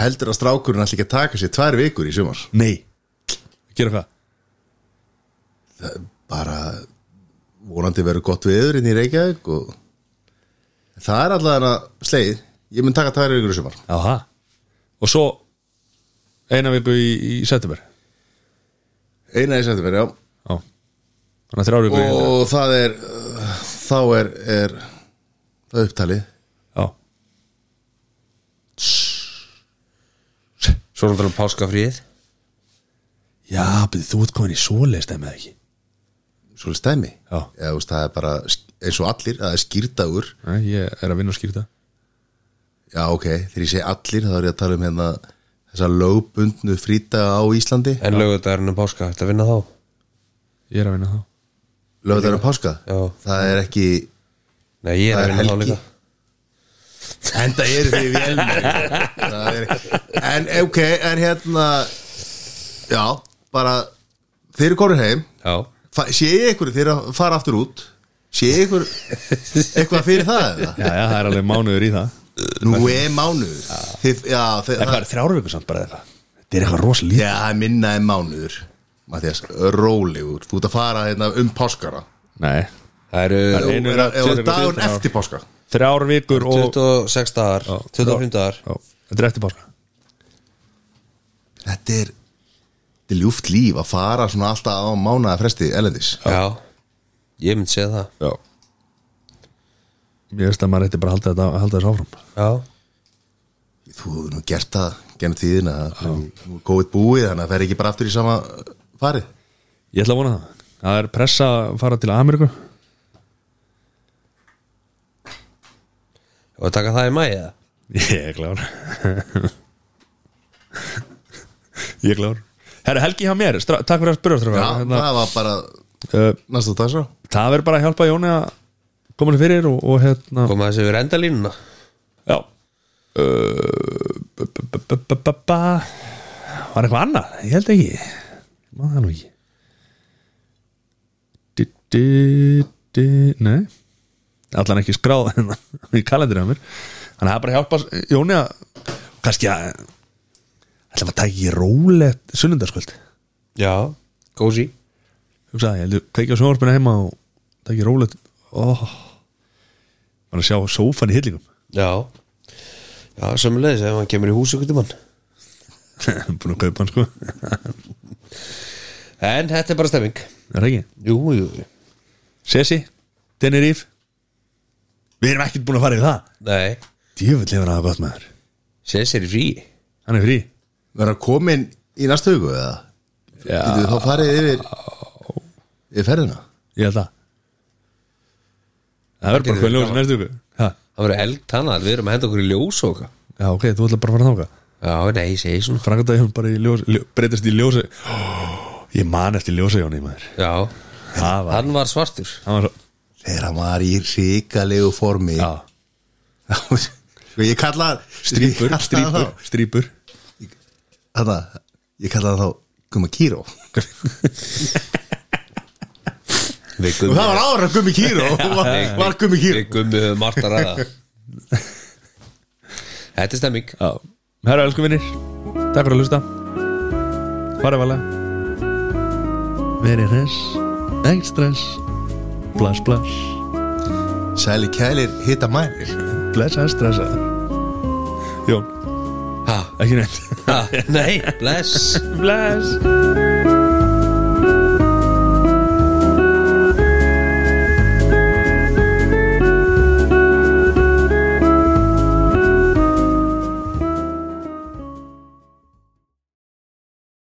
[SPEAKER 3] Heldur að strákurinn ætla ekki að taka sér tvær vikur í sumar
[SPEAKER 1] Nei Gera hvað?
[SPEAKER 3] bara vonandi verður gott viður inn í Reykjavík og það er allavega sleið ég mun taka tvær vikur í sumar
[SPEAKER 1] Jaha Og svo eina viku í, í september
[SPEAKER 3] Eina í september, já
[SPEAKER 1] Já Þannig að þrjár viku í
[SPEAKER 3] og það er uh, þá er, er það er upptalið
[SPEAKER 1] Já
[SPEAKER 2] Svo náttúrulega páskafríð
[SPEAKER 1] Já, byrði þú ert komin í svoleiðst eða með ekki
[SPEAKER 3] svolítið stæmi
[SPEAKER 1] Já.
[SPEAKER 3] Eða, þú veist, það er bara sk- eins og allir að það er skýrdagur
[SPEAKER 1] Nei, ég er að vinna og skýrta
[SPEAKER 3] já ok, þegar ég segi allir þá er ég að tala um hérna þessa lögbundnu frítaga á Íslandi
[SPEAKER 2] En lögudagurinn um páska, þetta vinna þá
[SPEAKER 1] Ég er að vinna þá
[SPEAKER 3] lögðar um páska
[SPEAKER 2] Já.
[SPEAKER 3] það er ekki
[SPEAKER 2] Nei, ég er
[SPEAKER 3] Það
[SPEAKER 2] að
[SPEAKER 3] er
[SPEAKER 2] vinna þá
[SPEAKER 3] helgi.
[SPEAKER 2] líka
[SPEAKER 3] enda er því vel en ok, en hérna já, bara þeir eru konur heim
[SPEAKER 2] já,
[SPEAKER 3] fa- sé ég ykkur þeir að fara aftur út sé ég ykkur eitthvað fyrir það eða?
[SPEAKER 1] já, já, það er alveg mánuður í það
[SPEAKER 3] nú er mánuður Þið, já, þið,
[SPEAKER 1] Það
[SPEAKER 3] það,
[SPEAKER 1] er þrjárvíku samt bara þetta Þetta er eitthvað rosalítið
[SPEAKER 3] já, það er minna en mánuður Mattias, rólegur þú ert að fara hérna, um páskara
[SPEAKER 1] Nei,
[SPEAKER 2] það eru
[SPEAKER 1] Einu-
[SPEAKER 3] er, er, er
[SPEAKER 1] Tökum
[SPEAKER 3] dagur
[SPEAKER 1] þrjár.
[SPEAKER 3] eftir páska
[SPEAKER 1] þrjár vikur og
[SPEAKER 2] 26 dagar, 25 dagar
[SPEAKER 1] Já, Þetta er eftir páska
[SPEAKER 3] þetta er þetta er ljúft líf að fara svona alltaf á mánuða fresti elendis
[SPEAKER 2] já, ég myndi segja það
[SPEAKER 1] Já Ég veist að maður ætti bara að halda, þetta, halda þessu áfram
[SPEAKER 2] já,
[SPEAKER 3] þú hefur nú gert það genið tíðina nú er góðið búið þannig að það fer ekki bara aftur í sama uh, farið
[SPEAKER 1] Ég ætla að vona það Það er pressa að fara til Ameríku
[SPEAKER 2] og að taka það í mæja
[SPEAKER 1] Ég er klár Ég er klár Herra, Helgi hjá mér, stra- takk fyrir að spyrja
[SPEAKER 3] já,
[SPEAKER 1] strákar. Hérna,
[SPEAKER 3] það var bara
[SPEAKER 1] uh,
[SPEAKER 3] næsta dag svo
[SPEAKER 1] Það verður bara að hjálpa Jóni að koma sér fyrir og, og hérna
[SPEAKER 2] koma þessi við endalínuna
[SPEAKER 1] Já Uh, bu- bu- bu- bu- bu- bu- bu. Var eitthvað annað? Ég held ekki Ég Man það nú ekki Di- di- di- Nei Allan ekki skráð hérna í kalendurinn á mér Þannig að það er bara að hjálpa Jóni að kannski að ætla að taka í rólegt sunnundarskvöld
[SPEAKER 2] já, gósi
[SPEAKER 1] hugsaði, ég heldur, kveikja á sjónvarpinu heima og það ekki rólegt oh. bara að sjá sófan í hillingum
[SPEAKER 2] já, já, sömulegis ef hann kemur í hús ykkur tímann
[SPEAKER 1] búin að kaupa hann sko er
[SPEAKER 2] en þetta er bara stemming
[SPEAKER 1] það ekki?
[SPEAKER 2] jú, jú, jú.
[SPEAKER 1] Sessi, Tenerife við erum ekkert búin að fara yfir það
[SPEAKER 2] nei
[SPEAKER 1] djöfull hefur hann að gott maður
[SPEAKER 2] sér sér í frí
[SPEAKER 1] hann er frí
[SPEAKER 3] verður að komin í næsta hugu eða getur þú þá farið yfir yfir ferðina
[SPEAKER 1] ég held það það verður bara hvað ljóðs næstu ykkur já,
[SPEAKER 2] það verður elgt hannar, við erum að henda okkur í ljós og okkar
[SPEAKER 1] ok, þú ætla bara að fara þáka
[SPEAKER 2] já, nei, ég segi svona
[SPEAKER 1] frangat að ég bara í ljós, ljó, breytast í ljósa ég man eftir ljósa Jóni maður
[SPEAKER 2] já,
[SPEAKER 1] það var,
[SPEAKER 2] hann var svartur
[SPEAKER 1] hann var svo
[SPEAKER 3] þegar hann var í ríkalegu formi
[SPEAKER 1] já,
[SPEAKER 3] Sko, ég kalla
[SPEAKER 1] strýpur,
[SPEAKER 3] ég kalla hann
[SPEAKER 1] strýpur,
[SPEAKER 3] þá-
[SPEAKER 1] strýpur
[SPEAKER 3] þarna, ég kalla það þá Gummi Kíró og
[SPEAKER 2] við
[SPEAKER 3] það
[SPEAKER 2] gummi
[SPEAKER 3] var ára Gummi Kíró var, var Gummi Kíró
[SPEAKER 2] við gummi höfum margt að ræða þetta er stemming
[SPEAKER 1] Já, herra elsku vinnir Takk fyrir að hlusta Farið valega Verið hress, ekkert stress Bless, bless
[SPEAKER 3] Sæli kælir hitta mænir
[SPEAKER 1] Bless að stressa Jón,
[SPEAKER 2] ha,
[SPEAKER 1] ekki neitt
[SPEAKER 2] ha, nei, bless
[SPEAKER 1] Bless